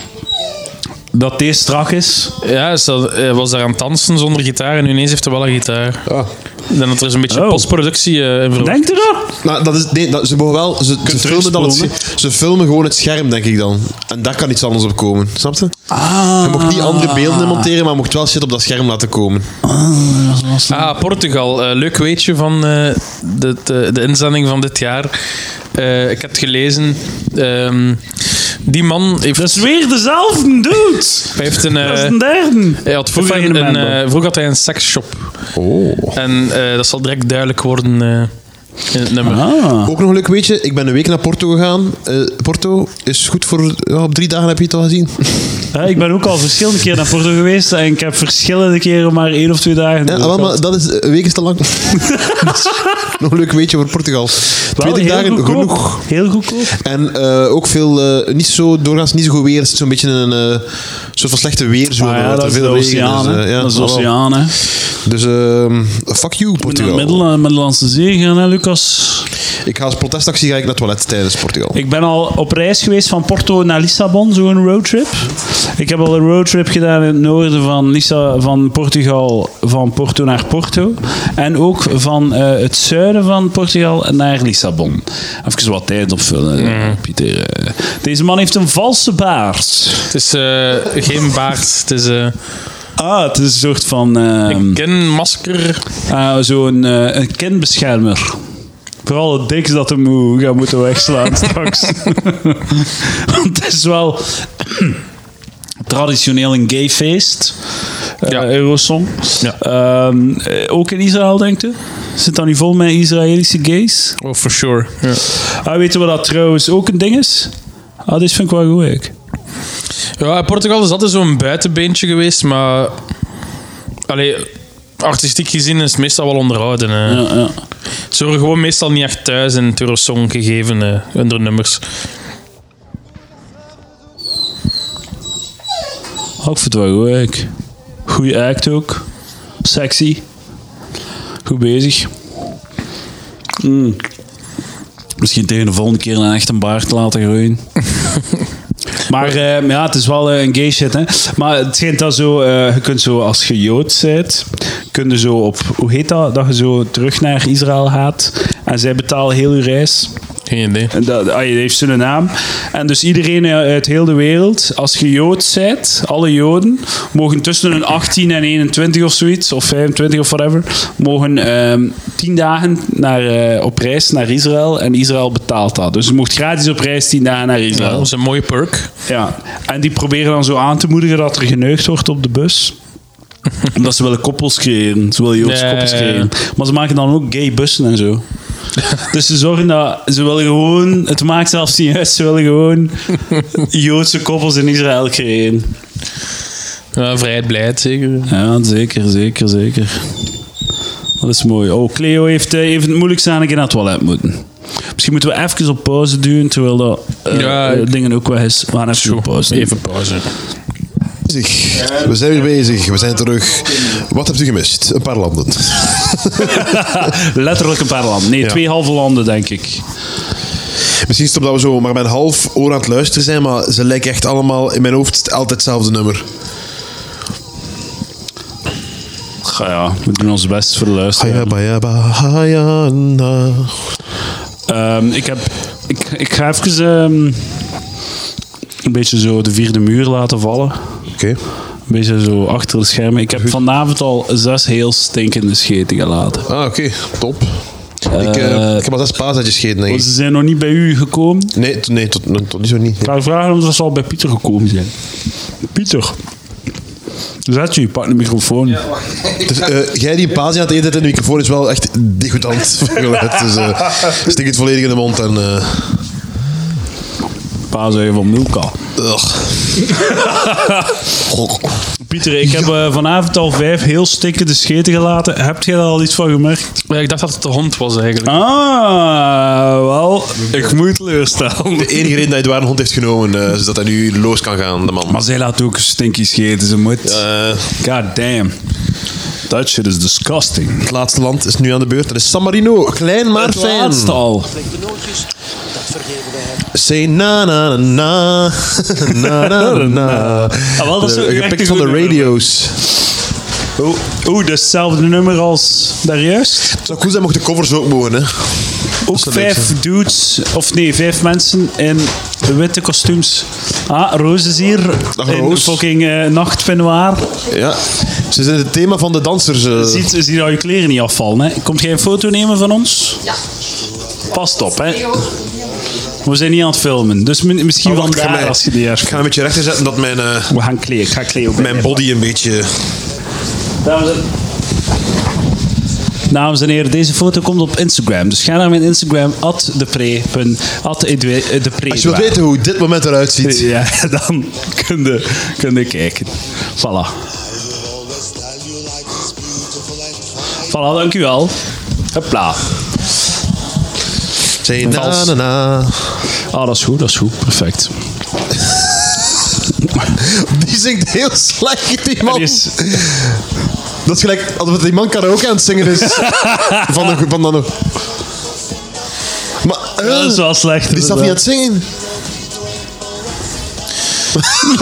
Dat deze strak is.
Ja, is dat, eh, was daar aan het dansen zonder gitaar en ineens heeft hij wel een gitaar.
Ah.
Ik denk dat er is een beetje
Oh.
postproductie eh in verwerkt.
Denk je dat?
Nou, dat is, nee, dat, ze, mogen wel, ze, ze, filmen dan het,
terugspoelen.
sche- ze filmen gewoon het scherm, denk ik dan. En daar kan iets anders op komen. Snap je? Je mocht niet andere beelden monteren, maar je mocht wel shit op dat scherm laten komen.
Ah, Portugal. Eh, leuk weetje van eh, de, de, de inzending van dit jaar. Eh, ik heb gelezen. ehm, die man heeft,
Dat is weer dezelfde dude.
hij heeft een. eh,
Dat is een derde.
hij had vroeger,
Fijne
een,
man dan.
eh, vroeger had hij een seksshop.
Oh.
En eh, dat zal direct duidelijk worden eh, in het nummer.
Ah.
Ook nog een leuk weetje. Ik ben een week naar Porto gegaan. Eh, Porto is goed voor... ja, op drie dagen heb je het al gezien.
Ja, ik ben ook al verschillende keer naar Porto geweest en ik heb verschillende keren maar één of twee dagen.
Ja,
doorgehad.
wel, maar dat is... Een week is te lang. Dus, nog een leuk weetje voor Portugal.
Wel
Twintig
heel
dagen
goedkoop.
genoeg.
Heel goedkoop.
En eh, ook veel, eh, niet zo, doorgaans niet zo goed weer. Het is zo'n beetje een eh, soort van slechte weerzone.
Ah ja,
wat er
dat is de
veel
oceaan.
regen is,
hè.
eh, ja,
dat is de
wel.
oceaan, hè.
Dus ehm, fuck you,
Naar de
Portugal.
Middel- eh, Middellandse Zee gaan, hè, Lucas?
Ik ga als protestactie ga ik naar het toilet tijdens Portugal.
Ik ben al op reis geweest van Porto naar Lissabon, zo'n roadtrip. Ik heb al een roadtrip gedaan in het noorden van, Lissa, van Portugal, van Porto naar Porto. En ook van eh, het zuiden van Portugal naar Lissabon. Even wat tijd opvullen, Pieter. eh. Deze man heeft een valse baard.
Het is eh, geen baard. Het is eh,
Ah, het is een soort van... ehm,
een kinmasker.
Ah, zo'n eh een kindbeschermer. Vooral het diks dat hem moet gaan moeten wegslaan straks. Want het is wel traditioneel een gay feest. eh,
Ja.
Eurosong.
Ja.
Ehm, eh, ook in Israël, denkt u? Zit dat nu vol met Israëlische gays?
Oh, for sure. Ja.
Ah, weten we dat trouwens ook een ding is? Ah, dit vind ik wel goed, eigenlijk.
Ja, Portugal is altijd zo'n buitenbeentje geweest, maar... Allee, artistiek gezien is het meestal wel onderhouden. Hè.
Ja, ja.
Ze horen gewoon meestal niet echt thuis in het Eurosong gegeven, eh, hun nummers.
Oh, ik vind het wel goed, eigenlijk. Goeie act ook. Sexy. Goed bezig. Mm. Misschien tegen de volgende keer een echt een baard laten groeien. maar eh, ja, het is wel eh, een gay shit, hè. Maar het schijnt dat zo... eh, je kunt zo, als je Jood bent, kun je zo op... Hoe heet dat? Dat je zo terug naar Israël gaat. En zij betalen heel je reis.
Geen idee.
En Dat, ah, je heeft zijn naam. En dus iedereen uit heel de wereld, als je Jood bent, alle Joden, mogen tussen hun 18 en 21 of zoiets, of 25 of whatever, mogen ehm 10 dagen naar, eh, op reis naar Israël. En Israël betaalt dat. Dus je mocht gratis op reis 10 dagen naar
Ja,
Israël.
dat is een mooie perk.
Ja, en die proberen dan zo aan te moedigen dat er geneugd wordt op de bus. Omdat ze willen koppels creëren. Ze willen Joodse
Ja,
koppels
ja, ja.
creëren. Maar ze maken dan ook gay bussen en zo. Dus ze zorgen dat ze willen gewoon, het maakt zelfs niet uit, ze willen gewoon Joodse koppels in Israël creëren.
Ja, vrijheid, blijheid zeker.
Ja, zeker, zeker, zeker. Dat is mooi. Oh, Cleo heeft eh, even het moeilijk aan een keer naar het toilet moeten. Misschien moeten we even op pauze duwen, terwijl dat eh,
Ja,
eh,
ik-
dingen ook weg is. We gaan even op pauze doen.
Even pauze.
Bezig. We zijn weer bezig. We zijn terug. Wat hebt u gemist? Een paar landen.
Letterlijk een paar landen. Nee, twee halve landen, denk ik.
Misschien is het omdat we zo maar met een half oor aan het luisteren zijn, maar ze lijken echt allemaal in mijn hoofd altijd hetzelfde nummer.
Ga ja, we doen ons best voor de luisteraar.
Hayaba, yaba, hayana.
Ehm, ik, heb, ik, ik ga even ehm, een beetje zo de vierde muur laten vallen.
Oké.
Een beetje zo achter de schermen. Ik heb vanavond al zes heel stinkende scheten gelaten.
Ah, oké. Top. ik, eh, ik heb al zes paasetjes gegeten, denk
Want
ik.
Ze zijn nog niet bij u gekomen.
Nee, t- nee tot, tot niet zo niet.
Ik ga vragen of ze al bij Pieter gekomen zijn. Pieter. Zet je, pak de microfoon.
Dus, eh, jij die een paasje aan het eten hebt in de microfoon is wel echt degoutant voor geluid. Dus eh, stik het volledig in de mond en... eh
Paas even van Milka.
ugh.
Pieter, ik heb eh, vanavond al vijf heel stinkende scheten gelaten. Heb jij daar al iets van gemerkt?
Ja, ik dacht dat het de hond was eigenlijk.
Ah, wel. Ik moet teleurstellen.
De enige reden dat je de ware hond heeft genomen, eh, is dat hij nu los kan gaan, de man.
Maar zij laat ook stinky scheten, ze moet.
Eh,
God damn. That shit is disgusting.
het laatste land is nu aan de beurt. Dat is San Marino. Klein maar
Het
fijn.
laatste al.
Say na na na na na na na.
Ah, wel, dat is
De-
ook echt
Gepikt
een
van de
goed nummer.
radio's.
Oeh, oeh, datzelfde nummer als daarjuist.
Het zou cool zijn mocht de covers ook mogen, hè.
Ook vijf dudes, of nee, vijf mensen in witte kostuums. Ah, Roos is hier.
Dag,
in
Roos.
fucking eh, nachtpinoir.
Ja. Ze zijn het thema van de dansers. eh.
Ziet, ziet al je kleren niet afvallen, hè. Komt jij een foto nemen van ons? Ja. Past op, hè. We zijn niet aan het filmen, dus mi- misschien
Oh,
wel
wacht, ga
daar
mij-
als je die
Ik
herkent.
ga een beetje rechter zetten dat mijn, eh,
We gaan kleden, ik ga kleden op.
mijn body een beetje...
Dames en, Dames en heren, deze foto komt op Instagram. Dus ga naar mijn Instagram, atdepre.atdepre.
Als je wilt weten hoe dit moment eruit ziet...
Ja, dan kun je, kun je kijken. Voilà. Voilà, dank u wel. Hopla.
Say na
Vals.
na na.
Ah, dat is goed, dat is goed. Perfect.
Die zingt heel slecht, die man.
Er is-
Dat is gelijk alsof die man karaoke aan het zingen is. van de... Van de maar... eh,
dat is wel slecht.
Die staat niet aan het zingen.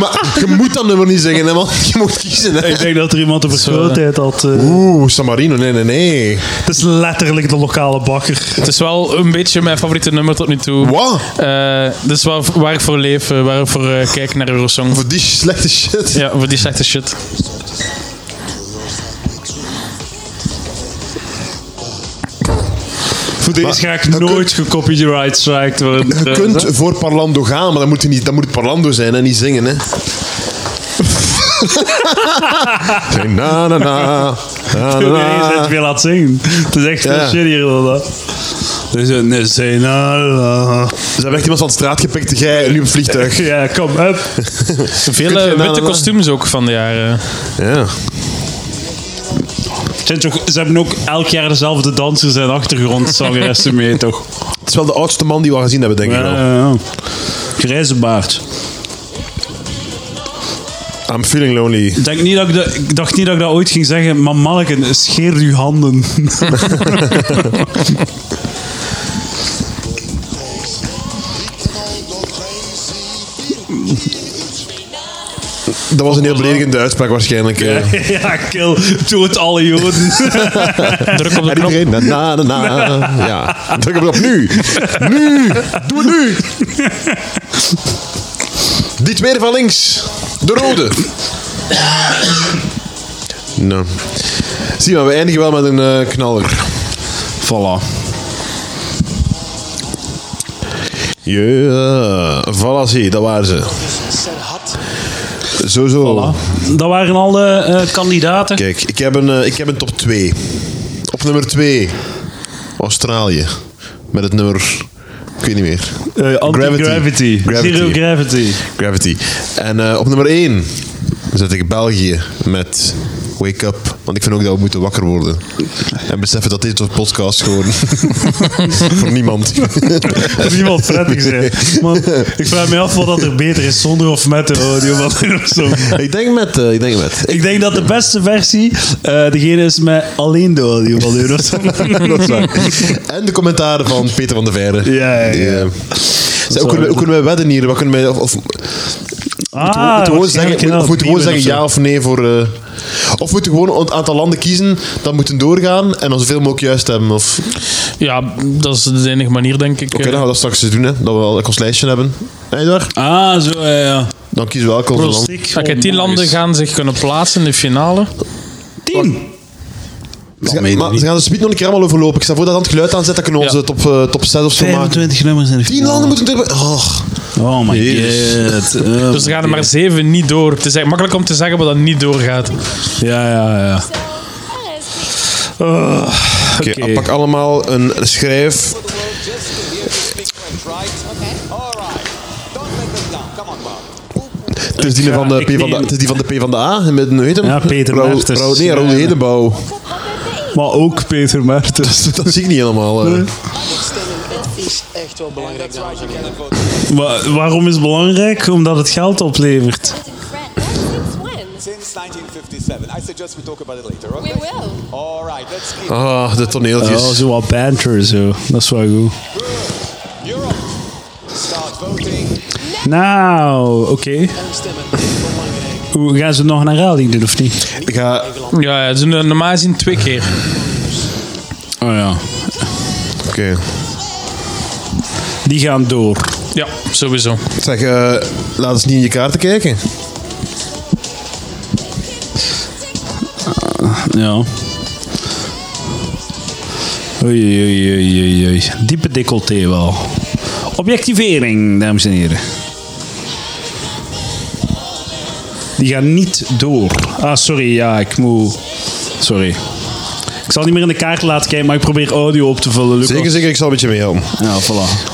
maar je moet dat nummer niet zingen, hè, man. Je moet kiezen, hè.
Ik denk dat er iemand een vergrootheid had. eh.
Oeh, San Marino, nee, nee, nee.
Het is letterlijk de lokale bakker.
Het is wel een beetje mijn favoriete nummer tot nu toe.
Wat?
Eh, dit is waar, waar ik voor leef, eh, waar ik voor eh, kijk naar Eurosong.
Voor die slechte shit.
Ja, voor die slechte shit.
Voor deze ga ik
je
nooit gecopyright striked eh, worden.
Je kunt voor Parlando gaan, maar dan moet, hij niet, dan moet het Parlando zijn en niet zingen, hè. Zeg, na, na, na. Na, na,
Nee, je
na.
het weer laat zingen. Het is echt
Ja.
een shit hier, Lola. Dus een Senala.
Ze hebben echt iemand van de straat gepikt. Jij, nu een vliegtuig.
Ja, kom, up.
Veel
Kun je
eh,
na-
witte
na- na-
kostuums ook van de jaren.
Ja.
Zijn toch- Ze hebben ook elk jaar dezelfde dansers en achtergrondzangeressen mee, toch?
Het is wel de oudste man die we al gezien hebben, denk ik wel.
ja. Grijze baard.
I'm feeling lonely.
Ik, denk niet dat ik, dat, ik dacht niet dat ik dat ooit ging zeggen, maar manneken, scheer uw handen.
Dat was een heel beledigende uitspraak waarschijnlijk. eh.
ja, kill. Dood alle joden.
Druk op de
En
knop.
iedereen, na, na, na, na. Ja, druk op de knop. Nu! Nu! Doe het nu! Die tweede van links. De rode. Nou. Zie maar, we eindigen wel met een eh, knaller.
voilà.
Ja, voilà, zie, dat waren ze. Zo, zo.
Dat waren alle eh, kandidaten.
Kijk, ik heb een, eh, ik heb een top 2. Op nummer 2. Australië. Met het nummer... Ik weet niet meer.
Eh, Anti-gravity.
Gravity.
Zero gravity.
Gravity. En eh, op nummer 1 zet ik België met Wake Up. Want ik vind ook dat we moeten wakker worden. En beseffen dat dit een podcast geworden Voor niemand.
Dat niemand prettig zijn. Man, ik vraag me af wat dat er beter is zonder of met de audio. Wat er zo.
ik denk met. eh, ik denk met.
Ik denk dat de beste versie eh, degene is met alleen de audio van Eurosong.
Dat is waar. En de commentaren van Peter van der Veijden.
Ja, ja,
Die,
ja.
eh, zeg, hoe, kunnen we, hoe kunnen we wedden hier? Wat kunnen we, of, of,
Ah,
moeten we gewoon zeggen,
waarschijnlijk inderdaad
of moeten we gewoon
opnieuw
zeggen
of zo.
ja of nee voor... eh, of moeten we gewoon een aantal landen kiezen dat moeten doorgaan en dan zoveel mogelijk juist hebben? Of, Oké,
Ja, dat is de enige manier, denk ik.
dan gaan we dat straks eens doen, hè, dat we al ons lijstje hebben. Eindwaar?
Ah, zo, ja, ja.
Dan kiezen we elk onze land.
Prostiek.
Oké, tien landen gaan zich kunnen plaatsen in de finale.
Tien.
Ze gaan, maar ze gaan de speed nog een keer allemaal overlopen. Ik stel voor dat aan het geluid aanzet, dan kunnen we onze top, eh, top 6 of zo maken.
25 nummers in de
Tien landen moeten er... Oh.
Oh my
Jezus.
god. Oh
Dus er
my
gaan er maar
god.
zeven niet door. Het is echt makkelijk om te zeggen wat dat niet doorgaat.
Ja, ja, ja.
Oké,
Oké.
pak allemaal een schrijf. Het is die van de
ik
P van de,
neem-
het is die van de P van de A. Met, hoe heet hem?
Ja, Peter
Raoul-
Mertens.
Raoul- nee,
Ja,
Raoul
ja.
Hedenbouw.
Maar ook Peter Mertens.
Dat zie ik niet helemaal. eh.
is echt wel belangrijk. dames en heren.
Wa- waarom is het belangrijk? Omdat het geld oplevert.
uh, Since 1957. I suggest we talk about it later,
We
okay?
will.
All right, let's keep
Ah, de toneeltjes.
Oh, zo wat banter zo. Dat is wel goed.
Europe. Start voting.
Nou, oké. Hoe Gaan ze nog een herhaling doen of niet?
Ik ga...
Ja, ja, ze doen het normaal gezien twee keer.
Oh ja.
Oké.
Die gaan door.
Ja, sowieso.
Zeg, eh, laat eens niet in je kaarten kijken.
Ja. Oei, oei, oei, oei, oei. Diepe decolleté wel. Objectivering, dames en heren. Die gaan niet door. Ah, sorry, ja, ik moet... Sorry. Ik zal niet meer in de kaart laten kijken, maar ik probeer audio op te vullen, Lucas.
Zeker, zeker. Ik zal een beetje meehelpen.
Ja, voilà.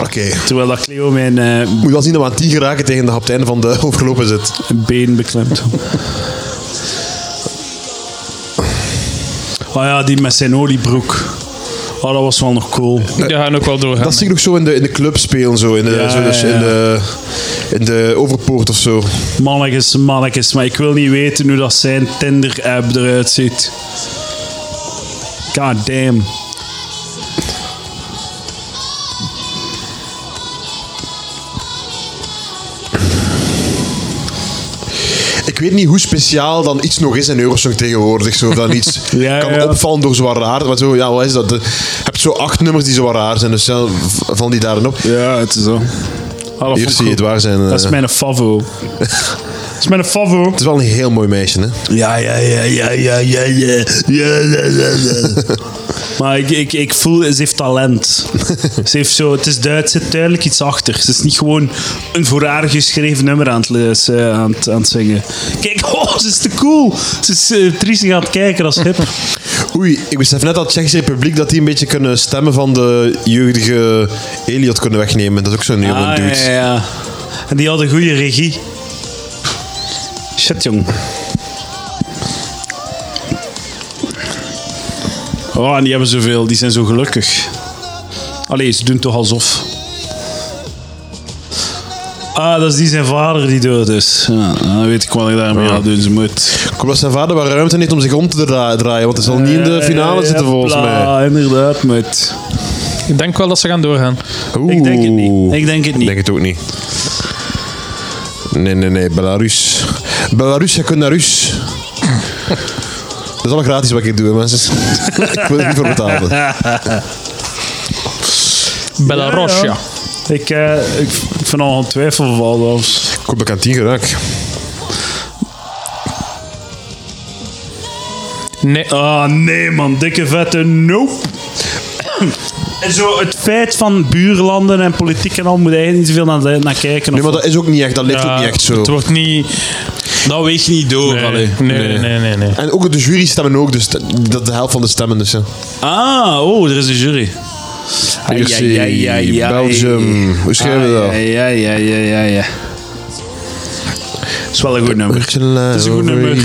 Oké.
Terwijl dat Cleo mijn eh,
Moet wel zien dat we aan 10 geraken tegen de haptijn van de overlopen zit.
been beklemt. Oh ja, die met zijn oliebroek. Oh, dat was wel nog cool.
Die gaan ook wel doorgaan.
Dat zie ik nog zo in de, in de club spelen, zo. In de,
Ja,
zo, dus
ja, ja.
In, de, in de Overpoort of zo.
Mannekes, mannekes, maar ik wil niet weten hoe dat zijn Tinder-app eruit ziet. God damn.
Ik weet niet hoe speciaal dan iets nog is in Eurosong tegenwoordig. Zo, of dan iets
Ja,
kan
ja.
opvallen door zwaar raar. Maar zo, ja, wat is dat? De- Je hebt zo acht nummers die zwaar raar zijn, dus ja, v- val die daarin op.
Ja, het is zo. Ah,
Hier zie je het waar zijn. eh,
Dat is mijn favo. Dat is mijn favo.
Het is wel een heel mooi meisje, hè?
Ja, ja, ja, ja, ja, ja, ja, ja, ja, ja, ja. Maar ik, ik, ik voel, ze heeft talent. Ze heeft zo, het is duidelijk, zit duidelijk iets achter. Ze is niet gewoon een voor haar geschreven nummer aan het, lees- eh, aan het, aan het zingen. Kijk, oh, ze is te cool. Ze is uh, aan het kijken, dat is hip.
Oei, ik besef net dat Tsjechische Republiek dat die een beetje kunnen stemmen van de jeugdige Elliot kunnen wegnemen. Dat is ook zo'n heel
Ah,
dude.
Ja, ja, ja. En die hadden goede regie. Shit, jong. Oh, en die hebben zoveel. Die zijn zo gelukkig. Allee, ze doen toch alsof. Ah, dat is die zijn vader die dood is. Ja, dan weet ik wat ik daarmee aan doen ze moet.
Ik hoop dat zijn vader wel ruimte heeft om zich om te dra- draaien, want hij zal niet in de finale zitten volgens mij.
Eh, Ja, inderdaad, moet.
Ik denk wel dat ze gaan doorgaan.
Ik denk het niet.
Oeh.
Ik denk het
Ik
niet.
denk het ook niet. Nee, nee, nee, Belarus. Belarus, je kunt naar Rus. Dat is al gratis wat ik doe, hè, mensen. ik wil er niet voor betalen.
Belarus, ja.
Ik, eh, ik vind al een twijfelgeval. zelfs.
Ik hoop dat ik aan 10 geraak.
Nee.
Ah, nee man, dikke vette nope. En zo het feit van buurlanden en politiek en al moet je eigenlijk niet zoveel naar, naar kijken.
Nee,
of
maar dat is ook niet echt, dat leeft
Ja,
ook niet echt zo.
Het wordt niet...
Dat weegt niet door. allee.
nee, nee, nee, nee, nee.
En ook de jury stemmen ook, dus dat dat de helft van de stemmen. Dus, ja.
Ah, oh, er is een jury.
Hier zie je
Ai, ai, ai, ai.
Belgium. Hoe schrijven we dat?
Ai, ai, ai, ai, ai, ai. Het is wel een goed nummer.
Het
is een goed nummer.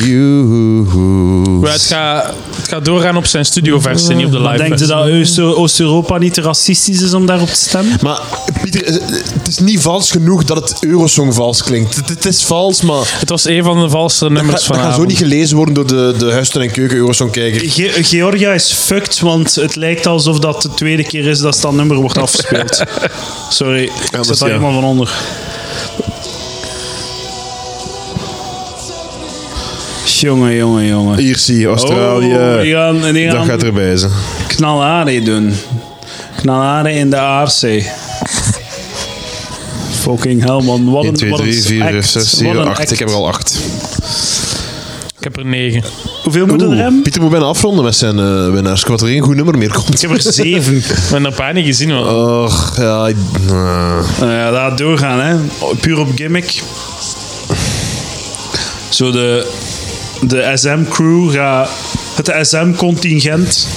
Maar het, gaat, het gaat doorgaan op zijn studioversie, niet op de
Maar
live
denkt u
versie.
dat Oost- Oost-Europa niet te racistisch is om daarop te stemmen?
Maar Pieter, het is niet vals genoeg dat het Eurosong vals klinkt. Het, het is vals, maar
Het was een van de valse nummers
het
van
gaat zo niet gelezen worden door de, de huistuin- en keuken Eurosong-kijker.
Ge- Georgia is fucked, want het lijkt alsof dat de tweede keer is dat dat nummer wordt afgespeeld. Sorry, ik
dat
zit
is
daar
ja.
helemaal van onder. Jongen, jongen, jongen.
Hier zie je Australië.
Oh, die gaan, die
dat
gaan
gaat erbij zijn.
knalharen doen. Knalharen in de ARC. Fucking hell, man. Wat
1,
een,
2,
wat een
3, 4, 5,
act.
6,
Wat
7,
een
8.
act.
Ik heb er al 8.
Ik heb er negen.
Hoeveel moet er hebben?
Pieter moet bijna afronden met zijn eh, winnaars. Ik hoop dat er geen goed nummer meer komt.
Ik heb er zeven.
We hebben een paar niet gezien, man.
Oh, Och, ja. ik- eh.
Nou ja, laat doorgaan, hè. Puur op gimmick. Zo, de, de SM-crew gaat... Het SM-contingent...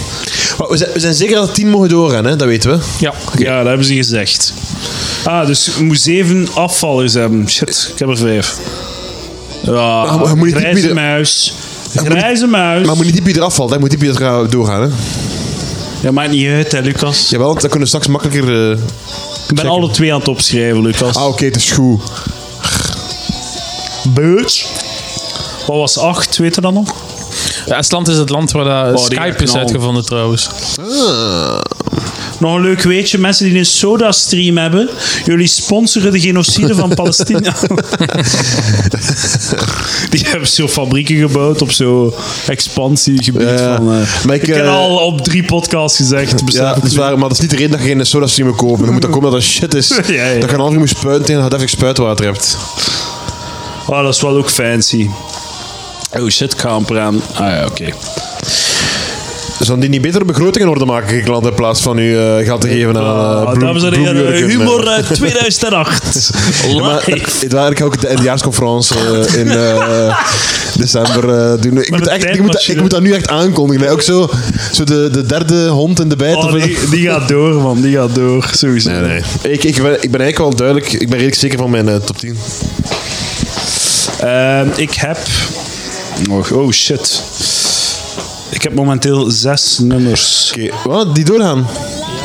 Maar we, zijn, we zijn zeker dat 10 mogen doorgaan, hè? dat weten we.
Ja.
Ja, dat hebben ze gezegd. Ah, dus je moet zeven afvallers hebben. Shit, ik heb er vijf. Ja,
Maar je moet niet
grijze
bieden-
muis.
moet niet-
Grijze muis.
Maar moet niet die Pieter afvallen, hè? moet die Pieter gaan doorgaan. Hè?
Ja, maakt niet uit, hè, Lucas.
Jawel, want dan kunnen we straks makkelijker. eh,
Ik ben alle twee aan het opschrijven, Lucas.
Ah, oké, het is goed.
Bitch. Wat was acht, weet je dat nog?
Estland is het land waar nou- dat
Oh, die
Skype is
knal.
uitgevonden, trouwens.
Nog een leuk weetje. Mensen die een soda-stream hebben, jullie sponsoren de genocide van Palestina. die hebben zo fabrieken gebouwd op zo'n expansiegebied
Ja,
van... eh,
maar ik,
ik heb
eh,
al op drie podcasts gezegd. besef
Ja,
ik
dat is
nu.
waar, maar dat is niet de reden dat je geen soda stream moet kopen. Dan moet dat komen dat dat shit is.
Ja, ja.
Dat je een half uur moet spuiten tegen dat je even spuitwater hebt.
Oh, dat is wel ook fancy.
Ah,
Oh shit, ik ga amper aan. Ah ja, oké.
Zouden Dus die niet beter een begroting in orde maken, je klant, in plaats van u eh, geld te geven aan eh
Ah,
bloem-
dames en heren,
bloemjurken, eh.
humor uit 2008.
Ja, maar, eh,
Live.
het waren eigenlijk ook de eindejaarsconferentie eh, in eh, december eh, doen. Ik
Met
moet,
een
echt, ik, moet, dat-
tijdmachine.
ik moet dat nu echt aankondigen. hè. Ook zo, zo de, de derde hond in de bijt.
Oh,
of-
die, die gaat door, man. Die gaat door. Sowieso.
Nee, nee. Ik, ik, ben, ik ben eigenlijk wel duidelijk, ik ben redelijk zeker van mijn eh, top 10.
Ehm, ik heb. Oh, oh, shit. Ik heb momenteel zes nummers
Oké, wat? Die doorgaan?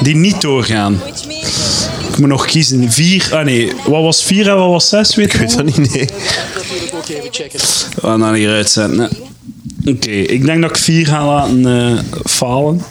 die niet doorgaan.
Which means
Ik moet nog kiezen. Vier. Ah nee, wat was vier en wat was zes? Weet
Ik weet dat niet, nee.
We gaan dat hier uitzetten. hè. Oké, ik denk dat ik vier ga laten eh, falen.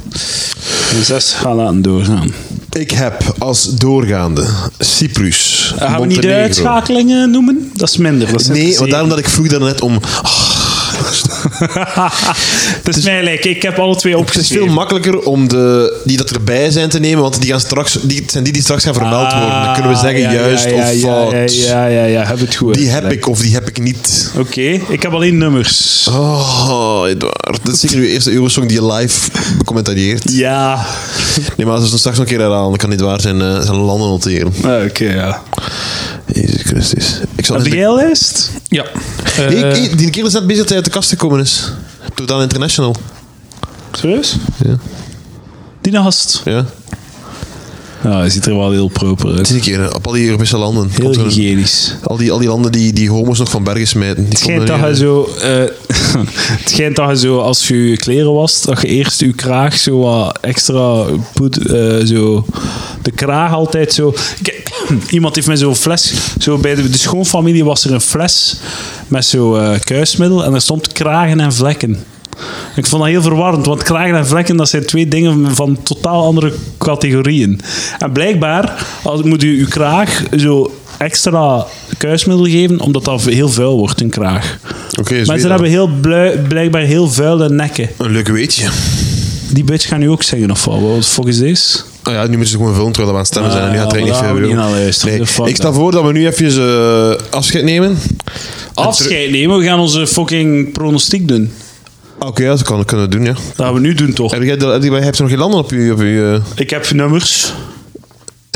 En zes ga laten doorgaan.
Ik heb als doorgaande Cyprus,
Eh, Gaan Ah, we niet de
Montenegro.
uitschakelingen noemen? Dat is minder. Dat is
Nee, want
interesseer-
daarom dat ik vroeg daarnet om... Ah,
het is mij gelijk. Ik heb alle twee
Het is veel
opgeschreven.
makkelijker om de, die dat erbij zijn te nemen, want die, gaan straks, die het zijn die die straks gaan vermeld worden. Dan kunnen we zeggen
Ah, ja,
juist
ja, ja,
of fout.
Ja, ja, ja, ja, ja, heb het goed.
Die heb ik of die heb ik niet.
Oké, ik heb alleen nummers.
Oh, Edouard. Dat is zeker uw eerste Eurosong die je live commentarieert.
Ja.
Nee, maar als we het straks nog een keer herhalen, dan kan niet waar zijn, eh, zijn landen noteren.
Ah, Oké, ja.
Jezus Christus. Ik zal
Heb
eens-
jij een lijst?
Ja. Eh,
Hey, hey, die kerel is net bezig dat hij uit de kast gekomen is. Totaal International.
Serieus?
Ja.
Die gast.
Ja.
Nou, hij ziet er wel heel proper uit.
Zie een keer, eh, op al die Europese landen.
Heel
Komt er-
hygiënisch.
al, die, al die landen die, die homo's nog van bergen smijten. Die
Het schijnt,
komen dan
dat je
hier,
zo, eh, het schijnt dat je zo, als je je kleren wast, dat je eerst je kraag zo wat extra poed, eh, zo, de kraag altijd zo. Ik- iemand heeft mij zo'n fles, zo bij de, de schoonfamilie was er een fles met zo eh, kuismiddel en daar stond kragen en vlekken. Ik vond dat heel verwarrend, want kragen en vlekken dat zijn twee dingen van totaal andere categorieën. En blijkbaar als, moet u uw kraag zo extra kuismiddel geven, omdat dat heel vuil wordt, een kraag.
eh. Oké, Zweden.
Mensen hebben heel blui- blijkbaar heel vuile nekken.
Een leuk weetje.
Die bitch gaan nu ook zeggen of wat? Wat fuck is deze?
Oh ja, nu moeten ze gewoon vullen terwijl we aan het stemmen zijn. En nu
Ah,
gaat er
maar
eigenlijk
daar
niet veel
gaan we
meer
niet
over.
naar luisteren.
Nee,
De fuck
Ik stel
dan.
voor dat we nu even eh, afscheid nemen.
Afscheid nemen, we gaan onze fucking pronostiek doen.
Oké, ja, dat kan- kunnen we doen, ja.
Dat gaan we nu doen toch?
Heb jij, heb jij, heb je nog geen landen op je... Op je eh,
Ik heb nummers.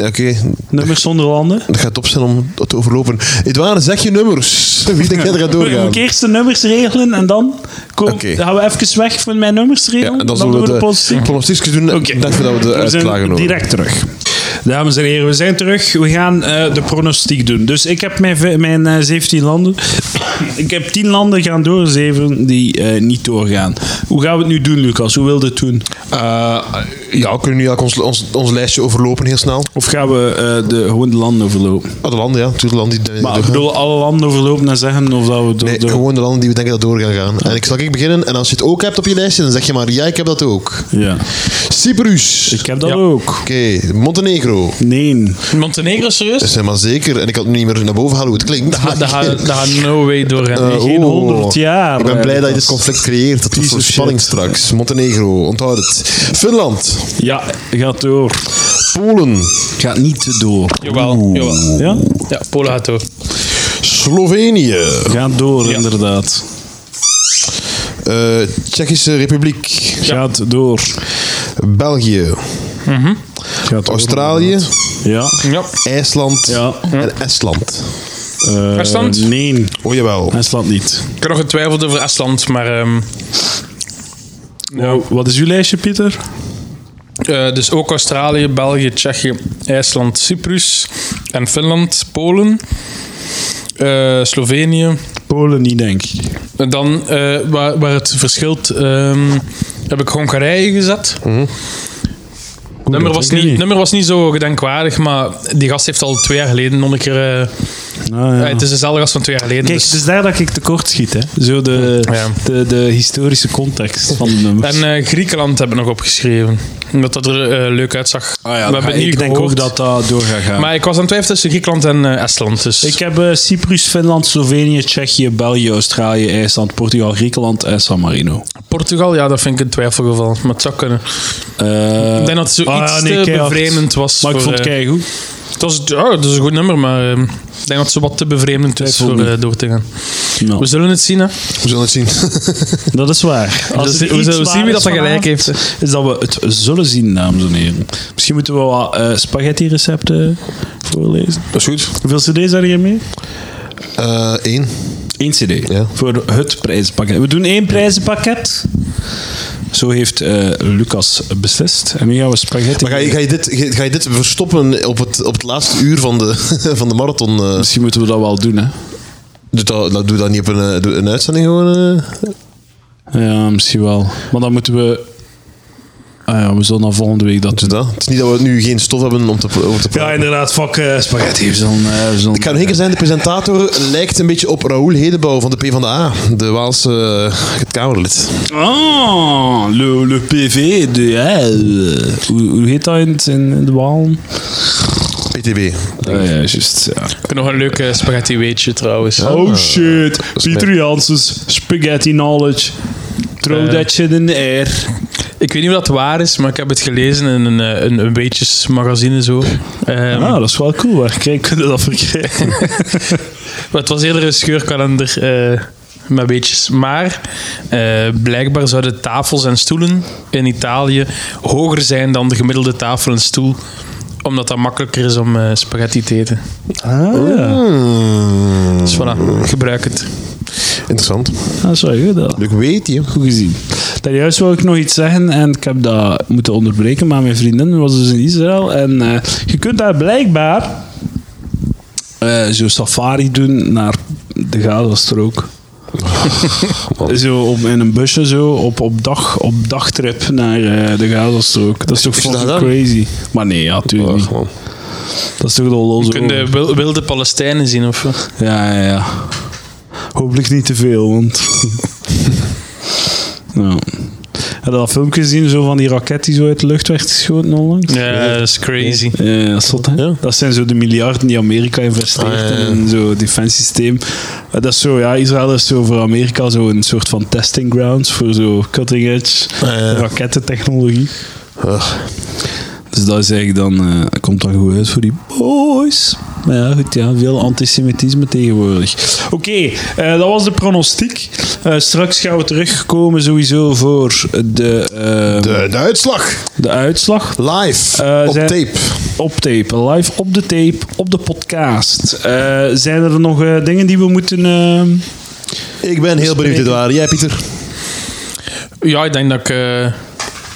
Oké,
Nummers zonder landen.
dat gaat op zijn om te overlopen. Edouard, zeg je nummers. Wie denk jij er gaat doorgaan?
Moet ik eerst de nummers regelen en dan kom,
Oké.
gaan we even weg van mijn nummers regelen.
Ja, en
dan
dan zullen we
doen we de
de
politiek.
pronostiekjes doen.
Oké.
Ik dacht dat we de
We zijn
uitslagen horen.
direct terug. Dames en heren, we zijn terug. We gaan eh, de pronostiek doen. Dus ik heb mijn, v- mijn eh, 17 landen. ik heb 10 landen gaan doorzeven die eh, niet doorgaan. Hoe gaan we het nu doen, Lucas? Hoe wil je het doen?
Eh, ja, we kunnen nu eigenlijk ons, ons, ons lijstje overlopen heel snel.
Of gaan we eh, de, gewoon de landen overlopen?
Ah, de landen, ja. Natuurlijk de landen die...
Maar ik
die-
bedoel, alle landen overlopen en zeggen of dat we door...
Nee,
door-
gewoon de landen die we denken dat door gaan gaan. En ik zal ik beginnen. En als je het ook hebt op je lijstje, dan zeg je maar, ja, ik heb dat ook.
Ja.
Cyprus.
Ik heb dat ook.
Oké, Montenegro.
Nee.
Montenegro, serieus?
Dat zijn maar zeker. En ik had het niet meer naar boven halen hoe het klinkt.
Ah, Daar gaat daar gaat no way door. hè.
Eh,
geen
oh.
100 jaar,
Ik ben
eh,
blij dat je
Lucas.
dit conflict creëert. Dat is voor
shit.
spanning straks. Montenegro, onthoud het. Finland,
Ja, gaat door.
Polen,
Gaat niet door.
Jawel, jawel.
Ja?
Ja, Polen gaat door.
Slovenië,
Gaat door, inderdaad.
eh, Tsjechische Republiek,
Gaat door.
België,
Gaat door,
Australië,
Ja.
Ja.
IJsland
Ja.
en Estland.
Eh,
Estland?
Nee,
Oh jawel.
Estland niet.
Ik heb nog getwijfeld over Estland, maar... ehm,
Wow, Nou, Wat is uw lijstje, Pieter?
eh, dus ook Australië, België, Tsjechië, IJsland, Cyprus en Finland, Polen, eh, Slovenië.
Polen niet, denk ik.
En dan, eh, waar, waar het verschilt, ehm, heb ik Hongarije gezet.
Mhm.
Nummer was, niet, nummer was niet zo gedenkwaardig, maar die gast heeft al twee jaar geleden nog een keer... eh, eh, het is dezelfde gast van twee jaar geleden.
Ah, Kijk,
dus-
het is daar dat ik tekort schiet, hè. Zo de,
Ja.
de, de historische context van de nummers.
En eh, Griekenland heb ik nog opgeschreven. Omdat dat er eh, leuk uitzag.
Ah,
We hebben het niet
ik denk
gehoord.
ook dat dat door gaat gaan.
Maar ik was aan het twijfelen tussen Griekenland en eh, Estland. Dus
Ik heb eh, Cyprus, Finland, Slovenië, Tsjechië, België, Australië, IJsland, Portugal, Griekenland en San Marino.
Portugal, ja, dat vind ik een twijfelgeval. Maar het zou kunnen.
Eh,
ik denk dat het
ah,
zoiets
nee,
te
keihard.
bevreemdend was.
Maar ik
voor,
vond het
eh,
keigoed.
het was, ja, het is een goed nummer, maar eh, ik denk dat het zo wat te bevreemdend is
Twijfel
voor
niet.
eh, door te gaan.
Nou,
We zullen het zien, hè.
We zullen het zien.
dat is waar. Als
Dus
er
we
iets
zullen
waar
zien wie
is
dat er gelijk
vanavond,
heeft.
Is dat we het zullen zien, dames en heren. Misschien moeten we wat eh, spaghetti-recepten voorlezen.
Dat is goed.
Hoeveel cd's had je mee?
Eh één.
Eén cd.
Ja.
Voor het prijzenpakket. We doen één prijzenpakket. Zo heeft eh, Lucas beslist. En nu gaan we spaghetti...
Maar ga je, ga, je dit, ga- ga je dit verstoppen op het, op het laatste uur van de, van de marathon? eh?
Misschien moeten we dat wel doen, hè.
Doe dat, dat- doe dat niet op een, eh, doe een uitzending gewoon? eh?
Ja, misschien wel. Maar dan moeten we. Ah ja, we zullen dan volgende week dat
Doe dat. Het is niet dat we nu geen stof hebben om te, over te praten.
Ja, inderdaad. Fuck eh, spaghetti. We zullen, eh, we zullen-
Ik ga nog één keer zeggen, de presentator lijkt een beetje op Raoul Hedebouw van de PvdA. De Waalse eh, het Kamerlid.
Ah, le, le PV. De, eh, hoe, hoe heet dat in, het- in de Waal?
PTB.
Ah, ja, juist.
Ik heb nog een leuke spaghetti weetje trouwens.
Oh shit. Pieter Janssens. Spaghetti knowledge. Throw that shit in the air.
Ik weet niet of dat waar is, maar ik heb het gelezen in een, eh, een, een weetjesmagazine zo. Ehm,
Ah, dat is wel cool. Waar kijk, kunnen we dat verkrijgen?
Maar het was eerder een scheurkalender eh, met weetjes. Maar eh, blijkbaar zouden tafels en stoelen in Italië hoger zijn dan de gemiddelde tafel en stoel. Omdat dat makkelijker is om eh, spaghetti te eten.
Ah, ja.
Hmm,
Dus voilà, gebruik het.
interessant.
Dat Ah, is wel goed. Dat.
Ik weet je.
Goed gezien. Daarjuist wil ik nog iets zeggen en ik heb dat moeten onderbreken, maar mijn vriendin was dus in Israël en eh, je kunt daar blijkbaar eh, zo'n safari doen naar de Gazastrook. zo om in een busje zo op, op, dag, op dagtrip naar eh, de Gazastrook. Dat is toch
Is dat
fucking
dan? Oh,
crazy. Maar nee, ja, natuurlijk niet.
gewoon.
Dat is toch de loze
Kun je wil- wilde Palestijnen zien of wat?
ja, ja, ja. Hopelijk niet te veel, want. nou. Heb je dat filmpje gezien zo van die raket die zo uit de lucht werd geschoten onlangs?
Ja, dat is crazy.
Ja, dat is zot, hè? Dat zijn zo de miljarden die Amerika investeert
Ah, ja, ja.
in zo'n defensiesysteem. Eh, Dat is zo, ja, Israël is zo voor Amerika zo een soort van testing grounds voor zo cutting edge
Ah, ja.
rakettentechnologie.
Ugh.
Dus dat is eigenlijk dan, eh, komt dan goed uit voor die boys. Maar ja, goed, ja, veel antisemitisme tegenwoordig. Oké, eh, dat was de pronostiek. Eh, straks gaan we terugkomen sowieso voor de, eh,
De, de uitslag.
de uitslag.
Live.
Eh,
op
zijn-
tape.
op tape, live op de tape, op de podcast. Eh, zijn er nog eh, dingen die we moeten... eh,
Ik ben heel benieuwd, Edouard. Jij, Pieter?
Ja, ik denk dat ik. eh,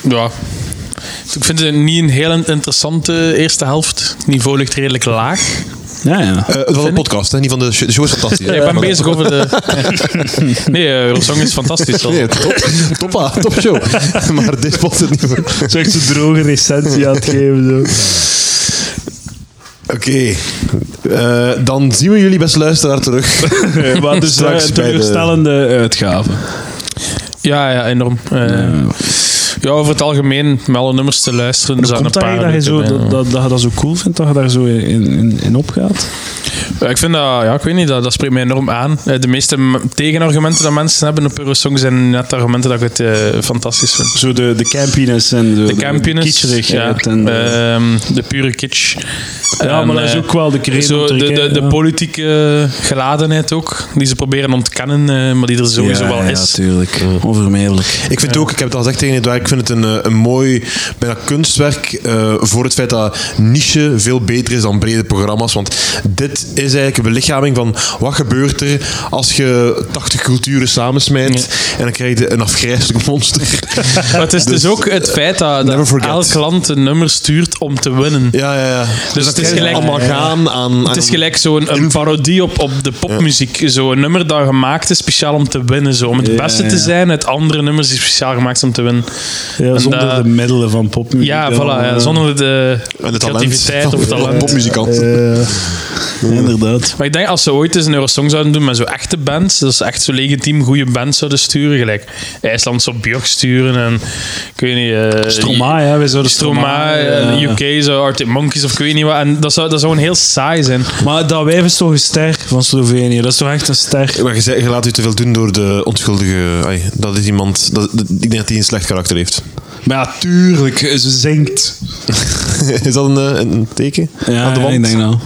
ja. Ik vind het niet een heel interessante eerste helft. Het niveau ligt redelijk laag.
ja, ja.
Eh, van de podcast, hè? niet van de show. De show is fantastisch. hè?
ik ben
Maar-
bezig over de. nee, eh, Eurosong is fantastisch. al.
Nee, top, toppa, top show. maar dit was het niet voor. Oké,
Zo echt zo'n droge recensie aan het geven. Zo.
Eh, dan zien we jullie beste luisteraar terug.
Eh, maar dus eh,
Straks
een
bij de-
teleurstellende eh, uitgave.
Ja, ja, enorm. Eh, ja, over het algemeen, met alle nummers te luisteren. Er zijn
Komt
een
dat
paar.
eigenlijk dat je, zo,
leuke dingen.
dat, dat, dat je dat zo cool vindt, dat je daar zo in, in, in opgaat?
Ja, ik vind dat, ja, ik weet niet, dat, dat spreekt mij enorm aan. Eh, De meeste m- tegenargumenten dat mensen hebben op Eurosong zijn net argumenten dat ik het eh, fantastisch vind.
Zo de, de campiness en zo, de,
De campiness, ja,
kitscherigheid eh, en de-
ehm, de pure kitsch.
Ja, maar dat is
eh,
ook wel de credo
zo de,
natuurlijk,
de,
hè,
de
ja.
politieke geladenheid ook, die ze proberen ontkennen, eh, maar die er sowieso wel is. Mm.
natuurlijk. Onvermijdelijk.
Ik vind het ook, ik heb het al gezegd tegen Edouard, ik vind het een, eh, een mooi, bijna kunstwerk eh, voor het feit dat niche veel beter is dan brede programma's. Want dit is eigenlijk een belichaming van wat gebeurt er als je 80 culturen samensmijt en dan krijg je een afgrijzelijk monster.
Maar het is dus, ook het feit dat,
never
dat
forget.
elk land een nummer stuurt om te winnen.
ja, ja, ja.
Dus
dat
het
krijg
is
je
gelijk-
allemaal
ja.
gaan aan...
Het is
aan-
gelijk zo'n een parodie op, op de popmuziek. Zo'n nummer dat gemaakt is speciaal om te winnen. Zo. Om het beste te
ja.
zijn uit andere nummers die speciaal gemaakt zijn om te winnen.
Ja,
En
zonder
dat-
de middelen van popmuziek.
Ja, voilà. ja, zonder de
En het
creativiteit
talent
of
van
talent.
popmuzikant.
Ja, inderdaad.
Maar ik denk als ze ooit eens een Eurosong zouden doen met zo'n echte bands, dat ze echt zo legitiem goede bands zouden sturen, gelijk IJsland zou Björk sturen en ik weet niet. eh,
Stromae, hè, wij zouden
Stromae,
Stromae,
eh,
ja.
UK zou Arctic Monkeys of ik weet niet wat. En dat zou, dat zou een heel saai zijn.
Maar dat wijf is toch een ster van Slovenië. Dat is toch echt een ster.
Maar je, zei- je laat u te veel doen door de onschuldige... ai, dat is iemand... Dat, dat- ik denk dat hij een slecht karakter heeft.
Maar ja, tuurlijk. Ze zingt.
is dat een, eh, een teken?
Ja,
aan de
ja,
wand?
ik denk dat.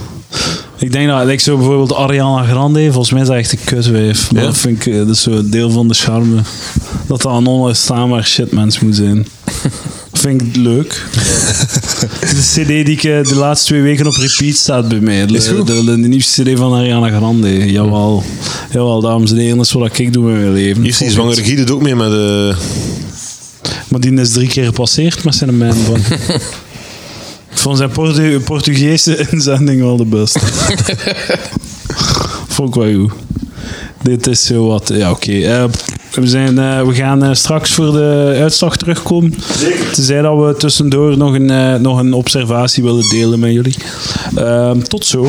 Ik denk dat, like zo bijvoorbeeld Ariana Grande, volgens mij is dat echt een kutwijf. Maar
Ja?
dat vind ik eh, dat is zo een deel van de charme. Dat dat een onuitstaanbaar shitmens moet zijn. vind ik leuk. de cd die ik eh, de laatste twee weken op repeat staat bij mij. De, de, de nieuwste cd van Ariana Grande. Jawel. Jawel, dames en heren, dat is wat ik doe met mijn leven.
Heeft die zwangere Guy doet ook mee met eh, de...
Maar die is drie keer gepasseerd met zijn man. van. Ik vond zijn Portu Portugese inzending wel de beste. vond ik wel goed. Dit is zo wat. Ja, oké. Eh, we, zijn, eh, we gaan eh, straks voor de uitslag terugkomen. Tenzij dat we tussendoor nog een, eh, nog een observatie willen delen met jullie. Ehm, tot zo.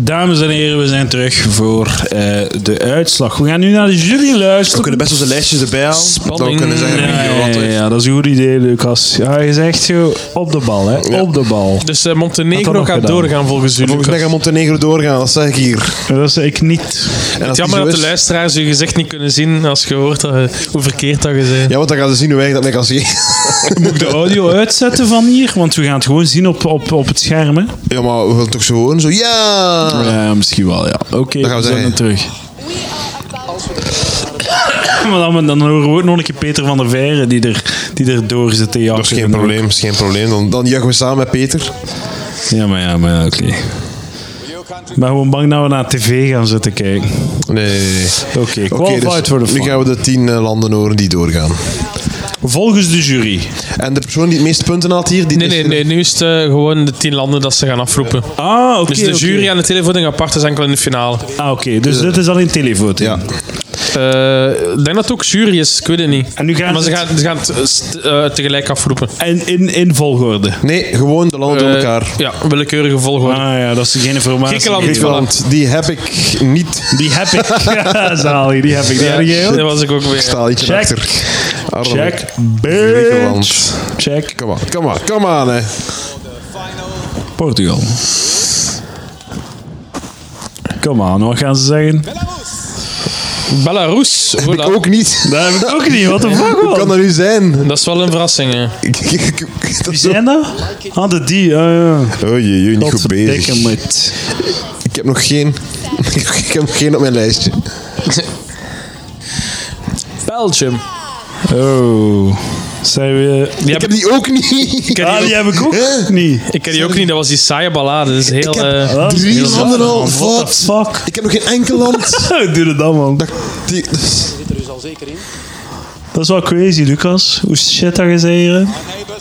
Dames en heren, we zijn terug voor eh, de uitslag. We gaan nu naar de jury luisteren.
We kunnen best onze lijstjes erbij halen. Dan kunnen ze zeggen, eh,
Ja,
wie wat
ja,
heeft.
ja, dat is een goed idee, Lucas. Ja, je zegt zo op de bal, hè? Op de bal.
Dus eh,
Had dat
Montenegro
nog
gaat
gedaan?
doorgaan volgens jullie.
Volgens mij gaat Montenegro doorgaan, dat zeg ik hier.
Dat is ik niet.
En als
Het is jammer
die zo
dat de
is-
luisteraars je gezicht niet kunnen zien als je hoort dat, je- hoe verkeerd dat je zei.
Ja, want dan gaan ze zien hoe weinig dat mij kan zien.
Moet ik de audio uitzetten van hier? Want we gaan het gewoon zien op, op, op het scherm, hè?
Ja, maar we willen toch zo horen? Zo, ja!
Ja, misschien wel, ja. Oké,
Dan gaan we
we zijn
zeggen.
dan terug. Maar dan, dan horen we ook nog een keer Peter van der Veire die er, die er door zit te jagen.
Dat is geen probleem, is geen probleem. Dan, dan juichen we samen met Peter.
Ja, maar ja, maar ja, oké. Ik ben gewoon bang dat we naar tv gaan zitten kijken.
Nee, nee, nee. dus
Oké, dus qualified for the
nu
fun.
gaan we de tien eh, landen horen die doorgaan.
Volgens de jury.
En de persoon die het meeste punten had hier... Die
Nee, nee, nee. Nu is het eh, gewoon de tien landen dat ze gaan afroepen.
Ah, oké.
Dus de jury
oké.
en de televoting apart is enkel in de finale.
Ah, oké. Dus dit is al in televoting.
Ja.
Eh, ik denk dat het ook jury is, ik weet het niet.
En nu gaan
maar ze
ze
gaan, ze gaan het eh, st- eh, tegelijk afroepen.
En in, in volgorde.
Nee, gewoon de landen door
Eh,
elkaar.
ja, willekeurige volgorde.
Ah ja, dat is geen informatie.
Griekenland.
Griekenland, die heb ik niet.
Die heb ik. Ja, Zali, die heb ik. Die
Ja,
heb jij ook?
dat was ik ook weer.
Ik sta ietsje
Check.
achter.
Check. Bitch.
Griekenland.
Check.
Kom aan, kom aan, kom aan, hè.
Portugal. Kom aan, wat gaan ze zeggen?
Belarus.
Heb
Voilà.
ik ook niet.
Dat heb ik ook niet, wat de fuck
Hoe kan dat nu zijn?
Dat is wel een verrassing. Hè.
Ik- ik- ik- ik- dat
Wie
is zo-
zijn dat? Ah, de die, ah ja.
Oh jee, jee, niet goed bezig.
Godverdikke moet.
Ik heb nog geen. Ik heb nog geen op mijn lijstje.
Belgium.
Oh. Zijn we...
Ik heb die ook niet.
Ah, die heb ik ook niet.
Ik ken die ook niet, dat was die saaie ballade. Dat is heel...
Ik
eh,
heb drie
heel
landen
raar,
al.
man. What the
Wat?
fuck?
Ik heb nog geen enkel land.
Doe het dan, man.
Dat, die,
Zit er dus al zeker in.
Dat is wel crazy, Lucas. Hoe shit dat je zei hier.
Our neighbor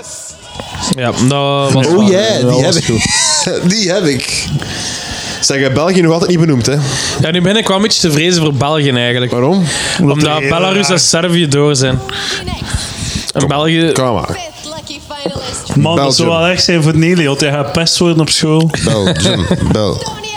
Cyprus.
ja, dat was...
oh yeah, die heb ik. die heb ik. Zeg, eh, België nog altijd niet benoemd, hè?
Ja, nu ben ik wel een beetje te vrezen voor België eigenlijk.
Waarom?
Omdat Belarus en Servië door zijn.
Next.
En België...
Kom maar.
Fifth lucky finalist,
Man, dat zou
Belgium.
wel echt zijn voor Nelly, want hij gaat pest worden op school.
Belgium, Bel.
Estonia.
Ja,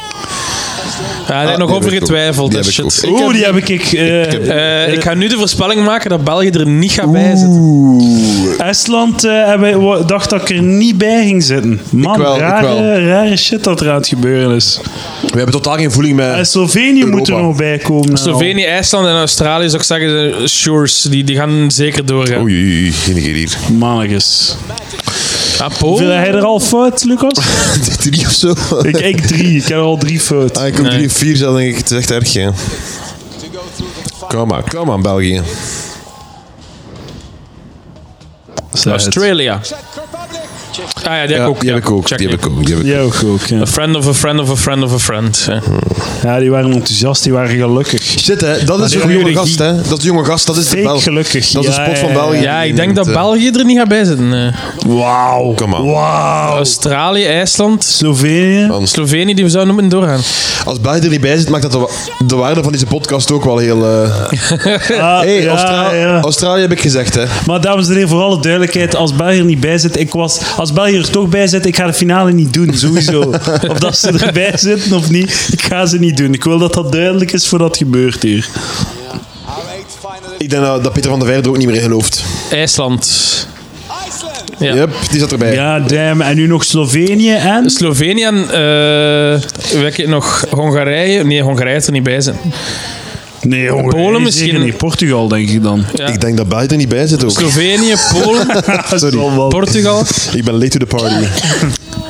Ah,
daar heb ik
die
nog
heb
over
ik ook.
getwijfeld.
Die
hè,
heb ik
shit.
Oeh, die heb ik... ik eh,
Eh, ik ga nu de voorspelling maken dat België er niet gaat bij zitten.
Estland eh, hebben- wa- dacht dat ik er niet bij ging zitten. Man,
wel, ik wel.
rare, rare shit dat er aan het gebeuren is.
We hebben totaal geen voeling
En
met...
Slovenië moet er
Europa.
nog bij komen. nou.
Slovenië, IJsland en Australië zou ik zeggen, eh, Shores, die, die gaan zeker doorgaan.
Oei, oei, oei, geen idee hier.
Mannetjes.
Ah, Polen?
Viel hij er al fout, Lucas?
Drie of zo.
Ah,
ik, ik drie. Ik heb er al drie fout.
Ah, ik ook drie of vier, zelf denk ik. Het is echt erg, hè. Kom maar, kom maar, België.
Australia. Ah ja, die heb ik ook.
die heb ik ook.
Check
Die heb
niet.
ik ook. Die heb ik
Jij ook, ook ja.
A friend of a friend of a friend of a friend. hè.
ja. Die waren enthousiast, die waren gelukkig.
Shit, hè? Dat is
die
de jonge
Rudy
gast, hè? Dat is de jonge gast, dat is de
Fake
Belg.
gelukkig,
Dat is
ja,
de spot van
ja, ja.
België.
Ja, ik denk dat
Eh,
België er niet gaat bij zitten. eh.
Oh. Wauw.
Kom maar.
Wauw.
Australië, IJsland,
Slovenië.
Slovenië, die we zouden moeten doorgaan.
Als België er niet bij zit, maakt dat de, wa- de waarde van deze podcast ook wel heel... eh,
Ah,
Hey,
ja,
Austra-
ja.
Australië heb ik gezegd, hè.
Maar dames en heren, voor alle duidelijkheid, als België er niet bij zit, ik was, als België er toch bij zit, ik ga de finale niet doen, sowieso. of dat ze erbij zitten of niet, ik ga ze niet doen. Ik wil dat dat duidelijk is voordat het gebeurt hier.
Our eighth finalist.
Ik denk dat, dat Peter van der Weijden er ook niet meer in gelooft.
IJsland.
Iceland.
Ja.
Yep, die zat erbij.
Ja, damn. En nu nog Slovenië en...
Slovenië en eh, welke nog Hongarije. Nee, Hongarije is er niet bij zijn.
Nee, hoor,
Polen
nee,
misschien.
zeker niet. Portugal, denk ik dan.
Ja.
Ik denk dat België er niet bij zit ook.
Slovenië, Polen,
Sorry.
Portugal.
Ik ben late to the party.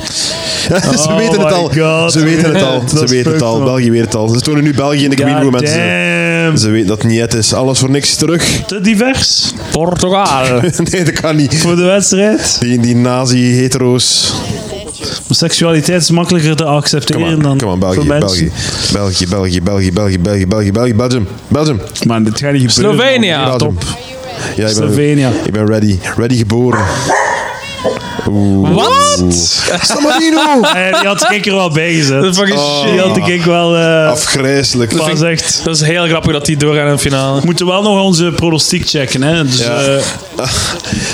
ze
Oh
weten het
my
al.
God.
Ze weten het al.
Dat
Ze weten het
speukt,
al.
man.
België weet het al. Ze tonen nu België in de green room.
God
en ze-
damn.
Ze weten dat het niet het is. Alles voor niks terug.
Te divers
Portugal.
nee, dat kan niet.
voor de wedstrijd.
Die, die nazi-hetero's.
Seksualiteit is makkelijker te
Kom
accepteren
maar,
dan
kom maar, België,
voor mensen.
België. België, België, België, België, België, België, België, Belgium. Belgium.
Maar dit gaat niet gebeuren.
Slovenië. Ja,
Belgium. Ja, ik ben,
Slovenië.
ik ben ready. Ready geboren.
Wat?
San Marino!
Eh, die had ik er wel bij gezet.
Dat is fucking shit.
Die had ik wel... eh,
Afgrijzelijk.
Dat is echt...
Dat is heel grappig dat die doorgaan in de finale.
We moeten wel nog onze pronostiek checken, hè. Dus,
Ja.
eh,
Ah.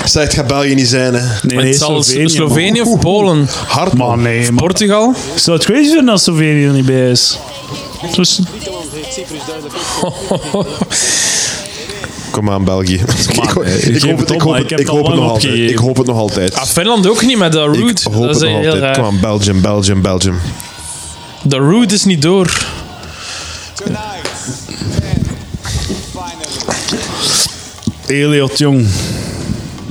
Zeg, het gaat België niet zijn, hè.
nee, nee,
het zal
Slovenië.
Slovenië, of Polen.
Hard, man.
Man, nee, man.
Portugal.
Ik zou het crazy vinden als Slovenië er niet bij is. Dus,
Kom aan, België. ik, ho-
eh,
ik
geef
hoop
het
het, ik
op,
hoop
maar
het,
ik heb
ik
het
hoop
al
het nog
lang
altijd.
opgegeven.
Ik hoop het nog altijd.
Ah, Finland ook niet met de
Ik
Root.
hoop
Dat
het
is
nog
heel
altijd. Kom
raar.
aan, Belgium, Belgium, Belgium.
De Root is niet door.
Tonight's tenth finalist.
Elliot, jong.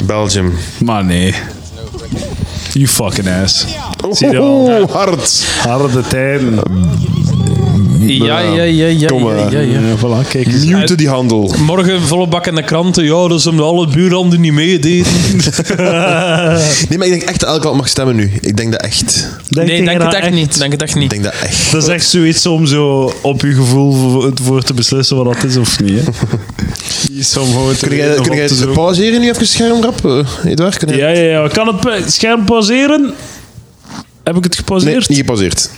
Belgium.
Maar nee. You fucking ass. Zie je al.
Oh, hard.
Harde tijden.
Ja, ja, ja, ja.
Kom
ja,
maar.
ja, ja.
Ja, voilà, kijk eens.
Mute die handel.
Morgen volle bak in de kranten. Ja, dat is omdat alle buurlanden niet meededen.
Nee, maar ik denk echt dat elk land mag stemmen nu. Ik denk dat echt.
Denk
Nee,
jij
denk het
dat
echt niet. Denk het echt
Ik
niet.
denk dat echt.
Dat is echt zoiets om zo op je gevoel voor, voor te beslissen wat dat is of niet. Hè. Die is om gewoon te
Kun jij,
weten of
kun jij
dat is
het
ook-
pauzeren nu even schermrap? eh, Edouard, kun jij-
Ja, ja, ja. Ik Kan het pa- scherm pauzeren? Heb ik het
Nee,
gepauzeerd?
niet gepauzeerd.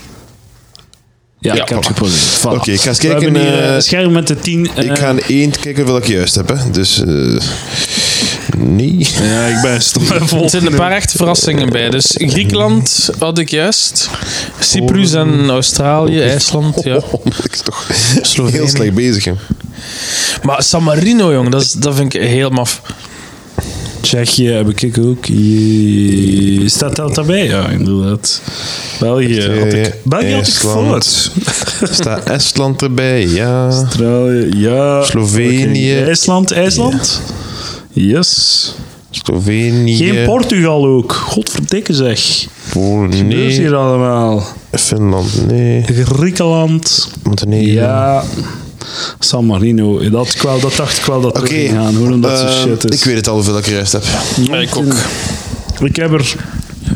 ja, ik heb het gepauzeerd. Voilà.
Oké, ik ga eens
We
kijken,
hebben hier
eh,
een scherm met de eh, 10.
Ik ga een één kijken hoeveel ik juist heb. Hè. Dus. eh, nee.
Ja, ik ben stom.
Er zitten een paar echt verrassingen bij. Dus Griekenland had ik juist. Cyprus
Oh.
en Australië, IJsland. Ja.
ik is toch heel slecht bezig. Hè. oh.
Maar San Marino, jong, dat, is, dat vind ik heel maf.
Tsjechië heb ik ook. Jee. Staat dat daarbij? Ja, inderdaad. België had ik,
Tsjechië,
België had ik
IJsland.
voort.
Staat Estland erbij? Ja.
Australië, ja.
Slovenië.
Oké, IJsland, IJsland. Yes.
Slovenië.
Geen Portugal ook. Godverdikke zeg.
Polen,
Dus
nee.
hier allemaal.
Finland, nee.
Griekenland.
Montenegro.
Ja. San Marino. Dat, ik wel, dat dacht ik wel dat we
Oké.
ging gaan, hoor, omdat het
Ehm,
zo shit is.
Ik weet het al hoeveel dat ik gereisd heb.
ik ook.
Ik heb er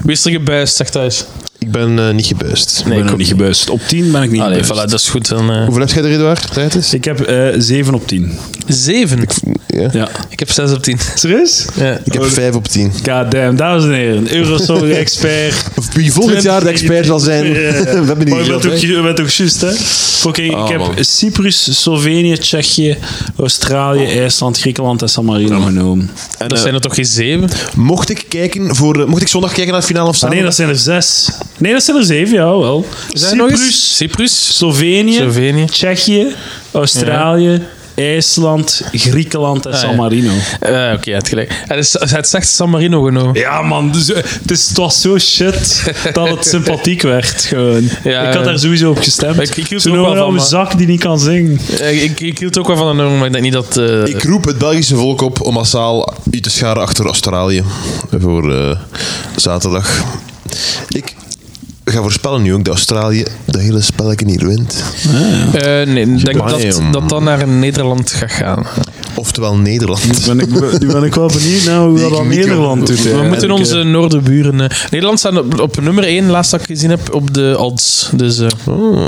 Wees er gebuist, zegt thuis.
Ik ben eh, niet gebuist.
Nee,
ik ben nog niet gebuist. Op 10 ben ik niet
Allee, voilà,
gebuist.
dat is goed. Dan, eh,
Hoeveel heb jij er, Eduard? Tijd is?
Ik heb eh 7 op 10.
Zeven. Ik,
Ja.
Ja.
heb zes op tien.
Serieus?
Ja.
Ik heb 5 op 10.
God damn, dames en heren. Eurosong-expert.
Wie volgend jaar de expert zal zijn,
Ja.
we hebben niet Ah,
Maar je bent ook,
gezegd.
je bent ook juist, hè? Oké, ik heb
man.
Cyprus, Slovenië, Tsjechië, Australië,
Ah.
IJsland, Griekenland en San Marino genomen.
En,
Dat
eh,
zijn er toch geen zeven?
Mocht ik, kijken voor, eh, mocht ik zondag kijken naar het finale of
Ah, nee, dat
zaterdag?
zijn er zes. Nee, dat zijn er zeven, ja, wel.
Zijn er nog eens?
Cyprus,
Cyprus.
Slovenië,
Slovenië.
Tsjechië, Australië, IJsland, Griekenland en
Ah,
San
ja.
Marino.
Eh, Oké, hij had gelijk. Hij is- hij had slechts San Marino genomen.
Ja, man, dus, eh, het, is, het was zo shit dat het sympathiek werd. Gewoon.
Ja,
ik had daar sowieso op gestemd.
ik- ik hield er
Zo'n
ook wel
oude
van, maar-
zak die niet kan zingen.
Eh, Ik, ik hield ook wel van een nummer, maar ik denk niet dat... eh,
Ik roep het Belgische volk op om massaal u te scharen achter Australië voor eh, zaterdag. Ik ga voorspellen nu ook dat Australië de hele spelletje niet wint.
eh, nee, ik denk dat
Bayern.
dat dan naar Nederland gaat gaan.
Oftewel Nederland.
Ben ik, be- nu ben ik wel benieuwd naar hoe
Die
dat
ik
aan
niet kan
Nederland doet.
voelen.
hè.
We moeten
ik,
onze noordenburen... eh, Nederland staat op, op nummer 1, laatst dat ik gezien heb, op de odds. Dus, eh,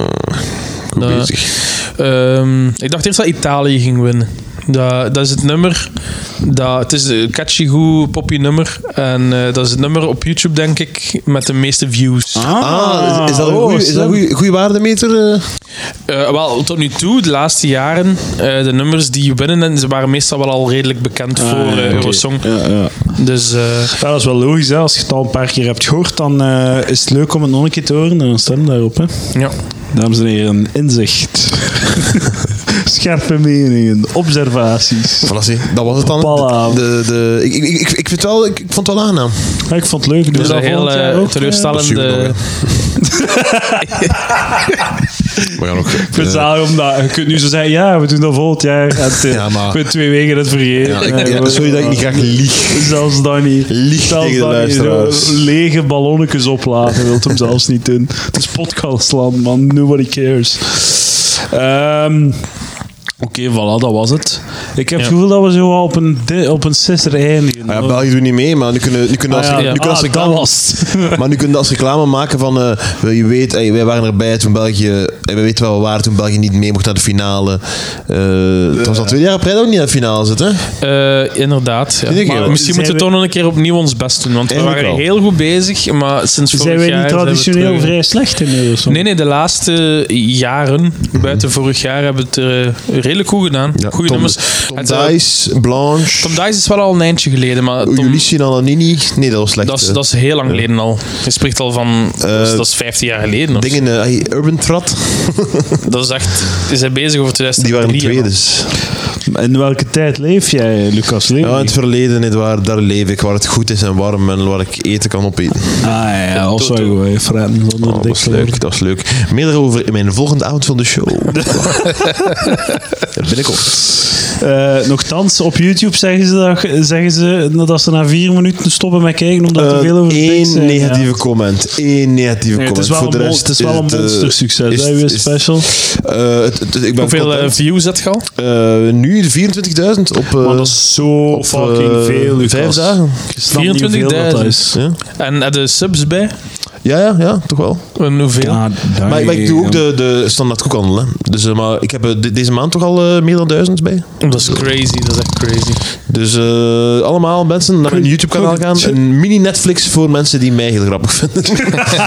Goed
eh,
dat-
Oh, bezig.
ehm, ik dacht eerst dat Italië ging winnen. Dat, dat is het nummer... Dat, het is een catchy, goed, poppy nummer. En eh, dat is het nummer op YouTube, denk ik, met de meeste views.
Ah, is- is dat een
oh,
goeie- is dat
slim.
een goede waardemeter? eh?
Eh, wel, tot nu toe, de laatste jaren, eh, de nummers die winnen, en ze waren meestal wel al redelijk bekend
Ah,
voor eh, Eurosong.
Ja, ja.
Dus eh,
Ja, dat is wel logisch. Hè. Als je het al een paar keer hebt gehoord, dan eh, is het leuk om het nog een keer te horen. En dan stem daarop. Hè.
ja.
Dames en heren, inzicht. Scherpe meningen, observaties.
Voilà, zie. dat was het dan.
Voilà.
De, de, ik, ik, ik, ik, vind het wel, ik, ik vond het wel aangenaam.
Ja, ik vond het leuk. Doe
Dus
dat
een heel
volgend
eh,
jaar ook,
Dat is nog,
teleurstellende...
We gaan eh, ook...
Ik vind het zalig omdat je kunt nu zo zeggen, ja, we doen dat volgend jaar. En het, eh,
Ja, maar-
Ik ben twee weken het vergeten.
ja,
Eh,
ja,
we-
sorry dat ik niet graag lieg.
Zelfs dan niet.
Lieg
zelfs
tegen de
dan niet. Zo
luisteraars.
Lege ballonnetjes oplaten wilt hem zelfs niet doen. Het is podcastland, man. Nobody cares. Ehm, Oké, voilà, dat was het. Ik heb het gevoel dat we zo wel op een, di- op een sisser eindigen.
Ah ja, België doet niet mee, maar nu kunnen, nu kunnen,
Ah
als,
ja,
nu kunnen
ah,
als
dat
reclame,
was het.
maar nu kunnen we als reclame maken van eh, je weet, hey, wij waren erbij toen België, hey, wij weten waar we waren toen België niet mee mocht naar de finale. Eh het was al twee jaar op rij dat we niet naar de finale zitten.
Eh, inderdaad. Ja.
Iedere
Maar
keer.
misschien moeten
Zijn
we
we-
toch nog een keer opnieuw ons best doen, want we
Eigenlijk
waren
wel.
heel goed bezig, maar sinds vorig
Zijn wij
jaar
niet
zijn we
traditioneel
terug-
vrij slecht in Eurosong?
Nee, nee, de laatste jaren, buiten vorig jaar, hebben we het eh, redelijk goed gedaan. Goede
Tom-
nummers.
Tom
Het, eh,
Dice, Blanche,
Tom Dice is wel al een eindje geleden, maar Tom,
Ulysses en Ananini. Nee, dat was slecht.
dat, is,
eh.
dat is heel lang geleden al. Je spreekt al van, dat, is, dat is 15 jaar geleden. Of zo.
Dingen, eh, hey, Urban Trot,
Dat is echt, is hij bezig over 2003.
die waren twee
man.
dus.
In welke tijd leef jij, Lucas? Leef
Ja, in
je?
het verleden, niet waar, daar leef ik, waar het goed is en warm en waar ik eten kan opeten.
Ah ja, als wij gewoon fretten zonder
Oh, dat
dik
was leuk, dat was leuk. Meer daarover in mijn volgende avond van de show. Binnenkort.
Eh nochtans, op YouTube zeggen ze, dat, zeggen ze dat ze na vier minuten stoppen met kijken omdat er veel over te dik
Eén
zijn.
Eh, negatieve
Ja.
comment. Één negatieve
Nee,
comment.
het is wel
Voor de
een, mon-
rest
het is wel een
eh,
monster succes.
is-
Hè, weer
is-
special.
eh, het- het- ik ben
Hoeveel eh,
content.
views had je al?
Eh, nu 24.000 op, eh,
Maar dat is zo
op,
fucking
eh,
veel. Lucas.
vijf dagen.
Ik snap niet hoeveel dat
24.000.
is.
Ja.
En had je subs bij?
ja, ja, ja, toch wel.
En hoeveel?
Maar, maar ik doe ook de, de standaard koekhandel. Hè. Dus, eh, maar ik heb eh, de- deze maand toch al eh, meer dan duizend bij.
Dat is crazy, dat is echt crazy.
Dus eh, allemaal mensen naar mijn YouTube-kanaal gaan. Een mini-Netflix voor mensen die mij heel grappig vinden.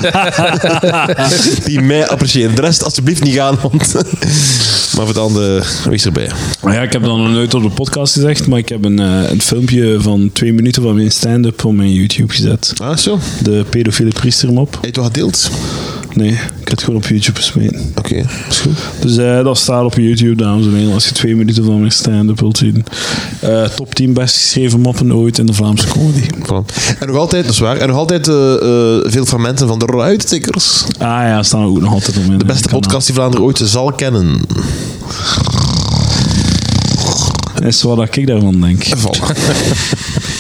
die mij appreciëren. De rest alsjeblieft niet gaan, want... maar voor de andere, wees erbij.
Maar ja, ik heb dan nog nooit op de podcast gezegd, maar ik heb een, eh, een filmpje van twee minuten van mijn stand-up op mijn YouTube gezet.
Ah, zo.
De pedofiele priestermop.
Eet wat gedeeld?
Nee, ik heb het gewoon op YouTube gesmeten.
Oké, is goed.
Dus eh, dat staat op YouTube, dames en heren. Als je twee minuten van mijn stand-up wilt zien. Eh, top 10 best geschreven moppen ooit in de Vlaamse comedy.
Voilà. En nog altijd, dat is waar, en nog altijd eh, eh, veel fragmenten van de Ruittikkers.
Ah ja, staan er ook nog altijd op in.
De beste podcast die Vlaanderen ooit zal kennen.
is wat dat ik daarvan denk.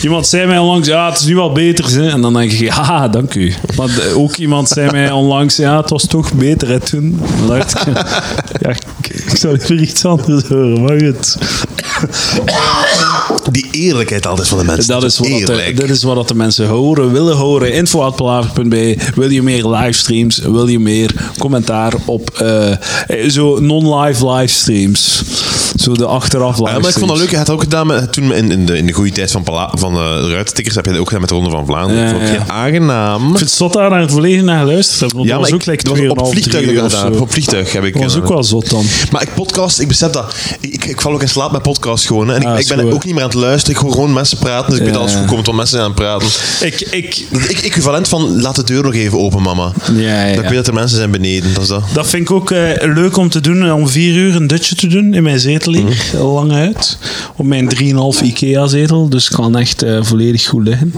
Iemand zei mij onlangs, ja, het is nu al beter. Hè? En dan denk ik, ja, dank u. Maar de- ook iemand zei mij onlangs, ja, het was toch beter hè, toen. Dan dacht ik, ja, ik, ik zou liever iets anders horen, maar goed.
Die eerlijkheid altijd van de mensen.
Dat is wat, dat de,
Eerlijk.
dat is wat dat de mensen horen, willen horen. Info.palaver.be. Wil je meer livestreams? Wil je meer commentaar op eh, eh, zo non-live livestreams? Zo de achteraf livestreams.
Ja, Eh, maar ik vond dat leuk. Je had ook gedaan met, toen in, in, de, in de goede tijd van, Pala- van eh, ruitentikkers. Heb je dat ook gedaan met de Ronde van Vlaanderen.
Ja,
dat vond ik
ja.
heel aangenaam.
Ik vind het zot dat we daar volledig naar geluisterd hebben. Want
Ja,
dat
maar
was
ik,
ook like
dat was op
2,5,
vliegtuig dat ik
3
dat
of
gedaan
zo.
heb. Op vliegtuig heb ik...
Dat was
eh,
ook wel zot dan.
Maar ik podcast, ik besef dat. Ik, ik val ook in slaap met podcast gewoon. hè. En ik,
Ah,
ik
is
ben
goed.
ook niet meer aan het luisteren. Ik hoor gewoon mensen praten. Dus ik
Ja,
weet alles
ja.
goed komt om mensen zijn aan het praten.
Ik, ik,
Dat ik equivalent van laat de deur nog even open, mama.
ja, ja.
Dat ik weet dat er mensen zijn beneden. Dat is dat.
Dat vind ik ook eh, leuk om te doen. Om vier uur een dutje te doen in mijn zetel hier. eh, Lang uit. Op mijn 3,5 IKEA-zetel. Dus ik kan echt eh, volledig goed liggen.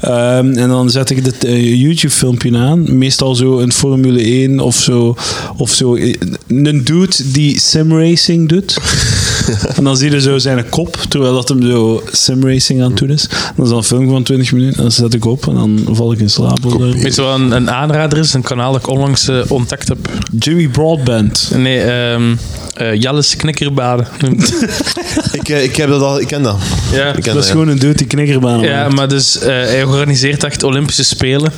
Ehm, en dan zet ik dit eh, YouTube-filmpje aan. Meestal zo een Formule 1 of zo. Of zo. eh, Een dude die simracing doet. en dan zie je zo zijn kop. Terwijl dat hem zo simracing aan het doen is. Dat is dan een film van 20 minuten. En dan zet ik op en dan val ik in slaap.
Weet je wat een, een aanrader is? Een kanaal dat ik onlangs eh, ontdekt heb.
Jimmy Broadband.
Nee, ehm eh Jalles Knikkerbaden.
ik, eh, ik, heb dat al, ik ken dat.
ja.
Ik ken
Dat is
ja.
gewoon een dude die knikkerbaan
ja, maar dus eh, hij organiseert echt Olympische Spelen.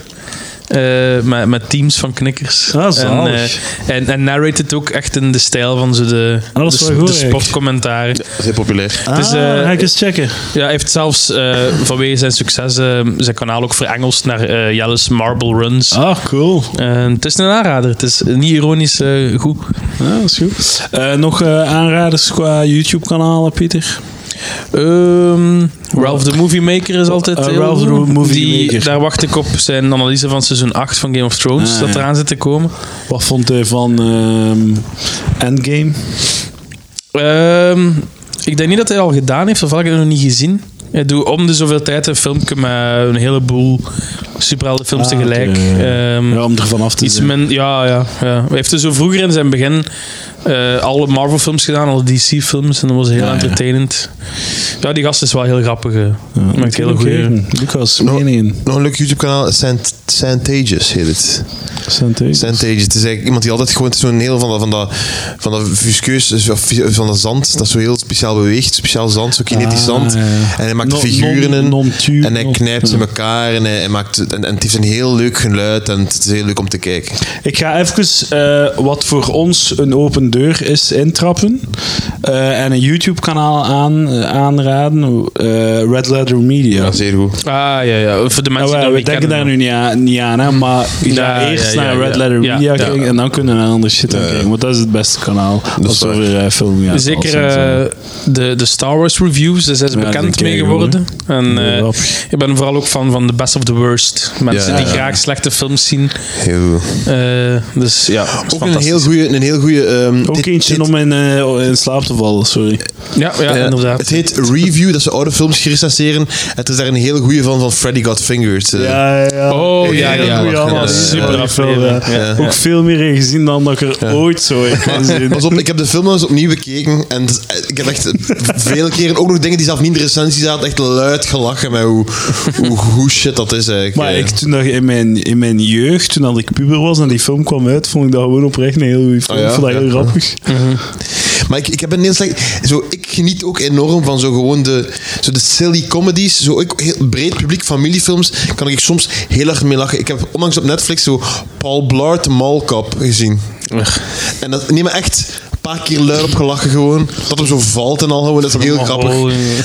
eh, met, met teams van knikkers.
Ah, zalig.
En, eh, en, en narrate het ook echt in de stijl van zo de,
Ah, dat is
de,
wel goed,
de
eigenlijk.
sportcommentaren.
Dat is heel populair.
Ah,
Dus, eh,
ga ik eens checken.
Ja, hij heeft zelfs eh, vanwege zijn succes eh, zijn kanaal ook verengeld naar eh Jalles Marble Runs.
Ah, cool.
Eh, het is een aanrader. Het is niet ironisch eh, goed.
Ja, dat is goed. Eh, nog eh, aanraders qua YouTube-kanalen, Pieter?
Ehm, Ralph the Movie Maker is altijd
Eh,
heel
Ralph the
goed.
Movie
Die-
Maker.
Daar wacht ik op zijn analyse van seizoen 8 van Game of Thrones
Ah,
dat
ja.
eraan zit te komen.
Wat vond hij van ehm, Endgame?
Hm. Ehm, ik denk niet dat hij al gedaan heeft, of had ik het nog niet gezien. Ik doe om de zoveel tijd een filmpje met een heleboel superheldenfilms
Ah,
tegelijk.
oké, ja,
Ehm,
Ja, om er vanaf te
Iets
zien.
min, ja, ja, ja. Hij heeft dus zo vroeger in zijn begin eh, alle Marvel-films gedaan, alle DC-films. En dat was heel
Ja, ja.
entertainend. Ja, die gast is wel heel grappig. eh. Maakt hele goede.
Oké, Lucas, mening.
Nog een leuk YouTube-kanaal. Sant- Santages heet het.
Santee.
Santages. Het is eigenlijk iemand die altijd gewoon het is zo'n heel van dat, van dat, van dat visqueus, of vi- van dat zand, dat zo heel speciaal beweegt. Speciaal zand, zo kinetisch
Ah,
zand.
ja.
En hij maakt
Non-
figuren in.
non- non-tu-
en hij
non-
knijpt ze in elkaar. En, hij, hij maakt, en, en het heeft een heel leuk geluid. En het is heel leuk om te kijken.
Ik ga even eh, wat voor ons een open deur is intrappen. Eh, en een YouTube-kanaal aan, eh, aanraden. eh, Red Letter Media.
Ja, zeer goed.
Ah, ja, ja. Voor de mensen
Nou,
die
eh,
dat
we
niet
denken
kennen.
daar nu niet aan, niet aan hè, maar je
Ja,
gaat
ja,
eerst
ja,
naar
ja.
Red Letter
Ja,
Media
ja.
kijken en dan kunnen we naar andere shit aan kijken. Want dat is het beste kanaal als het
waar.
over eh, film gaat.
Zeker eh, de, de Star Wars reviews, daar zijn ze
Ja, die
bekend
kijken
mee
we,
geworden. En
Ja,
eh,
grappig.
ik ben vooral ook fan van The Best of the Worst. Mensen
Ja,
die
ja.
graag slechte films zien.
Heel goed.
Eh, dus ja,
Ook een heel goede. Een heel goede ehm,
ook
dit-
eentje
dit-
om in, eh, in slaap te vallen, sorry.
Ja, ja,
Ja,
inderdaad.
Het heet Review, dat ze oude films gerecenseren. Het is daar een hele goede van, van Freddy Got Fingered. eh.
Ja, ja.
Oh, ja, ja.
Goeie
ja,
allemaal,
ja, ja.
super
Ja,
film,
ja.
hè. Ook veel meer in gezien dan dat ik er ooit zo in kan zien.
Pas op, ik heb de film nog eens opnieuw bekeken. En het is- ik heb echt vele keren ook nog dingen die zelf niet in de recensie zaten. Echt luid gelachen met hoe, hoe, hoe shit dat is eigenlijk.
Maar
eh.
ik, toen dat in, mijn, in mijn jeugd, toen dat ik puber was en die film kwam uit, vond ik dat gewoon oprecht een heel goede film.
Oh ja?
Ik vond dat heel
Ja.
grappig.
Mhm. Maar ik, ik heb een heel slecht. Zo, ik geniet ook enorm van zo gewoon de, zo de silly comedies. Zo ik, heel breed publiek, familiefilms. Kan ik soms heel erg mee lachen. Ik heb onlangs op Netflix zo Paul Blart Mall Cop gezien. En dat neem me echt een paar keer luid op gelachen gewoon. Dat hem zo valt en al gewoon. Dat is heel grappig.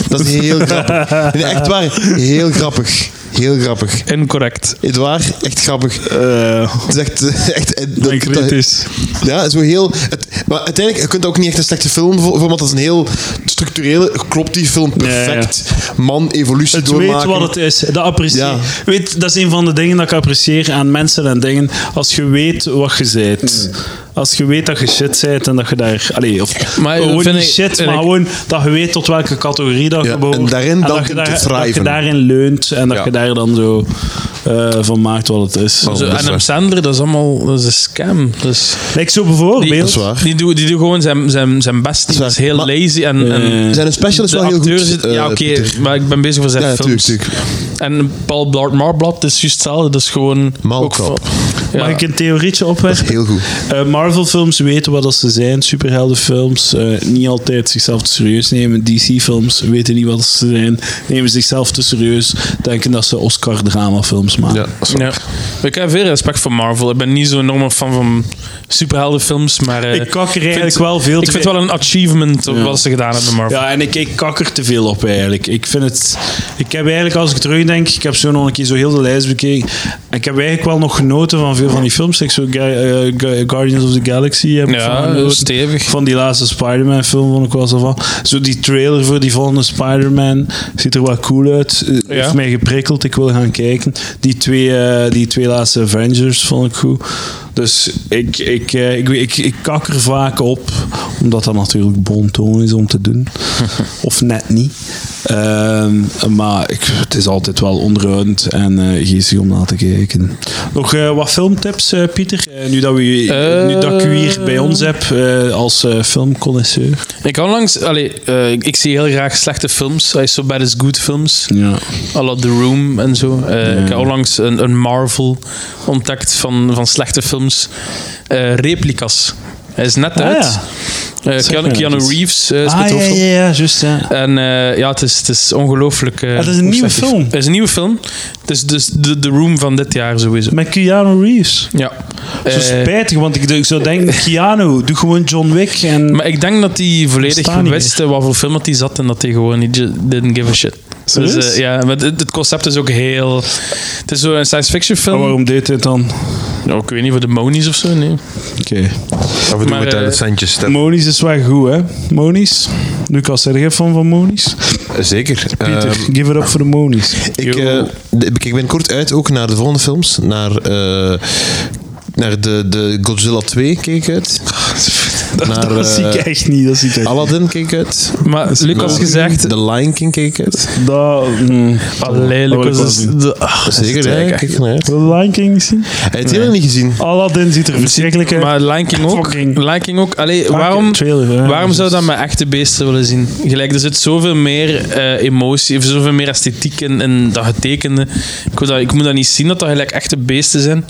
Dat is heel grappig. Nee, echt waar. Heel grappig. Heel grappig.
Incorrect.
Het waar, echt grappig. het is echt... echt eh, dat-
en
dat-
kritisch.
ja, zo heel. Het, maar uiteindelijk, je kunt ook niet echt een slechte film voor, voor, want dat is een heel structurele. Klopt die film perfect? Man, evolutie
Het
doormaken.
weet wat het is. Dat apprecieer.
Ja.
Weet, dat is een van de dingen dat ik apprecieer aan mensen en dingen. Als je weet wat je bent. Als je weet dat je shit bent en dat je daar... Allee, of,
Maar
gewoon
vind
niet
ik-
shit,
vind
maar
ik-
gewoon dat je weet tot welke categorie dat
Ja,
je behoort.
en daarin dan
dat, je
te
dat je
thriven.
daarin leunt en dat
Ja.
je daar dan zo eh, van maakt wat het is.
Zo,
dat is
Adam
waar.
Sandler, dat is allemaal dat is een scam. Dus,
Like zo bijvoorbeeld...
die,
is waar.
Die doet die doet gewoon zijn, zijn, zijn best. Die
Dat
is
is waar.
heel
Maar-
lazy en... en
Zijn special is
de
wel heel
acteur
goed.
zit-
eh,
ja, oké,
Pieter.
maar ik ben bezig voor zijn
Ja,
films.
tuurlijk,
En Paul Blart Marblad is juist hetzelfde. Dat is gewoon...
Malkrap.
ook van-
Mag
ja.
ik een theorietje opwerpen?
Heel goed.
Eh, Marvel-films weten wat dat ze zijn. Superheldenfilms eh, niet altijd zichzelf te serieus nemen. DC-films weten niet wat dat ze zijn. Nemen zichzelf te serieus. Denken dat ze Oscar-drama-films maken.
Ja, dat is
Ja. Ik heb veel respect voor Marvel. Ik ben niet zo'n enorme fan van superheldenfilms, maar... eh,
Ik kak er eigenlijk
vind-
wel veel
Ik
te
vind
veel-
het wel een achievement op wat ze gedaan hebben met Marvel.
Ja, en ik, ik kak er te veel op eigenlijk. Ik vind het... Ik heb eigenlijk, als ik terugdenk... Ik heb zo nog een keer zo heel de lijst bekeken. En ik heb eigenlijk wel nog genoten van veel van die films. Ik zo Ga- eh, Ga- Guardians of the Galaxy heb ik van
Ja,
genoten.
stevig.
Van die laatste Spider-Man film vond ik wel zo van. Zo die trailer voor die volgende Spider-Man ziet er wel cool uit. Eh, Heeft mij geprikkeld, ik wil gaan kijken. Die twee, eh, die twee laatste Avengers vond ik goed. Dus ik, ik, eh, ik, ik, ik kak er vaak op, omdat dat natuurlijk bon ton is om te doen. of net niet. Ehm, maar ik, het is altijd wel onderhoudend en eh geestig om naar te kijken. Nog eh, wat filmtips, eh, Pieter? Eh, nu, dat we, nu dat ik u hier bij ons heb eh, als eh filmconnoisseur.
Ik kan langs... Allee, eh, ik, ik zie heel graag slechte films. Hij is zo bad is good films.
Ja.
à la The Room en zo. Eh, Ik heb onlangs een, een Marvel ontdekt van, van slechte films. Eh, replicas. Hij is net uit.
Ah, ja.
Eh,
Zeg
Keanu,
mij
Keanu
dat iets.
Reeves eh, is
Ah,
het
ja, ja,
hoofdrol.
ja, juist. Ja.
En eh, ja, het is, het is ongelooflijk. eh,
het is een
hoe
nieuwe
slecht die-
film.
Het is een nieuwe film. Het is dus de, de Room van dit jaar sowieso.
Met Keanu Reeves.
Ja.
Zo
Eh,
spijtig, want ik, ik zou denken, Keanu, doe gewoon John Wick. En
maar ik denk dat hij volledig
Bestaan niet
wist eh, wat voor film dat hij zat en dat hij gewoon niet didn't give a shit. Dus,
Serieus?
eh, ja, maar het, het concept is ook heel. Het is zo'n science fiction film.
Maar Oh, waarom deed dit dan?
Nou, ik weet niet, voor de monies of zo, nee.
Oké.
Of we doen
Maar,
met
eh,
het centjes. stem.
Monies is wel goed, hè? Monies. Lucas, zeg jij van van Monies?
Zeker.
Pieter,
Ehm,
give it up voor de Monies.
Ik, eh, de- ik ben kort uit ook naar de volgende films. Naar, eh, naar de, de Godzilla 2 keek ik uit. naar
dat zie ik
eh,
echt niet, dat zie ik echt niet.
Aladdin keek ik uit.
Maar Lucas
Naar
gezegd.
The Lion King keek ik uit.
Dat, mm.
Allee,
Dat wil ik
Lucas
wel
is.
zien.
De, ach,
Zeker,
dat
hè?
is het
Kijk
eigenlijk.
ik naar uit.
Wil je Lion King niet zien?
Hij heeft die nog niet gezien.
Aladdin ziet er verschrikkelijk uit.
Maar Lion King ook.
Fucking-
Lion King ook. Allee, waarom,
trailer, ja.
waarom zou dat met echte beesten willen zien? Gelijk, er zit zoveel meer eh, emotie, of zoveel meer esthetiek in, in dat getekende. Ik, wil dat, ik moet dat niet zien dat dat gelijk echte beesten zijn.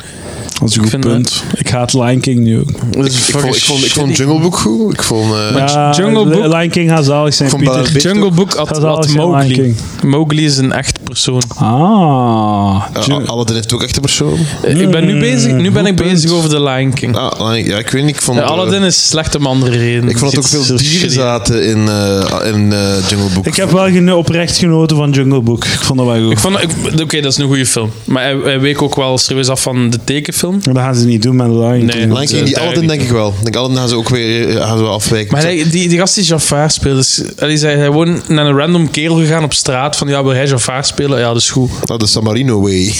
Dat is een
Ik
goed
vind
punt. Ik haat Lion King nu ook.
Dat is
Ik vond, Ah, dus ik, vond, ik
fucking
vond Jungle Book goed. Ik vond... eh,
Ja,
Jungle Book-
Lion King gaat zalig zijn,
Van
Pieter.
Barbie.
Jungle Book had,
Dat is
had
alles in Lion
Mowgli.
King.
Mowgli is een echt persoon.
Ah.
eh,
Jung-
Aladdin heeft ook echt een persoon.
Eh, ik ben nu bezig, nu ben ik
Hmm, goed
bezig over de Lion King.
Ah, Lion- ja, ik weet niet. Ik vond,
Eh,
eh,
Aladdin is slecht om andere redenen.
ik vond dat ook
Zit
veel
zo
dieren
shitty.
zaten in, eh, in eh, Jungle Book.
Ik heb wel geno- oprecht genoten van Jungle Book. Ik vond dat wel goed.
Ik vond, ik- oké, dat is een goede film. Maar hij, hij week ook wel serieus af van de tekenfilm.
Maar Dat gaan ze niet doen met Lion King.
Nee.
Lion King, die
eh,
Aladdin denk ik wel. Ik denk Aladdin gaan ze ook weer eh, gaan ze wel afwijken.
Maar hij- die, die gast die Jafar speelt, is, die zei hij gewoon naar een random kerel gegaan op straat van ja, wil jij Jafar spelen? Ja, dat is goed.
Dat is San Marino way. Eh,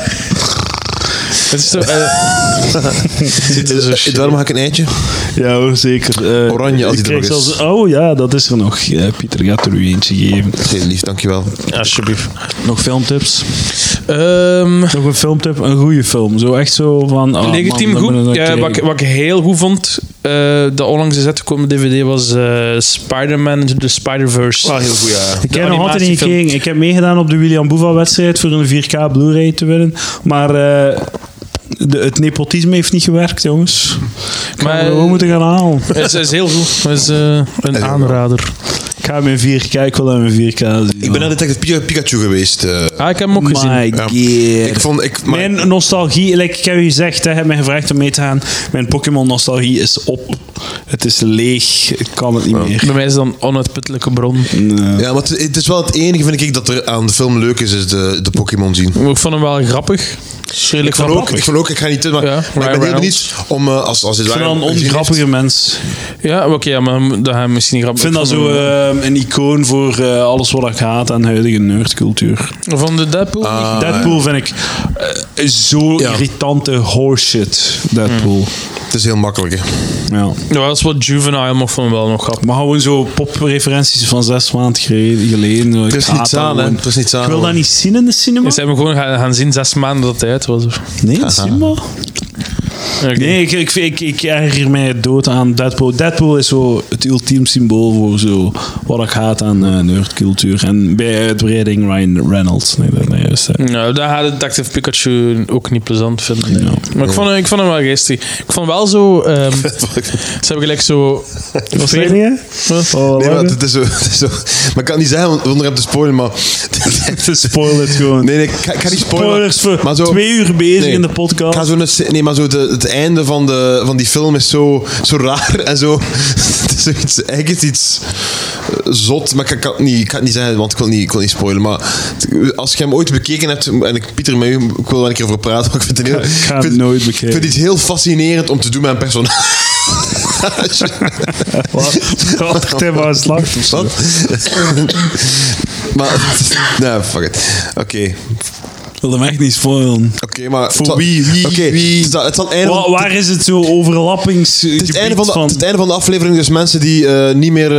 Het is zo, eh,
Eh, Daarom hak ik een eitje.
Ja hoor, zeker. Eh,
Oranje, als
ik
die er
kreeg
nog is.
zelfs- Oh ja, dat is er nog. Ja, Pieter gaat er u eentje geven.
Heel lief, dankjewel.
alsjeblieft.
Nog filmtips?
Ehm,
Nog een filmtip? Een goede film. Zo echt zo van... Oh,
legitiem
Ah, man, dat moet
goed.
ik
Ja,
kijken.
wat, ik- wat ik heel goed vond, eh dat onlangs is uitgekomen DVD, was eh, Spider-Man The Spider-Verse.
Ah, heel goed, ja.
Ik
De
heb nog altijd niet
animatiefilm.
gekeken. Ik heb meegedaan op de William Boeva-wedstrijd voor een 4K Blu-ray te winnen. Maar eh, de, het nepotisme heeft niet gewerkt, jongens. Ik
Maar- Eh,
maar, we moeten gaan halen.
Het is, is heel goed. Het is eh, een aanrader.
Ik ga mijn 4K, ik wil aan mijn 4K zien.
Ik ben naar Detective Pika- Pikachu geweest. eh.
Ah, ik heb hem ook
My
gezien.
god.
Ik vond... Ik, maar,
Mijn nostalgie, like ik heb u gezegd, hè, je hebt mij gevraagd om mee te gaan. Mijn Pokémon-nostalgie is op. Het is leeg. Ik kan het niet meer.
Bij mij is dat een onuitputtelijke bron.
Ja, maar het, het is wel het enige, vind ik, dat er aan de film leuk is, is de, de Pokémon zien.
Ik vond hem wel grappig. Schredelijk
Ik vond
wel
ook,
grappig.
ik vond ook, ik ga niet in, maar,
Ja,
maar ik
Ryan
ben heel
Reynolds.
benieuwd om, eh, als, als dit
Ik vind dat een ongrappige mens.
Ja, oké, ja, maar dat gaat misschien niet
Ik
grappig.
vind dat zo eh, een icoon voor eh, alles wat er gaat aan de huidige nerdcultuur.
Van de Deadpool?
Ah.
Deadpool vind ik eh, zo
Ja. Mm.
irritante horseshit. Deadpool.
Het is heel makkelijk. hè.
Ja.
Ja, dat is wat juvenile, maar ik vond hem wel nog grappig.
Maar gewoon zo popreferenties van zes maanden gere- geleden. Ik
Er is
haat
niets
dat
aan, hè.
gewoon.
Er is niets aan.
Ik wil
hoor.
dat niet zien in de cinema.
Ze hebben gewoon gaan, gaan zien zes maanden dat hij uit was. of-
Nee, Simba? Nee, ik, ik, ik, ik erger mij dood aan Deadpool. Deadpool is zo het ultiem symbool voor zo wat er gaat aan eh, nerdcultuur. En bij uitbreiding Ryan Reynolds. Nee, dat nee, is, eh,
Nou, daar had ik Detective Pikachu ook niet plezant vinden.
Ja.
Maar ik vond, hem- ik vond hem wel geestig. Ik vond wel zo... ehm, ze hebben gelijk zo...
Wat zei je? Oh,
Nee, maar
lachen.
het is zo, het is zo. Maar ik kan het niet zeggen, want zonder hem te spoilen, maar...
Spoil het gewoon.
Nee, nee, ik ga, ik ga niet spoilen.
Spoilers voor
maar zo-
twee uur bezig
Nee.
in de podcast.
Ik ga zo net zitten- nee, maar zo de, het einde van, de, van die film is zo, zo raar en zo. Het is zoiets, eigenlijk is iets eh, zot, maar ik kan, het niet, ik kan het niet zeggen, want ik wil niet, ik wil niet spoilen. Maar het- als je hem ooit bekeken hebt, en ik, Pieter, met u, ik wil daar een keer over praten, maar ik vind het heel,
Ik ga
ik
het
vind,
nooit
ik
bekijken.
vind het iets heel fascinerend om te doen met een personage.
Wat? Tim was een slacht of zo.
Wat? maar, nee, fuck it. Oké,
Ik wil hem echt niet spoilen.
oké, maar...
Voor wie, wie,
Oké,
wie?
het zal- het zal het einde
Wa-
van-
waar is het zo overlappingsgebied
Het is het, einde van
van...
de, het is het einde van de aflevering, dus mensen die eh, niet meer... eh,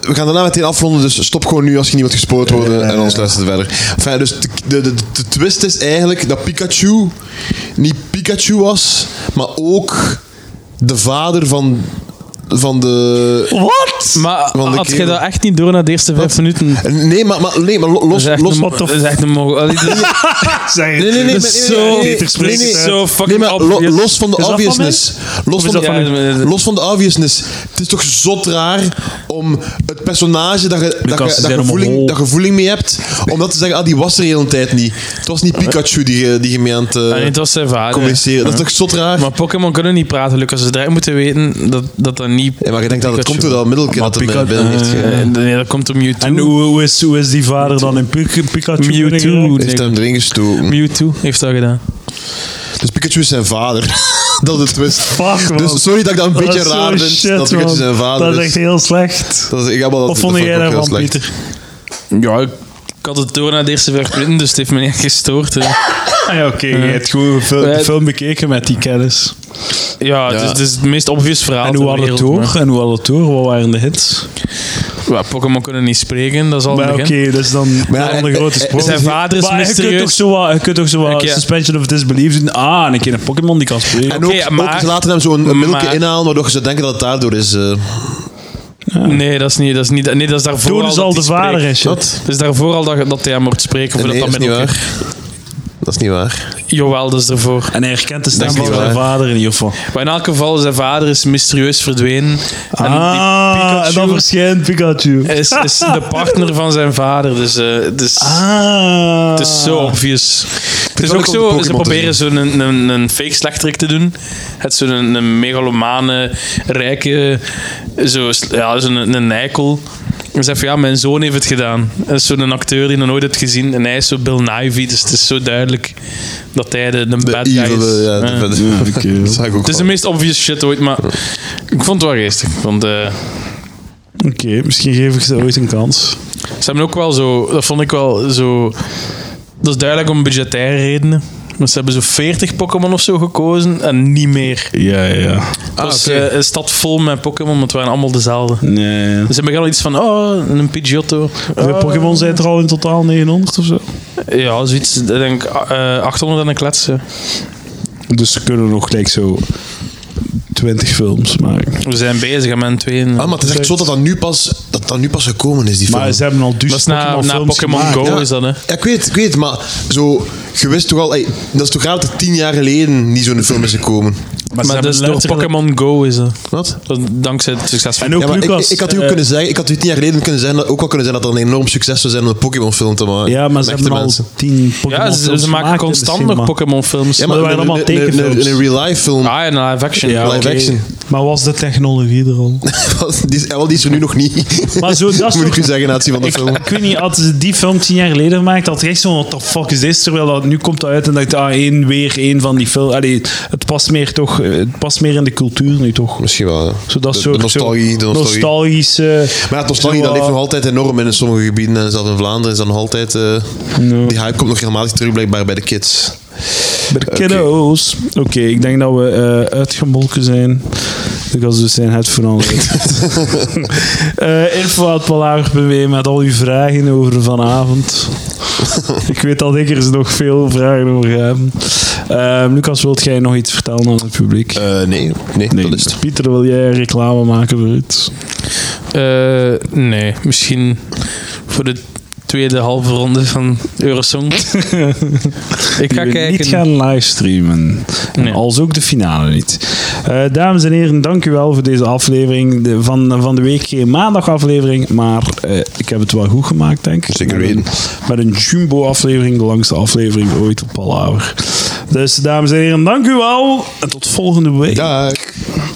we gaan daarna meteen afronden, dus stop gewoon nu als je niet wordt gespoord worden en ons luistert verder. Enfin, dus de, de, de, de twist is eigenlijk dat Pikachu niet Pikachu was, maar ook de vader van, van de...
Wat?
Maar
Want ik
had je
heel-
dat echt niet door na de eerste vijf minuten? Dat
Nee, maar, maar, nee, maar lo- los...
is echt
los
een, dat is echt een mogel. Allee, dat is-
Zeg het.
Nee, nee, nee,
Dat
nee, nee,
is
nee,
zo...
nee,
Peter spreekt
nee,
het
nee,
uit.
zo fucking
Nee, maar lo-
obvious.
los van de
Is dat van mij?
obviousness. Los van,
dat van
Ja,
de,
u?
los van de obviousness. Het is toch zot raar om het personage dat je, dat
Lucas,
je, dat
ze zijn
je,
om
voeling,
hol.
dat je voeling mee hebt, om dat te zeggen, ah, die was er de hele tijd niet. Het was niet Pikachu die, je- die je mee aan het eh,
Ah, nee, het was zijn vader.
communiceren. Dat is toch zot raar?
Maar Pokémon kunnen niet praten, Lucas. Ze direct moeten weten dat dat, dat niet...
Ja, maar je denkt dat het
Pikachu.
komt door dat middelke dat hem
Pika-
binnen heeft. ge-
Eh, Nee, dat komt door Mewtwo.
En hoe, hoe is, hoe is die vader dan in Pik- Pikachu?
Mewtwo.
Heeft
nee,
hem erin gestoken.
Mewtwo heeft dat gedaan.
Dus Pikachu is zijn vader. dat is de twist.
Fuck, man.
Dus sorry dat ik dat een beetje raar vind. dat Pikachu zijn vader
Dat is
is.
echt heel slecht.
Dat is, ik heb al dat,
Wat vond
dat
jij
ik ook heel
daarvan,
slecht.
Pieter?
Ja, ik, ik had het door na de eerste vijf minuten, dus het heeft me niet echt gestoord. hè.
Ah, ja, Oké, je hebt gewoon de fil-
Eh,
de film bekeken met die kennis.
Ja, Het, is, dus het is het meest obvious verhaal
En hoe
ter
had
wereld,
het door? En hoe had het door? Wat waren de hits?
maar- Ja, Pokémon kunnen niet spreken, dat is al
Maar
een
oké,
begin.
dat is dan
ja,
een
eh,
grote
eh,
sprong.
Zijn vader is
Maar je kunt toch
mysterieus.
zo wat, je kunt toch zo wat
Oké, ja.
suspension of disbelief doen. Ah, en een keer een Pokémon die kan spelen.
En ook,
Oké, maar-
ook ze laten hem zo een, een middelke
maar-
inhalen, waardoor ze denken dat het daardoor is. eh.
Nee, dat is niet. Dat is niet nee, dat is daarvoor
Toen
dus al
is
dat
al
hij
de vader
spreekt.
en shit.
Dat is daarvoor al dat, dat hij hem hoort spreken. Of
nee,
dat
dat
dat
is niet
met elkaar-
waar. Dat is niet waar.
Jawel, dat is daarvoor.
En hij herkent de stem
Dat is
van
niet
zijn
waar.
vader in ieder geval.
Maar in elk geval, zijn vader is mysterieus verdwenen. En die
Ah, en dan
Pikachu
verschijnt Pikachu.
is, is de partner van zijn vader. Dus, eh, dus
Ah.
het is zo obvious. Het is
wel
ook
leuk om de
zo, ze
Pokémon te
proberen zo'n een, een, een fake slechterik te doen. Het is zo'n een, een megalomane, rijke, zo, ja, zo'n een, een eikel. En ze zegt van, ja, mijn zoon heeft het gedaan. Dat is zo'n acteur die je nog nooit hebt gezien. En hij is zo Bill Nivey, dus het is zo duidelijk dat hij de, de,
De
bad guy
evil,
is.
eh, ja, de
Ja.
bad- Dat zag ik ook
Het is de
wel.
meest obvious shit ooit, maar ik vond het wel geestig. Want eh,
Oké, misschien geef ik ze ooit een kans.
ze hebben ook wel zo, dat vond ik wel zo. Dat is duidelijk om budgettaire redenen. Maar ze hebben zo 40 Pokémon of zo gekozen en niet meer.
Ja, ja, ja.
Het was eh, een stad vol met Pokémon, want het waren allemaal dezelfde.
Nee.
Dus ze hebben wel iets van, oh, een Pidgeotto.
Hoeveel
Oh.
Pokémon zijn er al in totaal? 900 of zo?
Ja, zoiets. Ik denk eh, 800 en een kletsen.
Dus ze kunnen nog gelijk zo 20 films maken.
We zijn bezig met een tweeën.
Ah, maar het is echt zo dat dat nu pas, dat dat nu pas gekomen is, die film. Ah,
Maar ze hebben al
dat
dus
is na,
Pokémon
na
films
Pokémon
gemaakt.
Go
Ja.
is dat, hè.
Ja, ik weet het, ik weet het, maar zo, je wist toch al... ey, dat is toch raar dat er tien jaar geleden niet zo'n film is gekomen?
Maar,
ze
dat is
hebben
door
letterlijk-
Pokémon Go is dat.
Wat?
Dat is dankzij het succes van
En ook
Ja, maar ik,
Lucas.
ik had u ook
eh,
kunnen zeggen, ik had u tien jaar geleden kunnen zeggen, dat- ook al kunnen zeggen dat er een enorm succes zou zijn om een Pokémon-film te maken.
ja, maar ze
Met
hebben
echte
al
mensen.
tien Pokémon
Ja, ze, ze maken constant nog Pokémon films.
Ja,
maar
maar
er waren
een-
allemaal
een- een- een-
tekenfilms.
Een real-life film.
Ah, en live action.
Ja,
live
oké.
action.
Maar was de technologie er al?
Wat? die, is, eh, wel, die is er nu nog niet.
Maar zo, dat is
Moet ik
toch-
u zeggen, na het zien van de
ik,
film.
ik weet niet, hadden ze die film tien jaar geleden gemaakt, had ik echt zo'n what the fuck is dit? Terwijl dat, nu komt dat uit en dat ah, één, weer één van die film. Allee, het past meer toch, eh, het past meer in de cultuur nu toch?
Misschien wel, ja.
Zo, dat
de,
soort
de nostalgie, de
zo
nostalgie.
nostalgische...
Maar ja, nostalgie,
zo,
dat leeft
ah,
nog altijd enorm in sommige gebieden. En zelfs in Vlaanderen is dat nog altijd... eh, Die hype komt nog regelmatig terug, blijkbaar, bij de kids.
Bij de kiddo's. Oké, ik denk dat we eh, uitgemolken zijn. De gast dus zijn het veranderd. Eh Info.palaver.be met al uw vragen over vanavond. ik weet dat ik er nog veel vragen over heb. Eh, Lucas, wilt jij nog iets vertellen aan het publiek?
Eh, nee, nee, dat is het.
Pieter, wil jij reclame maken voor iets?
Eh, nee, misschien voor de tweede halve ronde van Eurosong. ik ga
Die we
kijken.
niet gaan livestreamen. En
Nee.
Als ook de finale niet. Eh, dames en heren, dank u wel voor deze aflevering. De, van, van de week geen maandagaflevering, maar eh, ik heb het wel goed gemaakt, denk ik.
Zeker
Met een-
weten.
Met een jumbo-aflevering, de langste aflevering ooit op Palaver. Dus dames en heren, dank u wel. En tot volgende week.
Dag.